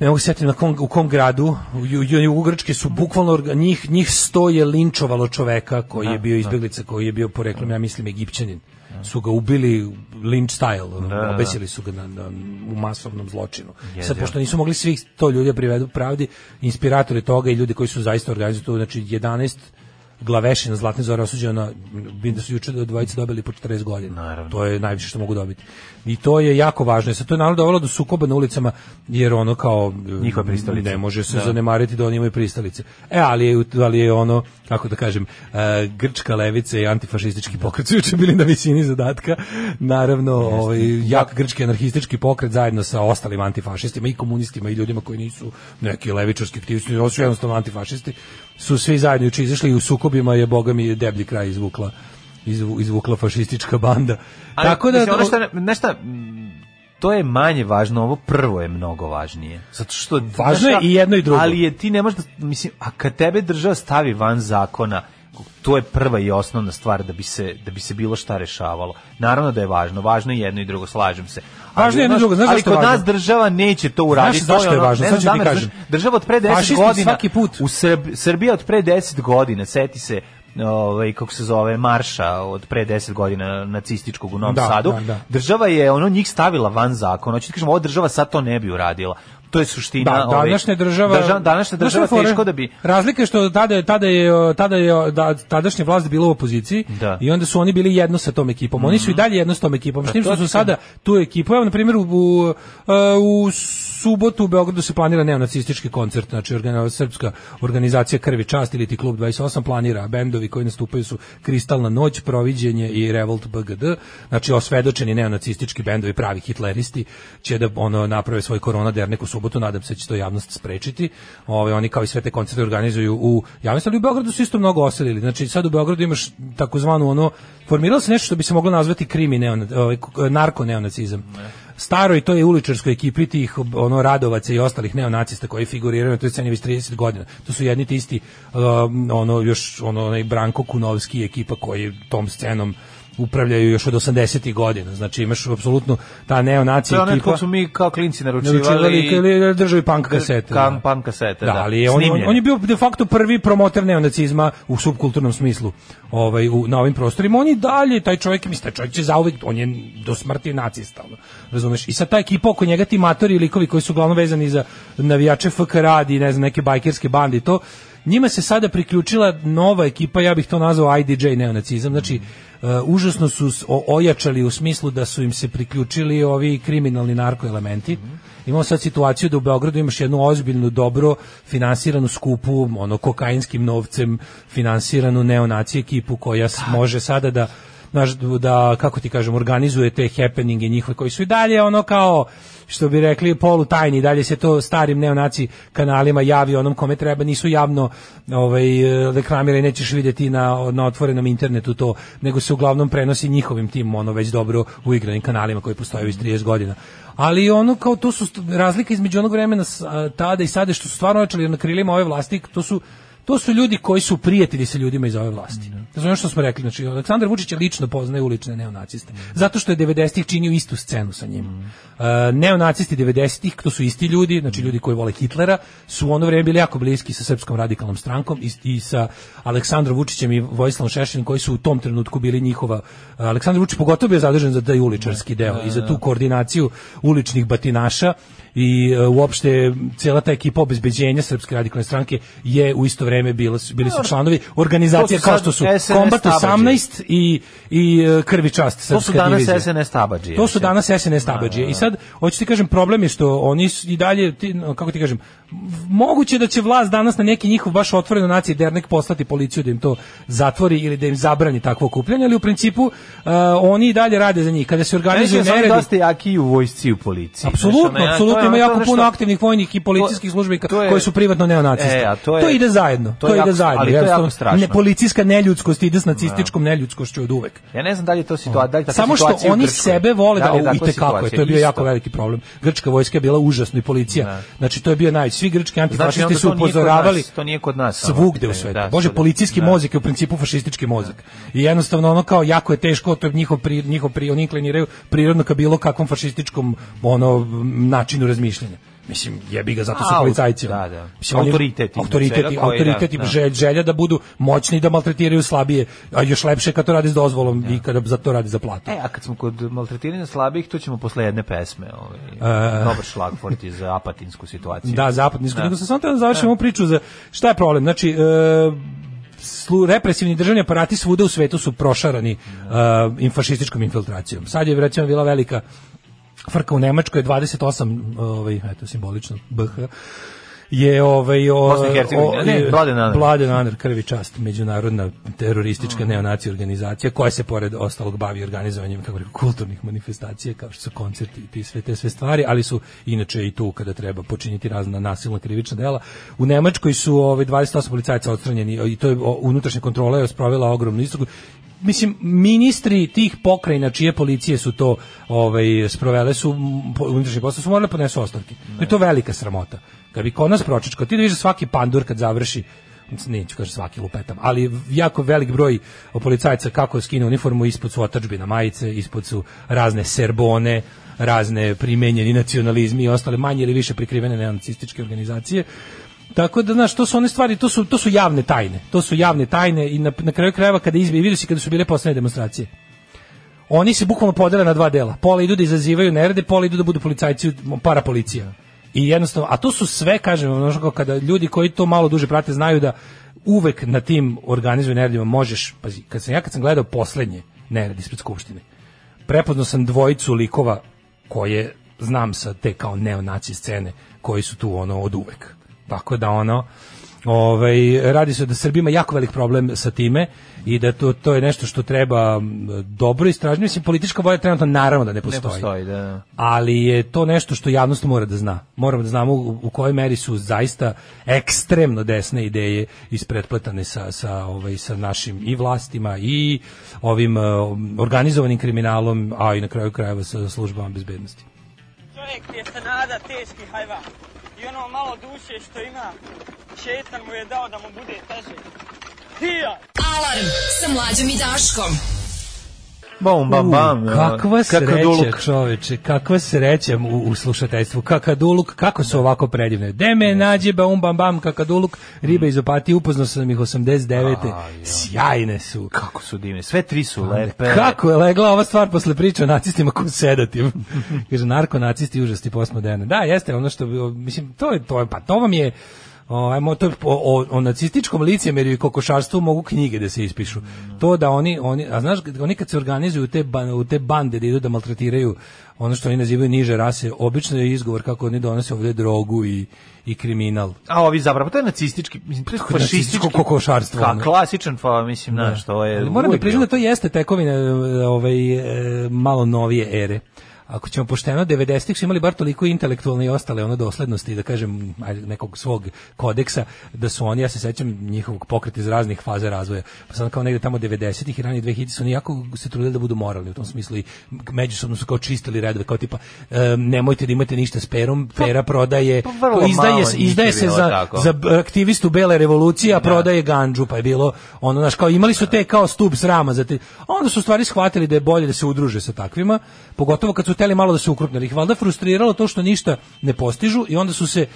ne mogu se sjetiti na kom, u kom gradu, u, ju- ju- jugu Grčke su bukvalno orga- njih, njih sto je linčovalo čoveka koji je bio izbjeglica, koji je bio poreklom, ja mislim, egipćanin. Su ga ubili linč style, ono, obesili su ga na, na- u masovnom zločinu. Sad, pošto nisu mogli svih to ljudi da privedu pravdi, inspiratori toga i ljudi koji su zaista organizuju to, znači 11 glavešina Zlatne zore osuđeno na, vidim da su juče dvojice dobili po 40 godina. To je najviše što mogu dobiti. I to je jako važno. Sad to je naravno dovelo do sukoba na ulicama, jer ono kao... Njihove pristalice. Ne može se zanemariti da oni imaju pristalice. E, ali je, ali je ono, kako da kažem, e, grčka levica i antifašistički pokret su juče bili na visini zadatka. Naravno, ovaj, jak grčki anarhistički pokret zajedno sa ostalim antifašistima i komunistima i ljudima koji nisu neki levičarski aktivisti, oni su jednostavno antifašisti, su svi zajedno juče izašli i u sukobima je, boga mi, deblji kraj izvukla izvu- izvukla fašistička banda. Ali, Tako da mislim, ono što, znaš šta, mm, to je manje važno, ovo prvo je mnogo važnije. Zato što Važno znaš je šta, i jedno i drugo. Ali je ti ne možeš da, mislim, a kad tebe država stavi van zakona, to je prva i osnovna stvar da bi se da bi se bilo šta rešavalo. Naravno da je važno, važno je jedno i drugo, slažem se. Ali, Važno je jedno i drugo, znaš ali zašto kod je važno? nas država neće to uraditi. Znaš zašto to je ono- važno? ne Sad znam, ću ti Damir, kažem. znaš, Država od pre 10 Fašisti godina svaki put. u Srb, Srbija od pre 10 godina, seti se ovaj kako se zove marša od pre 10 godina nacističkog u Novom Da, Sadu. da, da. Država je ono njih stavila van zakona. Hoćete kažem, ova država sad to ne bi uradila. To je suština. Da, ovaj, današnja država drža- današnja Znaš šta država je fora? teško da bi Razlika je što tada je tada je o, tada je o, da, tadašnja vlast bila u opoziciji Da. i onda su oni bili jedno sa tom ekipom. Oni su i dalje jedno sa tom ekipom. S tim što su sada tu ekipu, evo na primjer u, u, e, u subotu u Beogradu se planira neonacistički koncert, znači organ, srpska organizacija Krvi čast ili ti klub 28 planira bendovi koji nastupaju su Kristalna noć, Proviđenje i Revolt BGD. Znači osvedočeni neonacistički bendovi pravi hitleristi će da ono naprave svoj korona dernek u subotu, nadam se da će to javnost sprečiti. Ovaj oni kao i sve te koncerte organizuju u javnosti, ali u Beogradu su isto mnogo oselili. Znači sad u Beogradu imaš takozvanu ono formiralo se nešto što bi se moglo nazvati krimi neon, ovaj, k- narko neonacizam. Staroj toj uličarskoj ekipi tih ono radovaca i ostalih neonacista koji figuriraju na toj sceni već 30 godina. To su jedni te isti um, ono još ono onaj Branko Kunovski i ekipa koji tom scenom upravljaju još od 80-ih godina. Znači imaš apsolutno ta neonacija to je ono ekipa kako su mi kao klinci naručivali, naručivali ili držali punk kasete. Kan- da. punk kasete, Da, da. ali je on, on, Snimljene. on je bio de facto prvi promoter neonacizma u subkulturnom smislu ovaj, u, na ovim prostorima. On i dalje, taj čovjek, mislim, taj čovjek će zauvijek, on je do smrti nacista, ono, razumeš? I sad ta ekipa oko njega, ti matori i likovi koji su uglavnom vezani za navijače FK radi, ne znam, neke bajkerske bande i to, njima se sada priključila nova ekipa, ja bih to nazvao IDJ neonacizam, znači e, užasno su s- o- ojačali u smislu da su im se priključili ovi kriminalni narkoelementi. Imamo sad situaciju da u Beogradu imaš jednu ozbiljnu, dobro finansiranu skupu, ono kokainskim novcem finansiranu neonaci ekipu koja s- može sada da znaš, da, kako ti kažem, organizuje te happeninge njihove koji su i dalje ono kao što bi rekli polu tajni, dalje se to starim neonaci kanalima javi onom kome treba, nisu javno ovaj, reklamirani, nećeš vidjeti na, na otvorenom internetu to, nego se uglavnom prenosi njihovim tim, ono već dobro uigranim kanalima koji postoje već 30 godina. Ali ono kao to su st- razlike između onog vremena s- a, tada i sada što su stvarno očeli na krilima ove vlasti, to su to su ljudi koji su prijatelji sa ljudima iz ove vlasti. Razumem što smo rekli, znači Aleksandar Vučić je lično poznaje ulične neonaciste. Zato što je 90-ih činio istu scenu sa njim. E, neonacisti 90-ih, to su isti ljudi, znači ljudi koji vole Hitlera, su u ono vrijeme bili jako bliski sa srpskom radikalnom strankom i, i sa Aleksandrom Vučićem i Vojislavom Šešinom koji su u tom trenutku bili njihova. e, Aleksandar Vučić pogotovo bio zadržan za taj uličarski deo i za tu koordinaciju uličnih batinaša i e, uopšte cijela ta ekipa obezbeđenja Srpske radikalne stranke je u isto vreme bila, bili su članovi organizacije To su sad kao što su SNS Kombat tabađe. 18 i, i e, Krvi čast To su Srpska danas divizija. SNS tabađije. To su danas SNS tabađije. I sad, hoću ti kažem, problem je što oni su i dalje, ti, kako ti kažem, moguće da će vlast danas na neki njihov baš otvoreno naciji dernek poslati policiju da im to zatvori ili da im zabrani takvo okupljanje, ali u principu e, oni i dalje rade za njih. Kada se organizuju Mislim, su oni neredi, dosta jaki i u vojsci i u policiji. Znaš, ono, Apsolutno, ja, to apsolutno je ima ono jako to puno što- aktivnih vojnih i policijskih to- službenika to je- koji su privatno neonacisti. E, a to to, je- ide zajedno, to to, je jako- ide zajedno. ali to je jako jednostavno. strašno. Ne, policijska neljudskost ide s nacističkom neljudskošću od uvek. Ja ne znam da li je to situacija, da li je takva Samo što situacija u oni Grčkoj. sebe vole Da da, li je da takva i kako je, to je bio situacija? jako veliki problem. Grčka vojska je bila užasna i policija. Znači to je bio naj svi grčki antifašisti Znači, onda su to nije kod upozoravali. nas, to nije kod nas samo Svugde u pitanje, svetu. da, Bože, svugde. policijski Da. mozak je u principu fašistički mozak. I jednostavno ono kao jako je teško, to je njihov pri, njihov pri, oni inkliniraju prirodno ka bilo kakvom fašističkom ono m, načinu razmišljanja. Mislim, jebi ga, zato su Au, policajci. da, ono. da. Mislim, oni- Autoriteti iznad Autoriteti, svega koji, da, autoriteti, da. žel- želja da budu moćni i da maltretiraju slabije, a još lepše kad to rade s dozvolom i kada za to rade za platu. E, a kad smo kod maltretiranja slabih, to ćemo posle jedne pesme. Ovaj, E. dobar šlagfort iz apatinsku situaciju. Da, zapadni iskod. Nego sam samo trebao da završim ovu priču za šta je problem. Znači, e, slu- represivni državni aparati svuda u svetu su prošarani e, fašističkom infiltracijom. Sad je recimo bila velika frka u Nemačkoj 28 ovaj eto simbolično BH je ovaj o, Bosna i Hercegovina, o- ne, je- Mladen Aner. Mladen Aner, krvi čast međunarodna teroristička neonacija organizacija koja se pored ostalog bavi organizovanjem kako bih rekao, kulturnih manifestacija kao što su koncerti i ti sve te sve stvari ali su inače i tu kada treba počiniti razna nasilna krivična dela u Nemačkoj su ovaj 28 policajaca odstranjeni i to je o, unutrašnja kontrola je sprovela ogromnu istragu mislim ministri tih pokrajina čije policije su to ovaj sprovele su m, po- unutrašnji posao su morali da podnesu ostavke. To je to velika sramota. Kad bi kod nas pročičko, ti da vidiš da svaki pandur kad završi neću kažem svaki lupetam, ali jako velik broj policajaca kako skine uniformu ispod su otačbina majice, ispod su razne serbone, razne primenjeni nacionalizmi i ostale manje ili više prikrivene neonacističke organizacije. Tako da znaš, to su one stvari, to su to su javne tajne. To su javne tajne i na, na kraju krajeva kada izbi vidiš i kada su bile poslednje demonstracije. Oni se bukvalno podele na dva dela. Pola idu da izazivaju nerede, pola idu da budu policajci, parapolicija. I jednostavno, a to su sve, kažem, vam, znaš, kao kada ljudi koji to malo duže prate znaju da uvek na tim organizovanim neredima možeš, pazi, kad sam ja kad sam gledao poslednje nerede ispred skupštine, prepoznao sam dvojicu likova koje znam sa te kao neonaci scene koji su tu ono od uvek. Tako da ono ovaj radi se da Srbima jako velik problem sa time i da to to je nešto što treba m, dobro istražiti. Mislim politička volja trenutno naravno da ne Ne postoji. postoji, da, da. Ali je to nešto što javnost mora da zna. Moramo da znamo u, u kojoj meri su zaista ekstremno desne ideje ispretpletane sa, sa, ovaj, sa našim i vlastima i ovim eh, organizovanim kriminalom, a i na kraju krajeva sa službama bezbednosti. Čovjek je se nada teški hajva. I ono malo duše što ima, šetan mu je dao da mu bude teže. Hija! Alarm sa mlađom i Daškom. Bam, bam, bam. eh, ono, U, kakva sreća, kakaduluk. čoveče, kakva sreća u, u slušateljstvu. Kakaduluk, kako su ovako predivne. Deme, nađe, baum, bam, bam, kakaduluk, Mm. riba iz opati, upoznao sam ih 89. Sjajne su. Kako su divne. Sve tri su lepe. Kako je legla ova stvar posle priče o nacistima ko sedativ. Kaže narko nacisti užasti postmoderne. Da, jeste ono što bi- mislim to je to je pa to vam je O, ajmo, to, o, o, o nacističkom licemjerju i kokošarstvu mogu knjige da se ispišu. To da oni, oni, a znaš, oni kad se organizuju u te, ban- u te bande da idu da maltretiraju ono što oni nazivaju niže rase, obično je izgovor kako oni donose ovdje drogu i, i kriminal. A ovi zapravo, to je nacistički, mislim, to je je nacističko kokošarstvo, Ka, ono. klasičan, pa mislim, znaš, to je... Ali moram da uvek priznam bio. da to jeste tekovina e, ovaj, e, malo novije ere. Ako ćemo pošteno, 90-ih su imali bar toliko intelektualne i ostale ono doslednosti, da kažem, ajde, nekog svog kodeksa, da su oni, ja se sećam njihovog pokreta iz raznih faza razvoja, pa sam kao negde tamo 90-ih i ranije 2000 su oni jako se trudili da budu moralni u tom smislu i međusobno su kao čistili redove, kao tipa e, nemojte da imate ništa s perom, pera prodaje, pa vrlo malo izdaje, se- njih je izdaje se bilo za, tako. za b- aktivistu Bele revolucije, a prodaje ganđu, pa je bilo ono naš kao imali su te kao stup srama za te. a Onda su u stvari shvatili da je bolje da se udruže sa takvima, pogotovo kad su teli malo da se ukrupne, jer ih valjda frustriralo to što ništa ne postižu i onda su se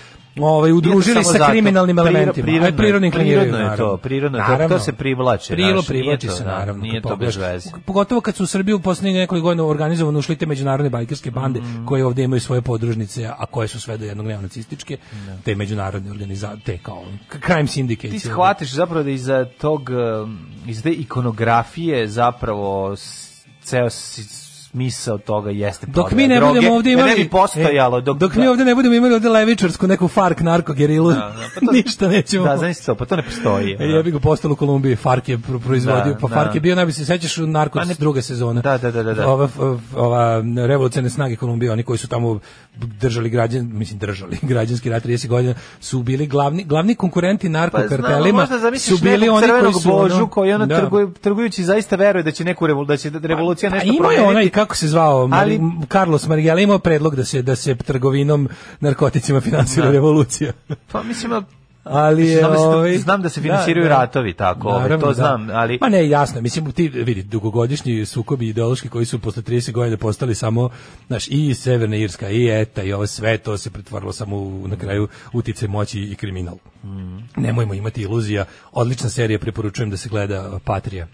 ovaj udružili samo sa zato. kriminalnim Priro- elementima. prirodno Aj, je- prirodno prirodno inkliniraju, je to, naravno. prirodno je to, Naravno. to se privlači, Prilo znaš, nije privlači to, se da, naravno. nije kad to pogledaš. bez veze. Pogotovo kad su u Srbiji u poslednjih nekoliko godina organizovano ušli te međunarodne bajkerske bande Mhm. koje ovdje imaju svoje podružnice, a koje su sve do jednog neonacističke, te međunarodne organizacije, te kao k- crime syndicate. ti shvatiš zapravo da iza tog um, iz te ikonografije zapravo s- ceo s- smisao toga jeste Dok prodaja mi ne droge, budemo ovdje jer imali... ne bi postojalo e, dok, mi ovdje ne budemo imali ovdje levičarsku neku fark narkogerilu, pa to- ništa nećemo. da znači to pa to ne postoji E, ja bih ga postalo u Kolumbiji, Fark je pro- proizvodio, Da, pa da. Fark je bio, najbolje se sećaš, u Narkos A ne- druga sezona. Da, da, da, da, da. Ova, f- ova revolucionarne snage Kolumbije, oni koji su tamo držali građan, mislim držali građanski rat 30 godina, su bili glavni, glavni konkurenti narkokartelima. Pa možda zamisliš su bili oni koji su... ono- božu koji ono Da. trguju, trgujući zaista veruje da će neku revol, da će revolucija Pa nešto imao je promeniti. onaj, kako se zvao, Mari- Ali- M- Carlos Marigela, imao predlog da se, da se trgovinom narkoticima finansira revolucija. Pa mislim, al- Ali je, znam, da se- ovaj, znam da se finansiraju ratovi tako, ovaj, Naravno, to da. znam, ali Ma ne, jasno, mislim ti vidi dugogodišnji sukobi ideološki koji su posle 30 godina postali samo znaš i Severna Irska i ETA i ovo sve to se pretvorilo samo u, na kraju utice moći i kriminal. Mhm. Nemojmo imati iluzija. Odlična serija preporučujem da se gleda Patrija.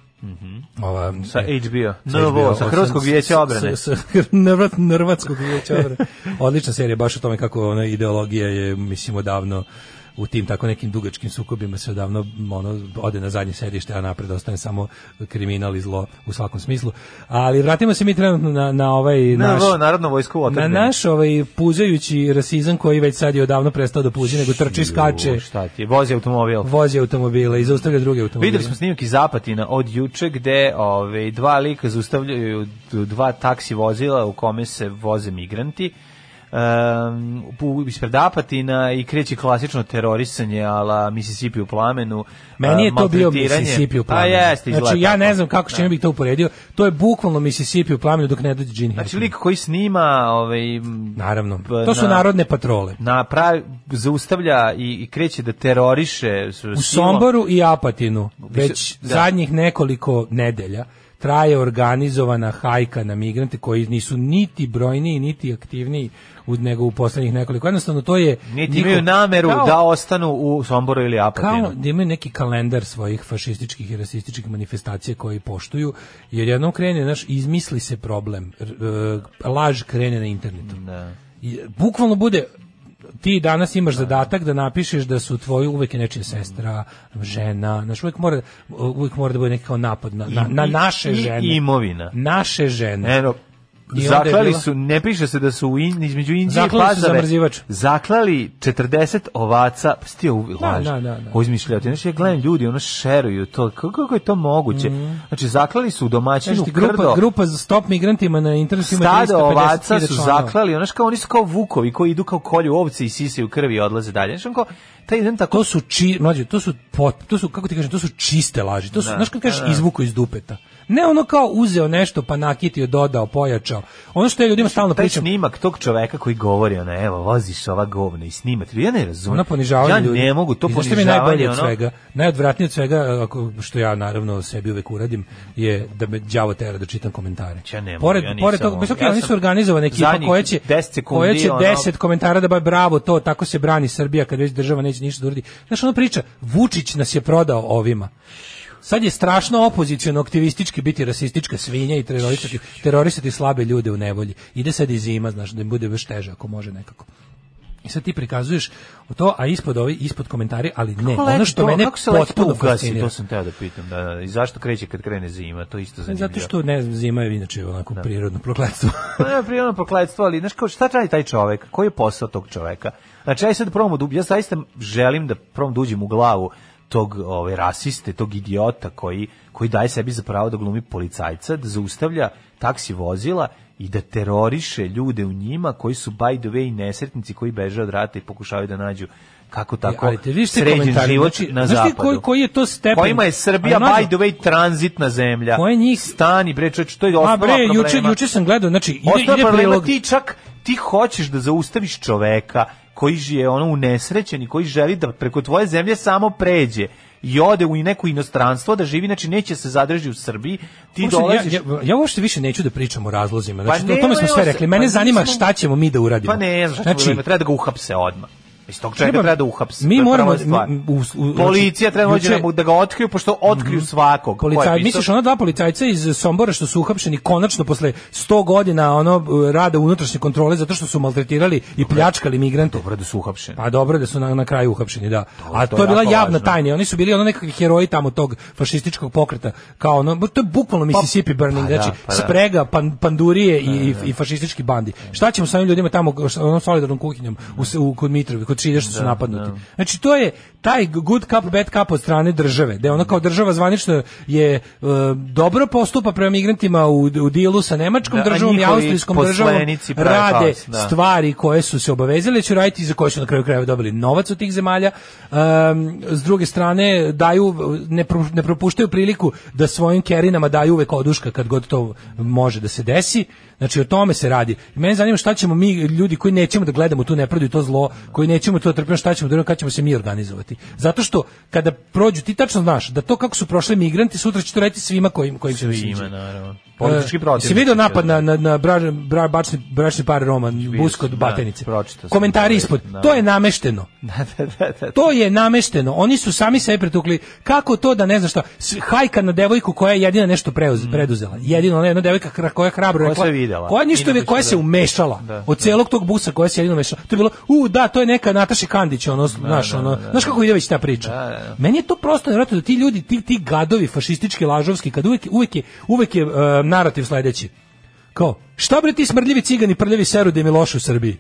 Ova, Mhm. sa e, HBO, sa NVO, sa osam- Hrvatskog vijeća obrane. s- s- s- Hrvat- Hrvatskog vijeća obrane. Odlična serija, baš o tome kako ona ideologija je, mislim, odavno u tim tako nekim dugačkim sukobima se odavno m, ono, ode na zadnje sedište, a napred ostane samo kriminal i zlo u svakom smislu. Ali vratimo se mi trenutno na, na ovaj naš... NVO, Narodno vojsko u Na otadbini. naš ovaj puzajući rasizam koji već sad je odavno prestao da puzi, nego trči, skače, Ju, Šta ti je, vozi automobil. vozi automobile i zaustavlja druge automobile. Videli smo snimak iz Zapatina od juče gde ove, dva lika zaustavljaju d- dva taksi vozila u kome se voze migranti um, u- ispred Apatina i kreće klasično terorisanje ala Mississippi u plamenu. Meni je a, to bio maltretiranje. Mississippi u plamenu. A jeste, znači, izgleda ja ne tako. znam kako čime bih to uporedio. To je bukvalno Mississippi u plamenu dok ne dođe Gene Znači Hackman. lik koji snima ovaj, m, Naravno. b- To su na- narodne patrole. na pravi, zaustavlja i, i kreće da teroriše s- U silom. Somboru i Apatinu već da. zadnjih nekoliko nedelja traje organizovana hajka na migrante koji nisu niti brojniji, niti aktivniji u, nego u poslednjih nekoliko. Jednostavno, to je... Niti njihov- imaju nameru Kao- da ostanu u Somboru ili Apatinu. kao da imaju neki kalendar svojih fašističkih i rasističkih manifestacija koji poštuju, jer jednom krene, naš izmisli se problem, r- e, laž krene na internetu. I, bukvalno bude ti danas imaš zadatak da napišeš da su tvoji uvek je nečija sestra, žena, znaš, uvek mora, uvek mora da bude neki kao napad na, na, na I- naše i E, žene. imovina. Naše žene. Eno, onda je zaklali bila- su, ne piše se da su u In, između Indije i Zaklali su Pazove, zamrzivač. zaklali 40 ovaca, pa si ti ovo laž, da, da, da. ovo izmišljati. Znači, ja gledam ljudi, ono šeruju to, kako, kako je to moguće? Znači, zaklali su u Znaš domaćinu ti, krdo, Mhm. Znači, grupa, grupa za stop migrantima na internetu ima stada 350.000 ovaca su članova. zaklali, ono što kao, oni su kao vukovi koji idu kao kolju ovce i sise u krvi i odlaze dalje. Znači, ono kao, taj jedan tako to su či, mlađe, to su pot, to su kako ti kažem, to su čiste laži. To su, znaš kad kažeš izvuko iz dupeta. Ne ono kao uzeo nešto pa nakitio, dodao, pojačao. Ono što ja ljudima stalno taj pričam. snimak tog čoveka koji govori ona evo voziš ova govna i snimate ja ne razumem Ona Ono ponižavanje ja ljudi. ne mogu to I znaš šta mi je ponižavanje najbolje od ono- svega? Najodvratnije od svega, e, ako, što ja naravno sebi uvek uradim, je da me đavo tera da čitam komentare. Znači, Ja ne mogu, pored, ja nisam pored toga, mogu. bez okej, Ja oni sam su organizovane ekipa zadnjih koja će, 10 sekundi, koja će ono- 10 komentara da baš bravo to, tako se brani Srbija kad već država neće ništa da uradi. Znaš, ona priča, Vučić nas je prodao ovima. Sad je strašno opoziciono aktivistički biti rasistička svinja i terorisati, terorisati slabe ljude u nevolji. Ide sad i zima, znaš, da im bude baš teže ako može nekako. I sad ti prikazuješ to, a ispod ovi, ispod komentari, ali ne, Kako ono leti što to, mene kako se leti potpuno to ugasi, fascinira. to sam teo da pitam. Da, da, I zašto kreće kad krene zima, to je isto zanimljivo. Zato što, ne znam, zima je inače onako prirodno prokletstvo. Pa ne, prije ono prokletstvo, ali znaš kao, šta radi taj čovek? Koji je posao tog čoveka? Znači, aj sad probamo da, ja zaista želim da probam da uđem u glavu tog ovaj, rasiste, tog idiota koji, koji daje sebi za pravo da glumi policajca, da zaustavlja taksi vozila i da teroriše ljude u njima koji su by the way nesretnici koji beže od rata i pokušavaju da nađu kako tako E, ali te vidiš te sređen komentare, život znači, na znaš ti zapadu. koji- koji je to stepen? Kojima je Srbija Ali, by mlađe- the way tranzitna zemlja. Koje njih- Stani, bre, čovječe, to je osnova A bre, problema. juče, juče sam gledao, znači, ide, Osnova ide problema, prilog. ti čak ti hoćeš da zaustaviš čoveka koji je ono unesrećen i koji želi da preko tvoje zemlje samo pređe i ode u neko inostranstvo da živi, znači neće se zadrži u Srbiji, ti Uopšte, dolaziš... Ja, ja, ja uopšte više neću da pričam o razlozima. Znači, Pa o tome smo nemaju sve se- rekli. Mene pa zanima nismo- šta ćemo mi da uradimo. Pa ne znam, znači, znači, treba da ga uhapse odmah. Iz tog čovjeka Treba- treba, da uhapse. mi to je moramo- prva stvar. mi- u- u- Policija treba juče- Mhm. dođe da mu- da ga otkriju, pošto otkriju svakog. ko je Policaj, pisao- misliš ona dva policajca iz Sombora što su uhapšeni konačno posle 100 godina ono rada unutrašnje kontrole zato što su maltretirali i pljačkali migrante. Dobro da su uhapšeni. Pa dobro da su na, na kraju uhapšeni, da. A to, to je je bila jako javna važno. tajna. i Oni su bili ono nekakvi heroji tamo tog fašističkog pokreta. Kao ono, bu- to je bukvalno Mississippi burning, pa da, znači pa da. sprega, pan, pandurije i, i, i fašistički bandi. Šta ćemo sa ovim ljudima tamo s onom solidarnom kuhinjom u, s- u, kod Mitrovi, kod Čilja što su napadnuti. Znači to je taj good cup, bad cup od strane države, da ono kao država zvanično je e, dobro postupa prema migrantima u, u dilu sa nemačkom Da, a državom i njihovi austrijskom državom, poslenici prave rade haos, da. stvari koje su se obavezali da će raditi i za koje su na kraju krajeva dobili novac od tih zemalja. Ehm, s druge strane, daju, ne, pro- ne propuštaju priliku da svojim kerinama daju uvek oduška kad god to može da se desi. Znači, o tome se radi. I mene zanima šta ćemo mi, ljudi koji nećemo da gledamo tu nepravdu i to zlo, koji nećemo to da trpimo, šta ćemo da radimo, kad ćemo se mi organizovati. Zato što kada prođu, ti tačno znaš da to kako su prošli migranti, sutra će to raditi svima kojim, kojim se ne sviđa. Ima, naravno. Politički E, protiv. Si e, video napad na, na, na bra, bra, bračni, bračni par Roma, Busko od da, Batenice? pročitao sam. Komentari ispod. Da. To je namešteno. da, da, da. To je namešteno. Oni su sami sebe pretukli. Kako to da ne znam šta? s- Hajka na devojku koja je jedina nešto preuz, preduzela. Jedina ona jedna devojka hra- koja je hrabro Mm. Koja rekla. sve videla. Koja I ništa napisala koja da- se umešala. Da, Od celog tog busa koja se jedino umešala. To je bilo, u da, to je neka Nataša Kandić, ono, znaš, ono, znaš kako ide već ta priča. Meni je to prosto nevjerojatno da ti ljudi, ti, ti gadovi fašistički, lažovski, kad uvek, uvek je, uvek je e, narativ sledeći. Kao, šta bre ti smrdljivi cigani, prljavi seru da im je loše u Srbiji?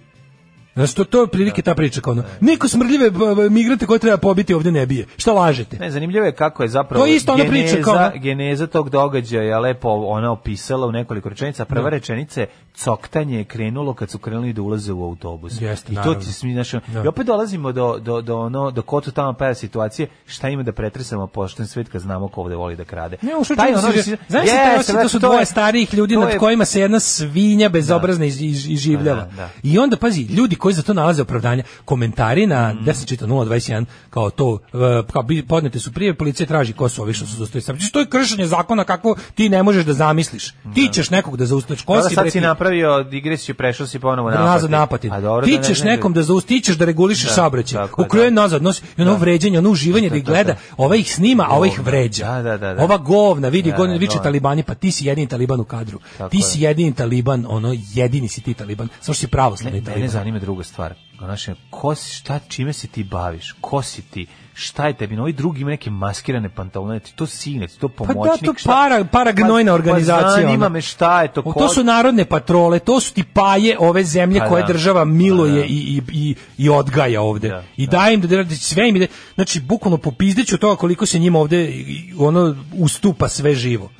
Znači, to, to je prilike ta priča. Kao ono. Niko smrdljive b- b- migrante koje treba pobiti ovdje ne bije. Šta lažete? Ne, zanimljivo je kako je zapravo To je isto ona priča geneza, kao- ono- geneza tog događaja lepo ona opisala u nekoliko rečenica. Prva rečenica je coktanje je krenulo kad su krenuli da ulaze u autobus. Jeste, I to naravno. ti smi, znaš, ono- Da. I opet dolazimo do, do, do, ono, do kotu tamo paja situacije, šta ima da pretresamo pošten svet kad znamo ko ovde voli da krade. Ne, Taj u slučaju ono- se... Znaš se taj Jeste, osjećaj da brate, su to je- dvoje starijih ljudi to nad je- kojima se jedna svinja bezobrazna iz, iz, izživljava. Da, da. I onda, pazi, ljudi koji za to nalaze opravdanja, komentari na Mm. 10.4.021, kao to, e, kao bi- podnete su prije, policija traži ko su ovi što su zaustavili. Znači, To je kršenje zakona kako ti ne možeš da zamisliš. Ti ćeš nekog da zaustaviš. Ko Dobro, si, bre, sad si ti? napravio digresiju, prešao si ponovo Napati. nazad napati. A dobro, ti da ne- ćeš ne- nekom da zaustičeš da regulišeš Da, saobraćaj. tako je, Okrenuo da. nazad, nosi i ono vređanje, ono uživanje da ih da, gleda, da. ova ih snima, a ova ih Govna. vređa. Da, da, da, da. Ova govna, vidi, Da, govna, da, viče govna. talibani, pa ti si jedini taliban u kadru. Tako ti je. si jedini taliban, ono jedini si ti taliban, samo što si pravoslavni Ne, mene taliban. zanima druga stvar. Znači, ko si, šta, čime se ti baviš? Ko si ti? Šta je tebi? No, ovi drugi ima neke maskirane pantalone, ti to sine, ti to Pa pomoćnik. da, to šta- para, para gnojna Pa- organizacija. Pa zanima ono. me šta je to. O, Ko, to su narodne patrole, to su ti paje ove zemlje Pa koje da. država Pa miluje da. i, i, i, i odgaja ovde. Da, I daje im da radi sve im ide. Znači, bukvalno popizdeću toga koliko se njima ovde i- i ono ustupa sve živo.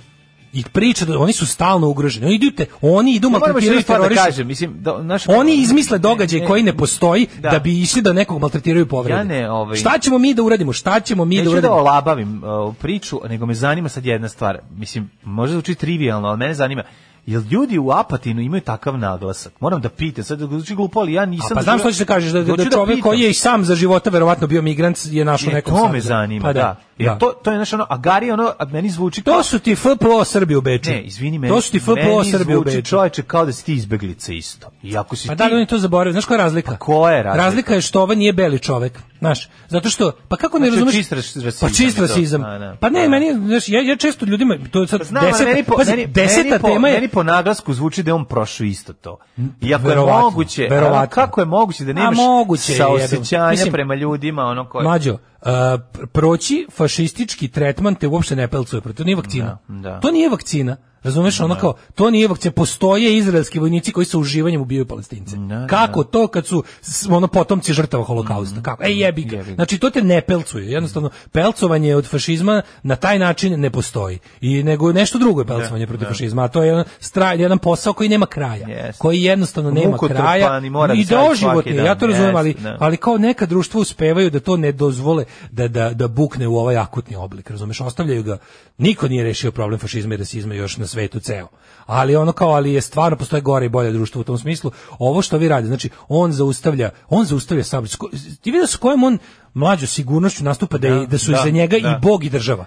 I priča, da oni su stalno ugroženi. Oni idu, te, oni idu Ja moram još maltretiraju jednu i stvar da terorišu. kažem, mislim, da, naš, Oni izmisle događaj Ne, koji ne postoji da. Da. bi išli da nekog maltretiraju povrede. Ja ne, ovaj- Šta ćemo mi da uradimo? Šta ćemo mi da Neću da ovaj- uradimo? olabavim uh, priču, nego me zanima sad jedna stvar. Mislim, možda zvuči trivialno, ali mene zanima. Jel ljudi u Apatinu imaju takav naglasak? Moram da pitam, sad zvuči glupo, ali ja A nisam... pa znam što ćeš da kažeš, da, da Hoću čovjek pitam. koji je i sam za života verovatno bio migrant je našao E, nekom to sadu. me zanima, Pa da. Jer to, to je, znaš, ono, a Gari, ono, a meni zvuči... To su ti FPO Srbije u Beču. Ne, izvini meni. To su ti FPO meni Srbije u zvuči, Beču. čoveče, kao da si ti izbeglica isto. I ako si Pa ti... da li oni to zaboravili? Znaš koja je razlika? Pa koja je razlika? je što ovaj nije beli čovek. Znaš, zato što, pa kako ne Znači, razumeš? čist ras- rasizam Pa je čist to. rasizam. A, da. Pa ne, A. meni, znaš, ja, ja često ljudima, to je sad Pa znam, ali deseta, meni po, pazi, meni, deseta meni po, tema je... Meni po naglasku zvuči da je on prošao isto to. I ako je Verovatno, moguće, verovatno. ono, kako je moguće da nemaš A moguće je, jebem. saosećanja Mislim, prema ljudima, ono koje... Mlađo, a, pr- proći fašistički tretman te uopšte ne pelcuje, pa to nije vakcina. Da, da. To nije vakcina. Razumeš, ono kao, to nije vakcina. Postoje izraelski vojnici koji sa uživanjem ubijaju palestince. Kako to kad su s- ono potomci žrtava holokausta? Kako? E jebi ga. Mhm. Jebi ga. Znači, to te ne pelcuje. Jednostavno, pelcovanje od fašizma na taj način ne postoji. I nego nešto drugo je pelcovanje protiv fašizma, a to je jedan, stra- jedan posao koji nema kraja. Jeste. Koji jednostavno nema Mukotrpan kraja. i mora da I se radi doživotni, svaki dan. ja to razumem, Jeste, ali, da. ali kao neka društva uspevaju da to ne dozvole da, da, da bukne u ovaj akutni oblik, razumeš, ostavljaju ga. Niko nije rešio problem fašizma i rasizma još na svetu ceo. Ali ono kao, ali je stvarno postoje gore i bolje društvo u tom smislu. Ovo što vi radite, znači, on zaustavlja, on zaustavlja sam. s ko- Ti vidio s kojom on mlađu sigurnošću nastupa da, je- da su da, iza njega da. i Bog i država.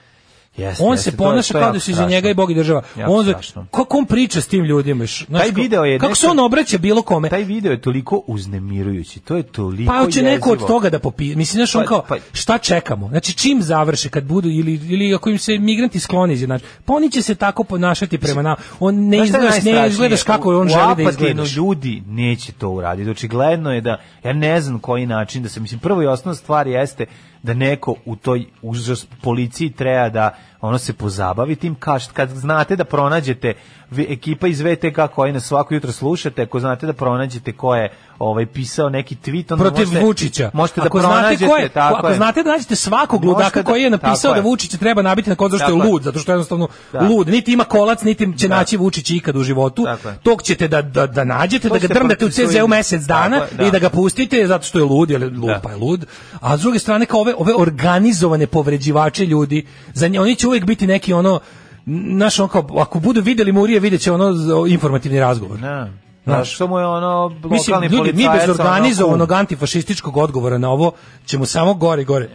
Jeste, On jeste, se to je- ponaša to je kao da jako su iza strašno. njega i Bog i država. Jako on, strašno. kako on priča s tim ljudima? znaš, Taj kako- video je kako se nešto- on obraća bilo kome? Taj video je toliko uznemirujući, to je toliko Pa hoće neko od jezivo. toga da popi, mislim znaš on Pa- kao pa- šta čekamo? Znači čim završe kad budu ili ili ako im se migranti sklone iz znači pa oni će se tako ponašati prema nama. On ne Znaš šta je izgledaš ne najstrašnije? izgledaš kako U- on u želi da Apatinu izgledaš. ljudi neće to uraditi. Očigledno je da, ja ne znam koji način da se, mislim, prvo i osnovna stvar jeste da neko u toj užas policiji treba da ono se pozabavi tim kaš, kad znate da pronađete vi- ekipa iz VTK koji nas svako jutro slušate, ako znate da pronađete ko je ovaj pisao neki tweet onda protiv možete, Vučića. Možete da ako znate pronađete ko je, tako ako je. znate da nađete svakog ludaka Možete da- koji je napisao tako da je. Vučića treba nabiti na kod zašto je Tako je. lud, zato što je jednostavno Da. lud, niti ima kolac, niti će naći Vučića ikad u životu. Tako je. Tog ćete da da, da nađete, To da ga ste drndate u procesuirali. CZ-u mesec dana Tako je, da. i da ga pustite zato što je lud, jer je lud Da. pa je lud. A s druge strane kao ove ove organizovane povređivače ljudi, za nje, oni će uvijek biti neki ono naš on kao, ako budu videli Murije, vidjet će ono z- informativni razgovor. Ne. Znaš. Znaš, što mu je ono lokalni Mislim, ljudi, mi policajac, bez ono, organizovanog antifašističkog odgovora na ovo ćemo samo gore i gore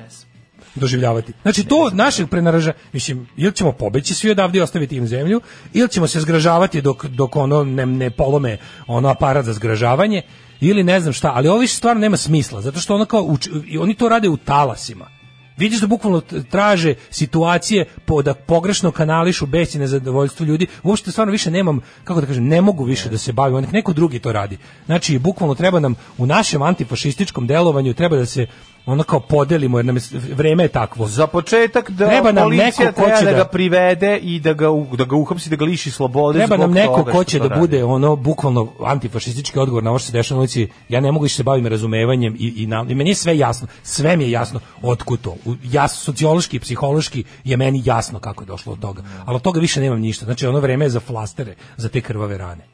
doživljavati. Znači, to od našeg prenaraža, mislim, ili ćemo pobeći svi odavde i ostaviti im zemlju, ili ćemo se zgražavati dok, dok ono ne, ne polome ono aparat za zgražavanje, ili ne znam šta, ali ovo više stvarno nema smisla, zato što ono kao, uč- i oni to rade u talasima. Vidiš da bukvalno t- traže situacije po, da pogrešno kanališu bes i nezadovoljstvo ljudi. Uopšte stvarno više nemam, kako da kažem, ne mogu više da se bavim, nek neko drugi to radi. Znači, bukvalno treba nam u našem antifašističkom delovanju treba da se ono kao podelimo, jer nam je, s- vreme je takvo. Za početak da Treba nam policija neko ko treba će da da- ga privede i da ga u- da ga uhapsi da ga liši slobode Treba zbog nam neko toga ko što će to da radi. bude ono bukvalno antifašistički odgovor na ovo što se dešava na ulici. Ja ne mogu više se bavim razumevanjem i, i, na, i meni je sve jasno. Sve mi je jasno otkud to. U- Ja sociološki i psihološki je meni jasno kako je došlo od toga. Ali od toga više nemam ništa. Znači ono vreme je za flastere, za te krvave rane.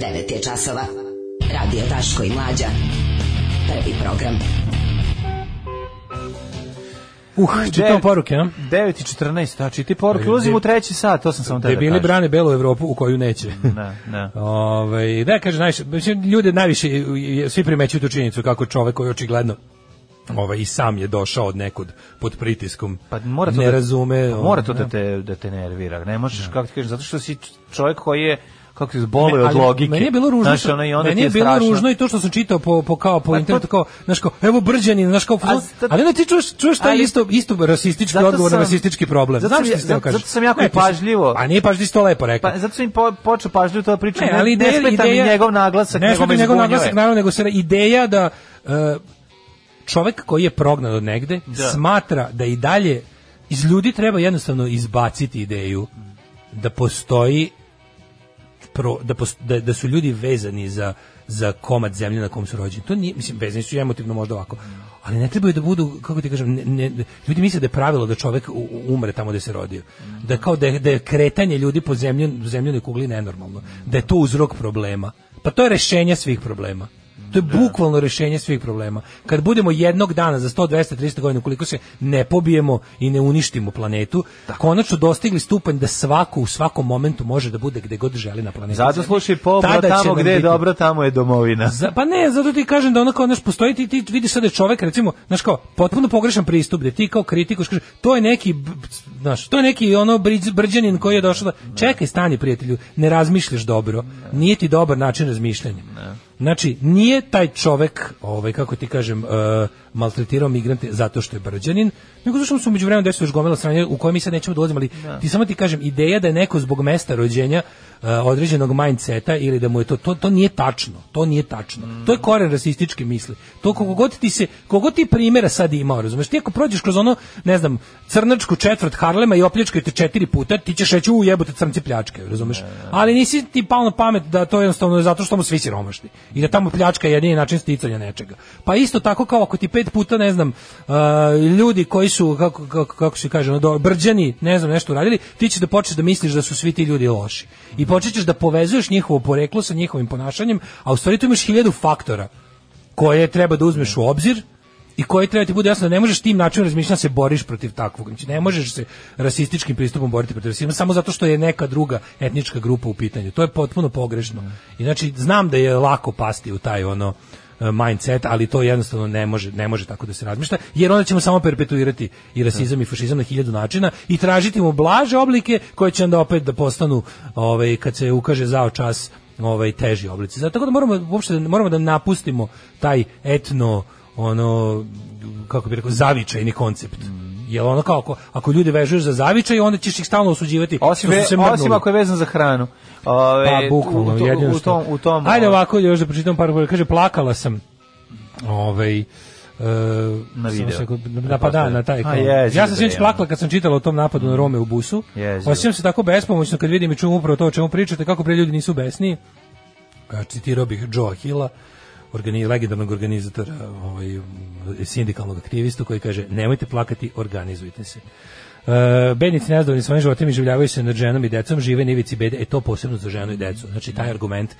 9 je časova. Radio Daško i Mlađa. Prvi program. Uh, čitam Devet- poruke, Pa a? 9 i 14, znači čiti poruke, ulazimo u treći sat, to sam samo tebe Debili brane belu Evropu u koju neće. Da, da. Ove, Ovaj, da, kaže, najviše, mislim, ljude najviše, je- svi primećuju tu činjenicu kako čovek koji očigledno ovaj, i sam je došao od nekud pod pritiskom, Pa mora to ne da, razume. pa mora ono, to da ne. te, da te nervira, ne možeš, kako ti kažem, zato što si čovjek koji je, kako ti zbole od E, Ali logike. Meni je bilo ružno, Znaš, što- ono, i onda meni ti je bilo strašno. ružno i to što sam čitao po, po kao po Pa to- internetu kao, znaš kao, evo brđani, znaš kao, A zato- ali onda ti čuješ, čuješ taj Ali- isto isto rasistički Zato odgovor na sam- rasistički problem. zato Znam sam što ja- ti htio zato- kažeš. zato sam jako Ne, i ti si- pažljivo. Pa nije pažljivo, ti si to lepo rekao. Pa zato sam im po, počeo pažljivo to da pričam, Ne, ne, E, ali ideja, ne smeta ideja, mi njegov naglasak, ne nego smeta me mi njegov zbunjuje. naglasak, naravno, nego se re- ideja da e, čovek koji je prognan od negde smatra da i dalje iz ljudi treba jednostavno izbaciti ideju da postoji pro, da, pos- da, da su ljudi vezani za za komad zemlje na kom su rođeni. To nije, mislim, vezani su emotivno možda ovako. Ali ne trebaju da budu, kako ti kažem, ne, ne- ljudi misle da je pravilo da čovek u- u- umre tamo gde se rodio. Da kao da je, da je kretanje ljudi po zemlju, zemljenoj kugli nenormalno. Da je to uzrok problema. Pa to je rešenje svih problema. To je bukvalno rešenje svih problema. Kad budemo jednog dana za 100, 200, 300 godina koliko se ne pobijemo i ne uništimo planetu, konačno dostigli stupanj da svako u svakom momentu može da bude gde god želi na planetu. Zato Zemlji. slušaj pobro, Tada će tamo nam gde je biti- dobro, tamo je domovina. za, pa ne, zato ti kažem da ono kao, znaš, postoji ti, ti vidiš sad da je čovek, recimo, znaš kao, potpuno pogrešan pristup, da ti kao kritikuš, kažeš, to je neki, b- b- znaš, to je neki ono briđ- brđanin koji je došao da, čekaj, stani prijatelju, ne razmišljaš dobro, nije ti dobar način razmišljanja. Znači, nije taj čovek, ovaj, kako ti kažem, e, maltretirao migrante zato što je brđanin, nego zato što mu su umeđu vremena desilo još gomila sranja u koje mi sad nećemo da ulazimo, ali ti samo ti kažem, ideja da je neko zbog mesta rođenja e, određenog mindseta ili da mu je to, to, to nije tačno, to nije tačno. To je koren rasističke misli. To koliko god ti se, koliko god ti primjera sad imao, razumeš, ti ako prođeš kroz ono, ne znam, crnačku četvrt Harlema i opljačkaju te četiri puta, ti ćeš reći, u jebote crnci pljačkaju, razumeš. Ali nisi ti palo na pamet da to jednostavno je zato što mu svi siromašni i da tamo pljačka je jedini način sticanja nečega. Pa isto tako kao ako ti pet puta, ne znam, e, a, ljudi koji su, kako, kako, kako se kaže, ono, do- brđani, ne znam, nešto uradili, ti ćeš da počneš da misliš da su svi ti ljudi loši. I počet ćeš da povezuješ njihovo poreklo sa njihovim ponašanjem, a u stvari tu imaš hiljadu faktora koje treba da uzmeš u obzir i koje treba ti bude jasno da ne možeš tim načinom razmišljanja da se boriš protiv takvog. Znači, ne možeš se rasističkim pristupom boriti protiv rasizma samo zato što je neka druga etnička grupa u pitanju. To je potpuno pogrešno. I znači, znam da je lako pasti u taj ono e, mindset, ali to jednostavno ne može, ne može tako da se razmišlja, jer onda ćemo samo perpetuirati i rasizam i fašizam na hiljadu načina i tražiti mu blaže oblike koje će onda opet da postanu, ovaj, kad se ukaže zao čas, ovaj teži oblici. Zato tako da moramo uopšte da- moramo da napustimo taj etno ono kako bi rekao zavičajni koncept. Jel ono kao ako, ako ljude vežuješ za zavičaj, onda ćeš ih stalno osuđivati. Osim, što su ve- se osim mrdnuli. ako je vezan za hranu. Ove, Pa, bukvalno, u, to- jedino u što- tom, u tom, ovaj- Ajde ovako, još da pročitam par govora. Kaže, plakala sam. Ovaj, e, samo video. sekund- Da, pa da, na taj. A, kao. jezivo ja sam sinoć je, plakala kad sam čitala o tom napadu na Rome u busu. Jezivo. Osjećam se tako bespomoćno kad vidim i čujem upravo to o čemu pričate, kako pre ljudi nisu besniji. Kaže, citirao bih Joe Hilla, organi, legendarnog organizatora, ovaj, sindikalnog aktivistu koji kaže, nemojte plakati, organizujte se. Uh, bednici nezadovoljni svojim životima i življavaju se nad ženom i decom, žive na ivici bede, e to posebno za ženu i decu. Znači, taj argument,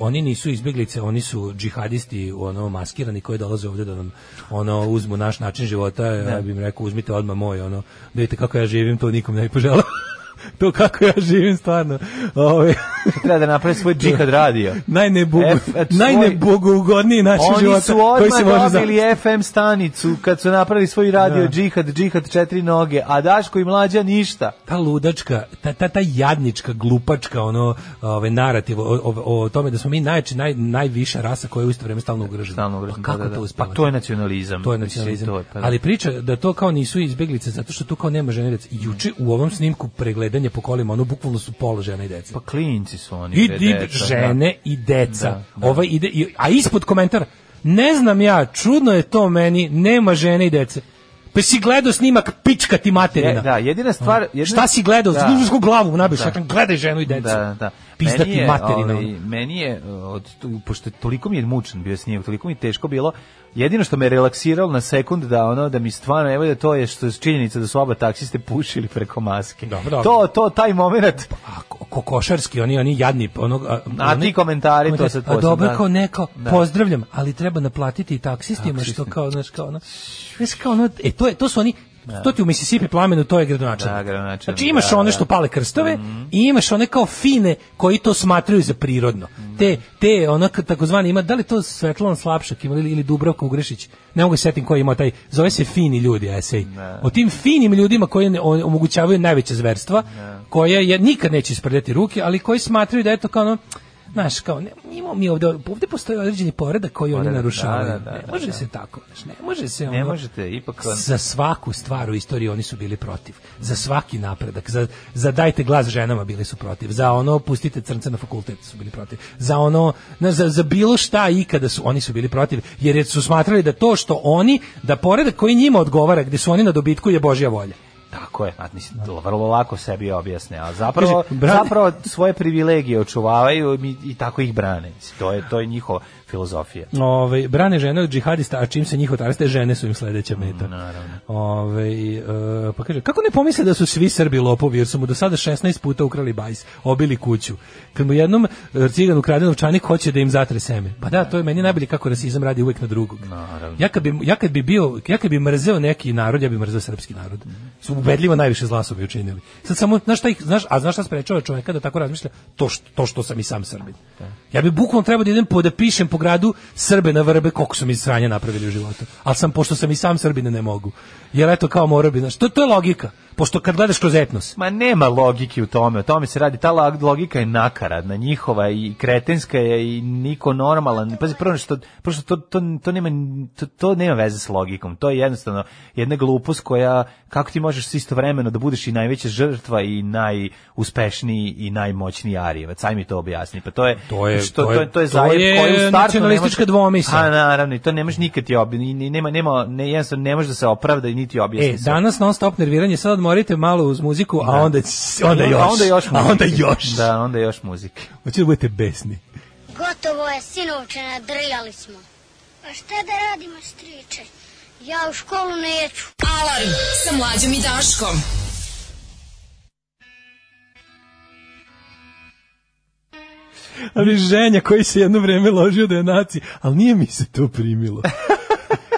oni nisu izbjeglice, oni su džihadisti, ono, maskirani koji dolaze ovde da nam, ono, uzmu naš način života, ja bih im rekao, uzmite odmah moj, ono, da vidite kako ja živim, to nikom ne bi poželao. to kako ja živim, stvarno. ovaj, Ove, treba da napravi svoj džihad radio. najnebogo, F- tvoj- najnebogougodniji način E, pa Oni života su koji se može odmah za... dobili FM stanicu kad su napravili svoj radio džihad, džihad četiri noge, a Daško i mlađa ništa. Ta ludačka, ta, ta, ta jadnička, glupačka, ono, ove, narativ o, o, o tome da smo mi najjači, naj, najviša rasa koja je u isto vreme stalno ugrožena. Stalno ugrožena, Pa kako da, da, da. to uspeva? Pa to je nacionalizam. To je Mislim, nacionalizam. to je, pa da. Ali priča da to kao nisu izbeglice zato što tu kao nema žene i dece. Juče u ovom snimku pregledanje po kolima, ono bukvalno su pola žena i dece. Pa klinci su oni. i, bre, i deca, žene i deca. Da, Ovaj ide, i- a ispod komentar, ne znam ja, čudno je to meni, nema žene i dece. Pa si gledao snimak pička ti da. materina. Je, da, jedina stvar... Jedina, Šta si gledao? Da. Da. Zdužu glavu mu nabiješ, Da. da. gledaj ženu i decu. Da, da. Pizda Meni ti je, materina. ovaj, ono. meni je, uh, od, tu- pošto toliko mi je mučan bio snijeg, toliko mi je teško bilo, jedino što me relaksiralo na sekund da ono da mi stvarno evo da to je što je činjenica da su oba taksiste pušili preko maske. Dobro, Pa, dobro. To to taj momenat A ko- kokošarski, oni, oni jadni. pa Onog, a, A ti komentari, to sad A posebno, dobro da. kao neko, Da. pozdravljam, ali treba naplatiti i taksistima, što kao, znaš, kao ono, znaš, kao ono, e, to, je, to su oni, to ti u Mississippi plamenu, to je gradonačelnik. Da, gradonačelnik, Znači imaš da, one da. Mhm. što pale krstove i imaš one kao fine koji to smatraju za prirodno. Mhm. Te, te ono k- takozvani ima, da li to Svetlana Slapšak ima ili, ili Dubravka Ugrešić, ne mogu se setim koji ima taj, zove se fini ljudi esej. O tim finim ljudima koji ne- o- omogućavaju najveće zverstva, koje je, nikad neće ispredati ruke, ali koji smatraju da je to kao ono, Znaš, kao, ne, imamo mi ovde, ovde postoji određeni poredak koji oni Poredak, da, narušavaju. da, da, ne da, može se tako, znaš, ne može se ne ono- možete ipak on- za svaku stvar u istoriji oni su bili protiv. Za svaki napredak, za, za dajte glas ženama bili su protiv. Za ono pustite crnce na fakultet su bili protiv. Za ono ne, za, za bilo šta ikada su oni su bili protiv jer su smatrali da to što oni da poredak koji njima odgovara gde su oni na dobitku je božja volja. Tako je, znači mislim, to vrlo lako sebi objasne, a zapravo, Kaže, brane- zapravo svoje privilegije očuvavaju i, i tako ih brane. Mislim, to je, to je njihova filozofija. Ove, brane žene od džihadista, a čim se njih otarste, žene su im sledeća meta. Ove, e, pa kaže, kako ne pomisle da su svi Srbi lopovi, jer su mu do sada 16 puta ukrali bajs, obili kuću. Kad mu jednom e, cigan ukrade novčanik, hoće da im zatre seme. Pa da, to je meni najbolje kako rasizam radi uvek na drugog. Ja kad, bi, ja kad bi bio, ja kad bi mrzeo neki narod, ja bi mrzeo srpski narod. Su ubedljivo najviše zla su mi učinili. Sad samo, znaš šta ih, znaš, a znaš šta sprečava čoveka da tako razmišlja? To što, to što sam i sam Srbin. Ja bi bukvalno trebao da idem po, da pišem po gradu Srbe na vrbe koliko su mi sranja napravili u životu. Ali sam, pošto sam i sam Srbin, ne mogu. Jer eto, kao mora bi, znaš, to, to je logika. Pošto kad gledaš kroz etnos, E, Ma nema logike u tome, o tome se radi. Ta log- logika je nakaradna, njihova i kretenska je i niko normalan. Pazi, prvo što, prvo što to, to, to, nema, to, to nema veze s logikom. To je jednostavno jedna glupost koja, kako ti možeš istovremeno da budeš i najveća žrtva i najuspešniji i najmoćniji Arijevac. Aj mi to objasni. Pa to je, To je- što, to to, je- je, to je, to zajeb je koji u startu ne može- nacionalistička dvomisa. A naravno, i to ne možeš nikad ti objasniti. Nema, nema, ne, jednostavno ne može da se opravda i niti objasni. E, sve. danas non stop nerviranje, sad odmorite malo uz muziku, a onda, onda A još. onda još A onda muzike. još. Da, onda još muzike. Hoćete da budete besni. Gotovo je, sinovče, nadrljali smo. A šta da radimo, striče? Ja u školu neću. Alarm sa mlađom i Daškom. Ali ženja koji se jedno vrijeme ložio da je naci, ali nije mi se to primilo.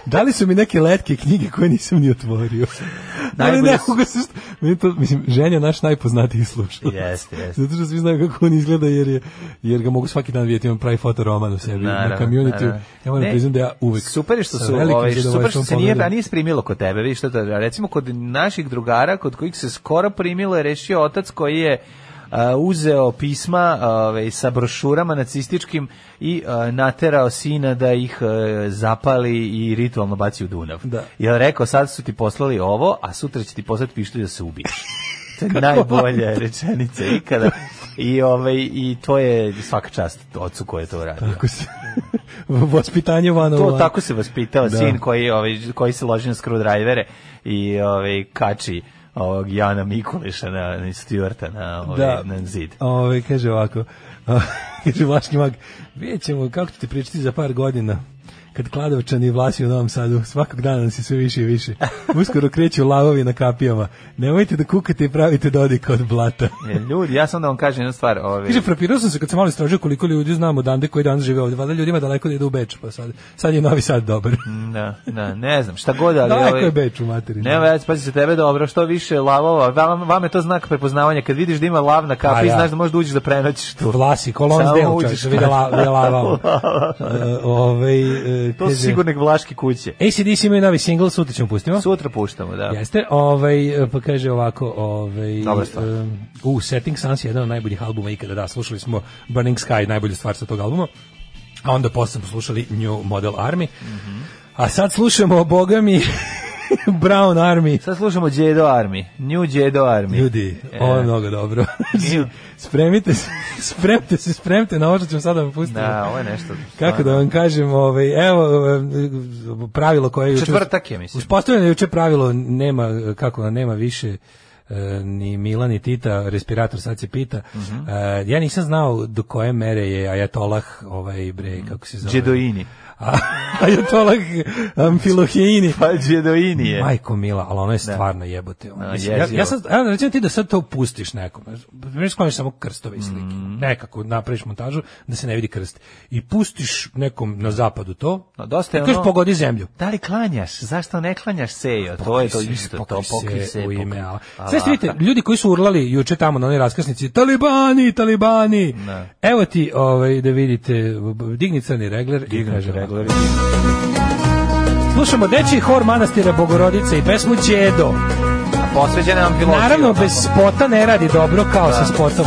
Dali su mi neke letke knjige koje nisam ni otvorio. Ali Najbolje ne su- mogu se... st- Meni to, mislim, ženja je naš najpoznatiji slušalac. Jeste, jeste. Zato što svi znaju kako on izgleda jer, je, jer ga mogu svaki dan vidjeti, on pravi fotoroman u sebi na Naravno, community. naravno. Ja moram Ne, priznam da ja uvek... Super je što sa su, velikim ovaj, super što zadovoljstvom se nije, pogledam. a nije primilo kod tebe, vidiš što to, recimo kod naših drugara, kod kojih se skoro primilo je rešio otac koji je a, uzeo pisma ovaj, sa brošurama nacističkim i a, naterao sina da ih e, zapali i ritualno baci u Dunav. Da. Jel rekao, sad su ti poslali ovo, a sutra će ti poslati pištolj da se ubiješ. To je najbolja rečenica ikada. I, ovaj, I to je svaka čast ocu koji je to uradio. Tako se... Vospitanje van To tako se vaspitao Ovaj, Da. sin koji ovaj koji se loži na screwdrivere i ovaj kači ovog Jana Mikuliša na, na Stuarta na ovaj Da. na zid. Ove, kaže ovako, kaže Vlaški mag, vidjet ćemo kako ću ti pričati za par godina, kad Kladovčani vlasi u Novom Sadu, svakog dana nas je sve više i više. Uskoro kreću lavovi na kapijama. Nemojte da kukate i pravite dodika od blata. E, Ljudi, ja sam da vam kažem jednu stvar, ovaj Kaže, frapirao sam se kad sam malo istražio koliko ljudi znam odande koji danas žive ovdje. Vada ljudima daleko da idu u Beč, pa sad, sad je Novi Sad dobar. da, da, ne znam, šta god, ali Daleko ovaj, je Beč u materinu. Ne, već pazi se tebe dobro, što više lavova, vam, vam je to znak prepoznavanja, kad vidiš da ima lav na Pa kapi, ja. znaš da možeš da uđeš da prenoćiš tu. Vlasi, kolon Samo del, uđeš, čovječe, vide la, vide lavao. E, ovaj, e, To su kaže, sigurno vlaške kuće. ACDC imaju novi single, sutra ćemo pustimo. Sutra puštamo, da. Jeste, ovaj, pa kaže ovako, ovaj, Dobra stvar. em, u Setting Suns je jedan od najboljih albuma ikada, da, slušali smo Burning Sky, najbolju stvar sa tog albuma, a onda posle smo slušali New Model Army, Mhm. a sad slušamo, boga mi, Brown Army, Sad slušamo Jedo Army, New Jedo Army. Ljudi, E. ovo je mnogo dobro. Znači, spremite se, spremite se, spremite na ovo što ćemo sada vam pustiti. Da, ovo je nešto. Kako da vam kažem, ovaj, evo em, pravilo koje je juče- Četvrtak je, mislim. Uspostavljeno je juče pravilo nema kako nema više e, ni Mila ni Tita, respirator sad se pita. Mhm. E, ja nisam znao do koje mere je Ajatolah ovaj bre kako se zove. Džedoini. A- Ajatolah Amfilohijini. Pa Džedoini je. Majko mila, ali ono je stvarno jebote. ono. A, Mislim, ja, ja jezivo. sad, ja, recimo ti da sad to pustiš nekom. Znaš, skloniš samo krstove i slike. Mhm. ono, Nekako napraviš montažu da se ne vidi krst. I pustiš nekom na zapadu to. No, dosta je I kažeš, ono- pogodi zemlju. Da li klanjaš? Zašto ne klanjaš sejo? E, To je to Pokrij se, isto, to pokrij pokri se. u ime. pokri- Allah. Allaha. Sve ste vidite, ljudi koji su urlali juče tamo na onoj raskrsnici, talibani, talibani. Evo ti ovaj, da vidite, digni crni regler. i kaže ovako. Regler. Slušamo deči hor manastira Bogorodice i pesmu Čedo. A Posveđena nam pilotija. Naravno, bez spota ne radi dobro kao sa spotom.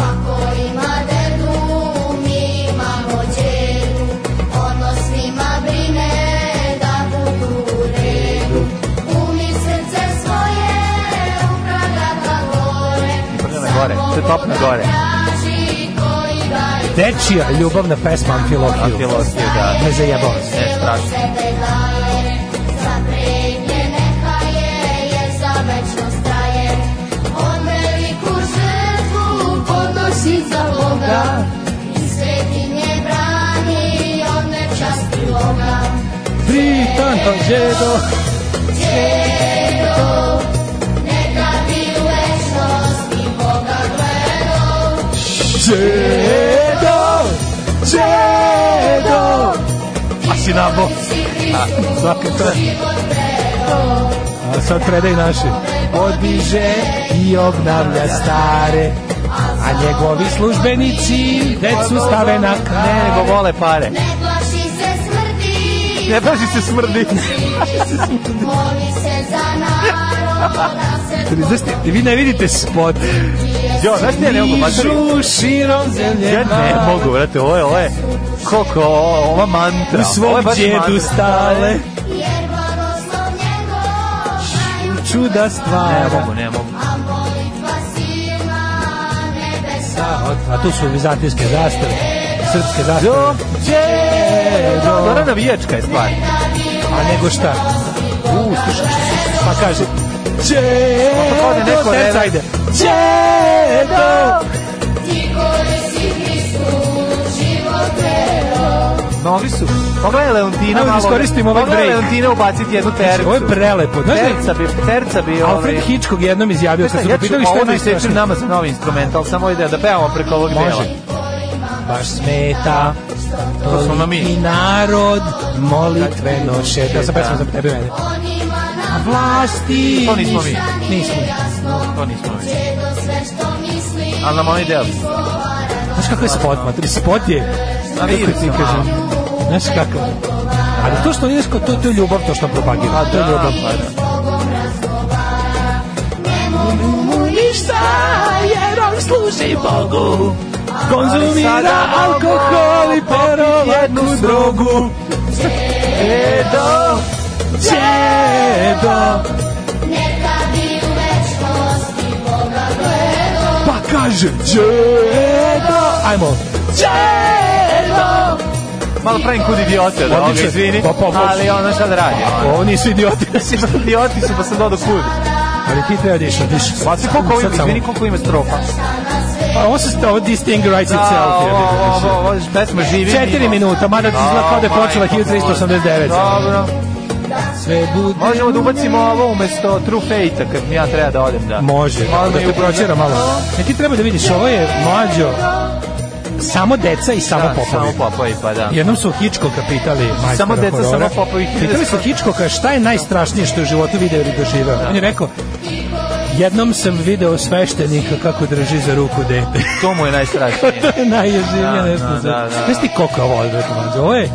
Svima dedu, mi imamo djedu, ono svima brine da budu u redu. Umi srce svoje, upravlja ka gore, Prljana gore, to je top na gore. traži koji ga je Dečija ljubavna pesma Amfilohiju. Pilotija, da. Me zajebao se. Ne, strašno. sebe daje, za prednje neka je, jer za večnost traje. ti tanta djedo. Djedo, neka ti u večnosti Boga gledao. Djedo, djedo. Pa A si nabo. A, svaka čast. A sad predaj naši. Podiže i obnavlja stare, a njegovi službenici decu stave na Ne, nego vole pa- pare. Ne plaši se smrdi. Ne pa plaši se smrdi. Moli se za naroda se Ali Znaš, ti- vi ne vidite spot. Jo, znaš ti ja ne mogu, matori? Stižu širom zemlje. Ja ne mogu, brate, ovo je, ovo je, koliko, ovo- ova mantra. U ovo je svom baš djedu mantra. stale jer blagoslov njegov najveći, čuda Ne stvara. mogu, ne mogu. a molitva sina nebesa. Da, od- A tu su vizantijske zastave, srpske Jo, zastave. djedo. Dobra navijačka je stvar. A nego šta? U, slušaj, pa kaže. Čedo, neko terca reve. ide. Čedo, Ti koji si Hristu život vero, Novi su. Pogledaj Leontina Ajmo da malo. iskoristimo ovaj Pogledaj break. Znači, Leontina ubaciti jednu tercu. Ovo je prelepo. Znaš da je Terca bi, terca bi, ovaj... Alfred Hitchcock jednom izjavio, kad su ga Ja ću pitali šta ovo je da isečem najstrašnije. nama za novi instrumental, samo ide da pevamo preko ovog dela. Može. Baš smeta, To smo mi. i narod molitveno šeta. Ja sam pesma za tebe mene. onima A na vlasti... To nismo mi. ništa Nismo. nije jasno, To nismo mi. čedo sve što misli, Ali nam oni deli. Znaš kako je spot, matri? Spot je... A vidio kako ti sam, kažem? Znaš kako? Ali to što nije sko, to, to je ljubav, to što propagira. To je ljubav. Ništa, jer on služi Bogu. Ali sada alkohol i jednu drogu. E, Čedo, čedo. neka bi u večnosti Boga gledao. Pa kaže Đedo Ajmo Đedo Malo pravim kud idiote, da ovoga, Odlično. izvini. Pa, pa, pa. Ali ono šta da radi. ono. Ovo nisu idioti Svi su Idioti su pa sam dodao kud. Ali ti treba da išao diš Pa si koliko ima, Sad samo. izvini koliko ima strofa. Pa Ovo se ovo this thing writes Da, itself ovo, ovo, ovo, ovo, pesma živi. znači. Četiri mimo. minuta, mada ti izgleda kao da je O, počela majko 1389. Dobro. Sve bude Možemo da ubacimo ovo umesto True Fate-a kad ja treba da odem da. Može, Malo da mi te ubrzo. pročera malo Ne ti treba da vidiš, ovo je mlađo Samo deca i samo Da, popovi samo popovi, pa da. Jednom su Hitchcocka pitali majstora Samo deca, horora, samo popovi. Pitali su Hitchcocka šta je najstrašnije što je u životu video ili doživeo. On je rekao, jednom sam video sveštenika kako drži za ruku dete. To mu je najstrašnije. to je najježivnije Da, nešto. da, za- da, da. Znaš ti koliko je ovo odvratno, mlađe? Ovo je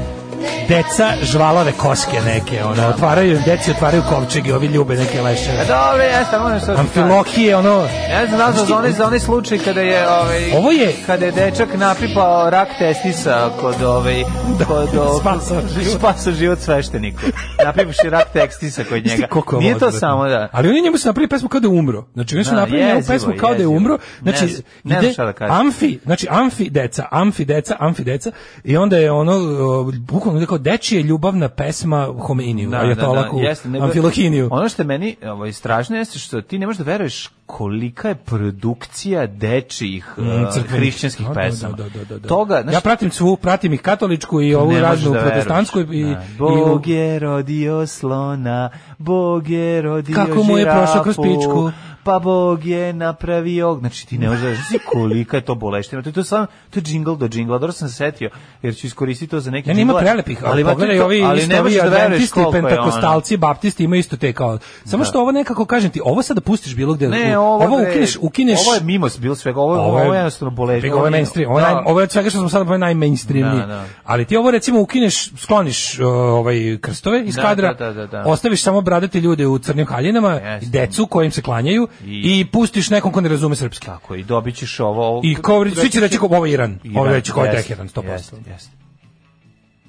deca žvalave koske neke, ono, otvaraju im, deci otvaraju kovčeg i ovi ljube neke E, leševe. Dobro, jeste, moram što Amfilokije, ono, Ja znam da za onaj, za onaj slučaj kada je ovaj Ovo je- kada je dečak napipao rak testisa kod ovaj kod o- spasao život. spasao život svešteniku. Napipiši rak testisa kod Jeste njega. koliko je ovo Nije to odvratno. samo da. Ali oni njemu su napravili pesmu kao da je umro. Znači oni su Da, napravili njegovu jezivo, pesmu kao da je jezivo. umro. Ne Znači znam- ne znam ide šta da kažem. Amfi, znači Amfi deca, Amfi deca, Amfi deca i onda je ono o, bukvalno kao dečija ljubavna pesma Homeiniju, da, je to lako jeste, nego- Amfilohiniju. Ono što je meni ovaj, strašno jeste što ti ne možeš da veruješ kolika je produkcija dečijih Mm, eh, crkvenih. hrišćanskih Da, da, pesama. Da, da, da, da. Toga, znaš, ja pratim svu, pratim i katoličku i ovu Ne možeš raznu da veruješ. protestantsku i, i, Da. Bog je rodio slona, Bog je rodio Kako mu je žirafu, prošao kroz pičku? Pa Bog je napravio, znači ti ne možeš da znaš kolika je to boleština. To je to samo to je džingl do džingla, dobro sam se setio, jer ću iskoristiti to za neki Ne, nema prelepih, ali, ima tu pogledaj to- ovi, ali isto ne ovi možeš da veruješ adventisti, koliko je ono. pentakostalci, baptisti imaju isto te kao. Samo što ovo nekako, kažem ti, ovo sad da pustiš bilo gde. Ne, ovo, bre, ukineš, ukineš. Ovo je mimos bilo svega, ovo, ovo, je jednostavno boleština. Ovo je mainstream, ovo, je naj, ovo je od svega što smo sad naj najmainstreamnije. Da, da. Ali ti ovo recimo ukineš, skloniš uh, ovaj krstove iz Da, kadra, da, da, da, da. ostaviš samo bradate ljude u crnim haljinama, Jeste. decu kojim se klanjaju I- i, pustiš nekom ko ne razume srpski. Tako, i dobit ćeš ovo. ovo I kao, svi će reći kao ovo je Iran, ovo je reći kao je Jeste, Teheran, 100%. jeste, jeste.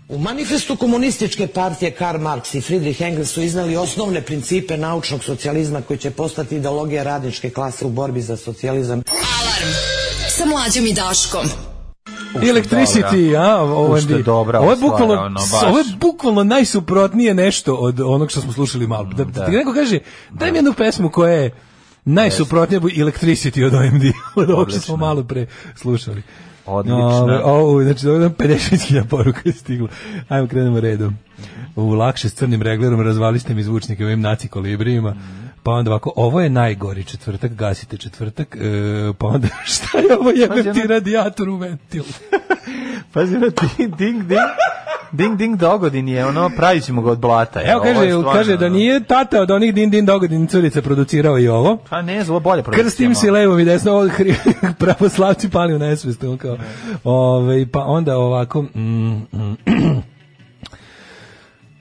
U manifestu komunističke partije Karl Marx i Friedrich Engels su iznali osnovne principe naučnog socijalizma koji će postati ideologija radničke klase u borbi za socijalizam. Alarm sa mlađom i Daškom. Electricity, a, ovo Ušte je dobra Ovo je stvar, bukvalno, ono, baš. ovo je bukvalno najsuprotnije nešto od onog što smo slušali malo. Mm, Da, da ti neko kaže, daj mi jednu pesmu koja je najsuprotnija bu- Electricity od OMD, od ovog što smo malo pre slušali. Odlična. O, o, znači, dobro, 55.000 poruka je stiglo. Ajmo, krenemo redom. U lakše s crnim reglerom razvali ste mi zvučnike ovim naci kolibrijima. Mm. Pa onda ovako, ovo je najgori četvrtak, gasite četvrtak, e, pa onda šta je ovo Pazi, jebem ti ono- radijator u ventil? Pazi, ono, ding, ding, ding. Ding, ding, dogodin je, ono, pravit ćemo ga od blata. Evo, Ovo je kaže, stvarno, kaže da ono. nije tata od onih din din dogodin curica producirao i ovo. Pa ne, zlo bolje ono. produkcija, Krstim malo. se levom i desno, ovo hri- pravoslavci pali u nesvest. on Kao. Ove, pa onda ovako... Mm, mm,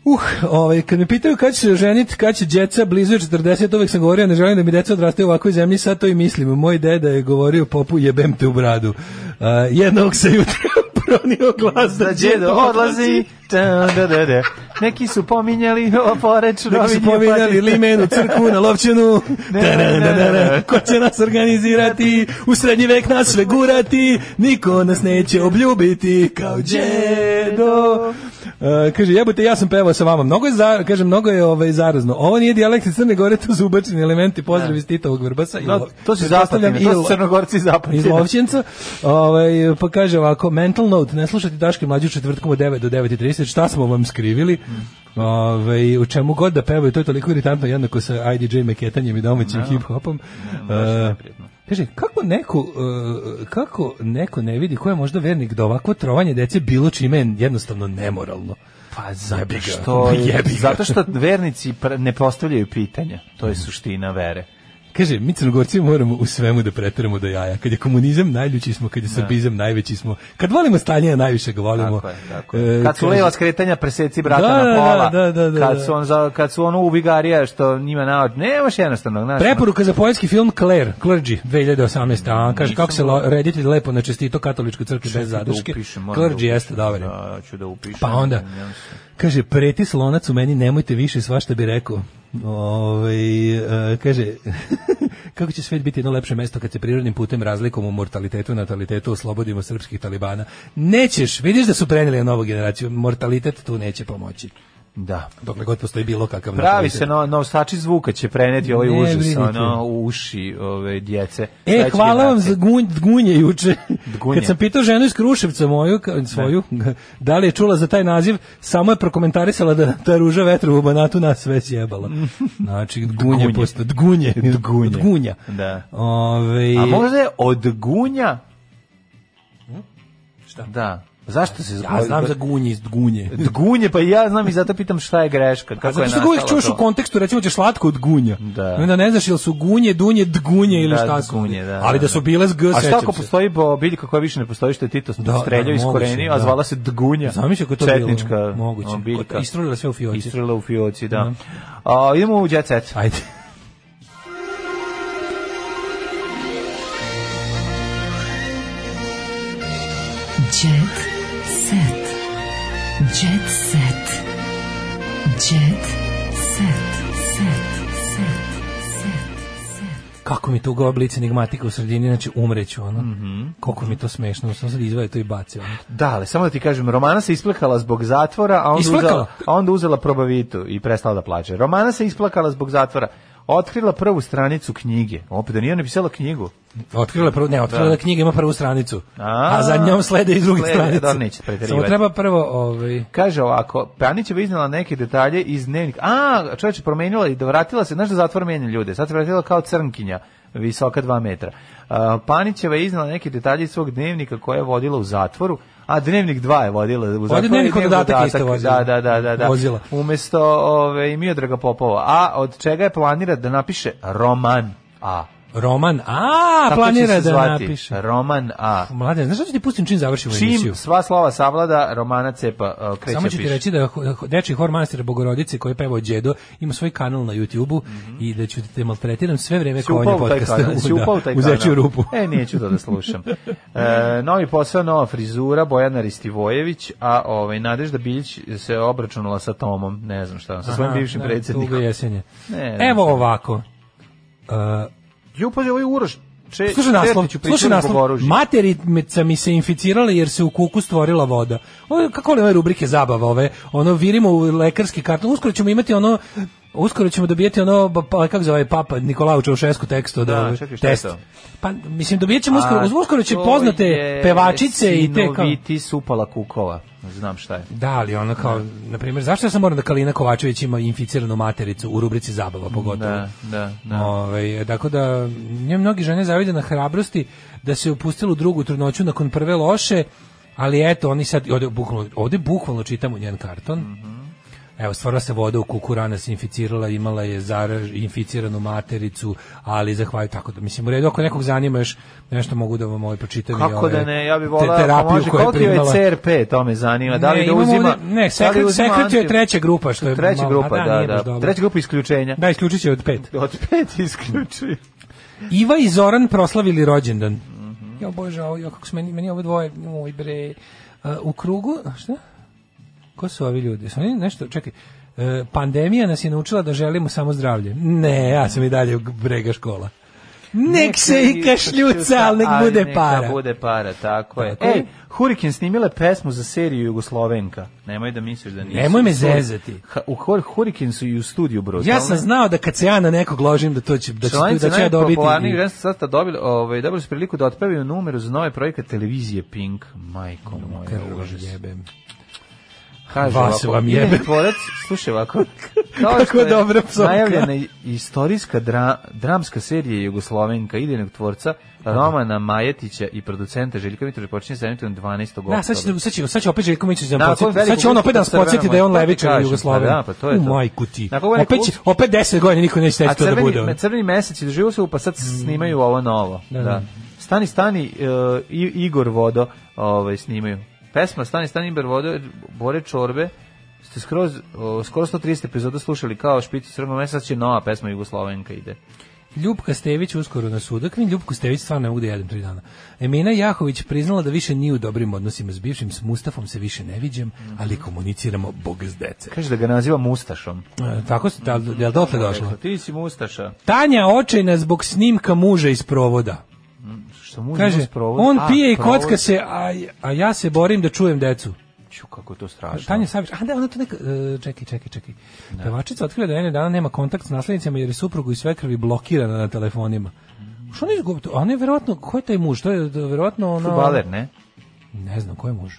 Uh, ovaj, kad me pitaju kad će se ženiti, kad će djeca blizu je 40, uvek sam govorio, ne želim da mi djeca odrastaju u ovakvoj zemlji, sad to i mislim. Moj deda je govorio popu jebem te u bradu. Uh, jednog se jutro pronio glas da, Da djedo odlazi. Da, da, da, da. Neki su pominjali o pa poreč. Neki su pominjali limenu, crkvu, na lovčinu. Ta-da-da-da-da. Ko će nas organizirati? U srednji vek nas sve gurati. Niko nas neće obljubiti kao džedo. E, kaže, jebote, ja sam pevao sa vama. Mnogo je, za, kaže, mnogo je ovaj, zarazno. Ovo nije dijalekt iz Crne Gore, to su ubačeni elementi. Pozdrav iz Titovog Vrbasa. i Da, lo- to su pretpostavljam zapatine, to i su lo- Crnogorci zapatine. Iz Lovćenca. Ovaj, pa kaže ovako, mental note, ne slušati Daške mlađu četvrtkom od 9 do 9.30, šta smo vam skrivili? Ove, u čemu god da pevaju, to je toliko iritantno jednako sa IDJ maketanjem i domaćim hip-hopom. E, Kaže, kako neko, e, kako neko ne vidi ko je možda vernik da ovako trovanje dece bilo čime je jednostavno nemoralno? Pa Jebi zato ga. što, Jebi ga. zato što vernici pr- ne postavljaju pitanja. To je suština vere. Kaže, mi crnogorci moramo u svemu da preteramo do jaja. Kad je komunizam, najljući smo. Kad je srbizam, najveći smo. Kad volimo Staljina, najviše ga volimo. E, Tako je, tako je. Kad su kaže- leva skretanja preseci brata Da, na da, pola. da, da, da, kad da. su on za, kad su ono ubigarija što njima naod. Nemaš jednostavno, znaš. ono, Preporuka za poljski film Claire, Clergy, 2018. A, kaže kako se lo- reditelj lepo načestito katoličkoj crkvi bez da zadrške. upišem, moram da Clergy upišem. jeste, dobar je. Da, ću da upišem. Pa onda, kaže, pretis lonac u meni, nemojte više, svašta bi rekao. Ovaj, e, kaže, kako će svet biti jedno lepše mesto kad se prirodnim putem razlikom u mortalitetu i natalitetu oslobodimo srpskih talibana? Nećeš, vidiš da su preneli na novu generaciju, mortalitet tu neće pomoći. Da. Dokle god postoji bilo kakav Pravi natalitet. se no, nosači zvuka će preneti ovaj Ne užas brinite. ono, u uši ove djece. E, Sledeće hvala vam generacije. za gunj, dgunje juče. Dgunje. Kad sam pitao ženu iz Kruševca moju, ka- svoju, da li je čula za taj naziv, samo je prokomentarisala da ta ruža vetra u banatu nas sve sjebala. Znači, dgunje, Dgunje. posto, dgunje, Dgunje. dgunja. Da. Ove, A možda je od gunja? Hm? Šta? Da. Zašto se Ja znam za gunje, iz dgunje. Dgunje, pa i ja znam i zato pitam šta je greška. Kako Zato je što ga uvijek nastalo čuješ to? u kontekstu, recimo ćeš slatko od gunja. Da. I Onda ne znaš ili su gunje, dunje, dgunje ili Da, šta su. dgunje, da, Ali da, da su bile s g, A sećam se. šta ako postoji bo- biljka koja više ne postoji što je Tito Da, da, streljao da, iz moguće, korenija, a da. zvala se Dgunja. Zamisli kako je to bilo. Četnička Moguće. o, biljka. Istrulila sve u fioci. Mhm. Istrulila u fioci, da. A, idemo u Jet Set. Ajde. Jet set. Jet set. Jet set. Set. Set. kako mi to govori blic enigmatika u sredini, znači umreću, ono. Mhm. Koliko mi je to smešno, sam sad izvadio to i bacio. Ono. Da, ali samo da ti kažem, Romana se isplakala zbog zatvora, a onda, Isplakala? uzela, a onda uzela probavitu i prestala da plače. Romana se isplakala zbog zatvora, otkrila prvu stranicu knjige. Opet da nije napisala knjigu. Otkrila je prvo, ne, otkrila je da. knjiga ima prvu stranicu, a, A, za njom slede i druge slede, stranice. da, nećete preterivati. Samo treba prvo, ovaj, Kaže ovako, Pjanićeva iznala neke detalje iz dnevnika. A, čovječe, promenila i vratila se, znaš da zatvor menja ljude, sad se vratila kao crnkinja, visoka dva metra. A, Panićeva je iznala neke detalje iz svog dnevnika koje je vodila u zatvoru, a dnevnik 2 je vodila u zatvoru. dnevnik i dodatak isto vozila. Da, da, da, da. da. Vozila. Umesto ove, Miodraga Popova. A od čega je planira da napiše roman A. roman, a, Tako će planira se da zvati, napiše. Roman A. Mladen, znaš što ću ti pustim čim završimo emisiju? Čim sva slava savlada, romana cepa a, e, kreće Samo ću ti piše. reći da ho- ho- dečiji hor manastira Bogorodice koji je pevao Đedo ima svoj kanal na YouTubeu i da ću te maltretiram sve vreme Si kao Mhm. upao ovdje u taj podcasta. kanal, si Da, upao u taj u kanal. zečju rupu. E, neću to da slušam. E, novi posao, nova frizura, Bojana Ristivojević, a ovaj, Nadežda Biljić se obračunala sa Tomom, ne znam šta, sa svojim Aha, bivšim da, predsjednikom. Dugo jesenje. Ne, ne Evo znam. ovako. Uh, Ju, pazi, ovaj Uroš, če, Slušaj naslov, Černiću pričao slušaj zbog naslov. oružja. Materica mi se inficirala jer se u kuku stvorila voda. Ovo, je- kako li ove rubrike zabava ove? Ono, virimo u lekarski karton. Uskoro ćemo imati ono uskoro ćemo dobijeti ono, ba- pa, kako zove, papa Nikolao Čaušesku tekst od Da, ove- čekaj, šta je test. to? Pa, mislim, dobijat ćemo A, uskoro, uskoro će to poznate je pevačice i te kao... Sinoviti supala kukova. Znam šta je. Da, ali ono kao, na primjer, zašto ja sam moram da Kalina Kovačević ima inficiranu matericu u rubrici zabava pogotovo? Da, da, da. Ovaj, tako da, nje mnogi žene zavide na hrabrosti da se upustilo u drugu trudnoću nakon prve loše, ali eto, oni sad, ovde bukvalno, ovde bukvalno čitamo njen karton. Mhm. Evo, stvarno se voda u kuku, rana se inficirala, imala je zaraž, inficiranu matericu, ali zahvaljujem tako da, mislim, u redu, ako nekog zanima još nešto mogu da vam ovaj pročitam. i Kako ove da ne, ja bih te- volao, pa terapiju može, koju je koliko joj je primala. CRP, to me zanima, da li Ne, da imamo uzima... ovde- ne, da li sekret- uzima sekret joj je anti- treća grupa, što je Treća E, malo- grupa, a da, da, nije baš da. dobro. Treća grupa isključenja. Da, isključit će od pet. Od pet isključi. Iva i Zoran proslavili rođendan. Jo bože, ovo, jo, kako su meni, meni ovo dvoje, oj bre. Uh, u krugu, a šta? Ko su ovi ljudi? Su oni nešto, čekaj, uh, pandemija nas je naučila da želimo samo zdravlje. Ne, ja sam i dalje u brega škola. Nek se i kašljuca, ali nek bude para. Neka bude para, tako je. Tako je. Ej, Hurikin snimile pesmu za seriju Jugoslovenka. Nemoj da misliš da nisu. Nemoj me zezati. Ha- U Hur- Hurikin su i u studiju, bro. Ja sam znao da kad se ja na nekog ložim da to će da će, da će ja Članice dobiti. najpopularnijih sada dobili, ovaj, dobili su priliku da otpevaju numeru za nove projekte televizije Pink. Majko moja, Krv vam užas. jebem. Kaže Vas ovako, vam idejni jebem. tvorac, slušaj ovako, kao Kako što je dobra psovka. najavljena i- istorijska dra, dramska serija Jugoslovenka idejnog tvorca Romana Majetića i producenta Željka Mitrovića počinje sa emitom 12. oktobra. Da, sad će, sad će, sad će opet Željko Mićić da Nakon nam podsjeti. velikog Sad će on opet da nas uspona podsjeti Crvenog da je on mosta, levičar kažem, i Jugosloven. pa da, pa to je U to. majku ti. Nakon velikog Opet, će, usp- opet 10 godina niko neće A teći to da crveni, bude. ono. Mm. me- crveni mesec je doživio se, pa sad snimaju ovo novo. Da, Da. da. Stani, stani, e, I- Igor Vodo ovaj, snimaju. Pesma Stani, stani, Igor Vodo, Bore Čorbe, ste skroz, o, skoro 130 epizoda slušali kao špicu crvenog meseca, sad će nova pesma Jugoslovenka ide. Ljubka Stević uskoro na sudakvin. Ljubku Stević stvarno ne mogu da jedem tri dana. Emina Jahović priznala da više nije u dobrim odnosima s bivšim, s Mustafom se više ne viđem, ali komuniciramo bog s dece. Kaže da ga naziva Mustašom. E, Tako se, da, je li dotle došlo? Rekla, Ti si Mustaša. Tanja očajna zbog snimka muža iz provoda. Što mu Kaže, iznos provodi? on A, pije i provodi. kocka se, a, a ja se borim da čujem decu. Ću, kako je to strašno. Tanja Savić, a da, ona to neka, e, čekaj, čekaj, čekaj. Pevačica otkriva da jedne dana nema kontakt s naslednicima jer je suprugu i svekrvi blokirana na telefonima. Što ne izgubi to? Ona je verovatno, ko je taj muž? To je verovatno ono... Fudbaler, ne? Ne znam, ko je muž?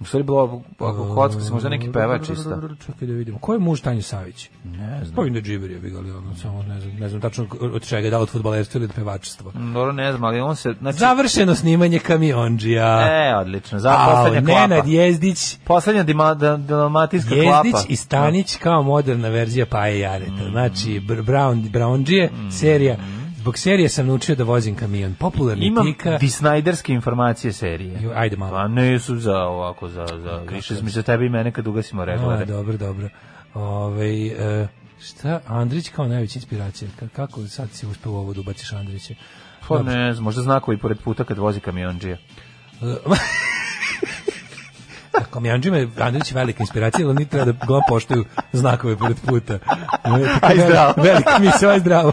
U stvari bilo, ako kocka se možda neki pevač isto. Čekaj da vidimo. Ko je muž Tanje Savić? Ne znam. Pa da džiber je bigali, ono, samo ne znam, ne znam tačno od čega, da li od futbalerstva ili od pevačstva. Dobro, ne znam, ali on se... Znači, Završeno snimanje kamionđija. E, odlično. Za Au, poslednja klapa. Nenad Jezdić, Poslednja dima- da- dalmatinska Jezdić klapa. Mm. i Stanić kao moderna verzija Paje Jareta. Znači, Br- Brown, Brownđije, serija. Zbog serije sam naučio da vozim kamion. Popularni Imam tika. Di Snajderske informacije serije. Ju, ajde malo. Pa ne su za ovako, za, za, više smo za tebe i mene kad ugasimo A, reglare. dobro, dobro. Ovaj e, šta, Andrić kao najveća inspiracija. Ka- Kako sad si uspeo ovo da ubaciš Andrića? Pa Dobro. ne znam, možda znakovi pored puta kad vozi kamionđija. E, Komjanđima je Andrić velika inspiracija, ali oni treba da go poštuju znakove pored puta. Aj, zdravo. Velika misla, aj zdravo.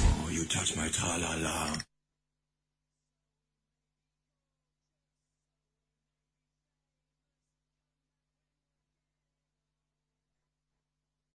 10.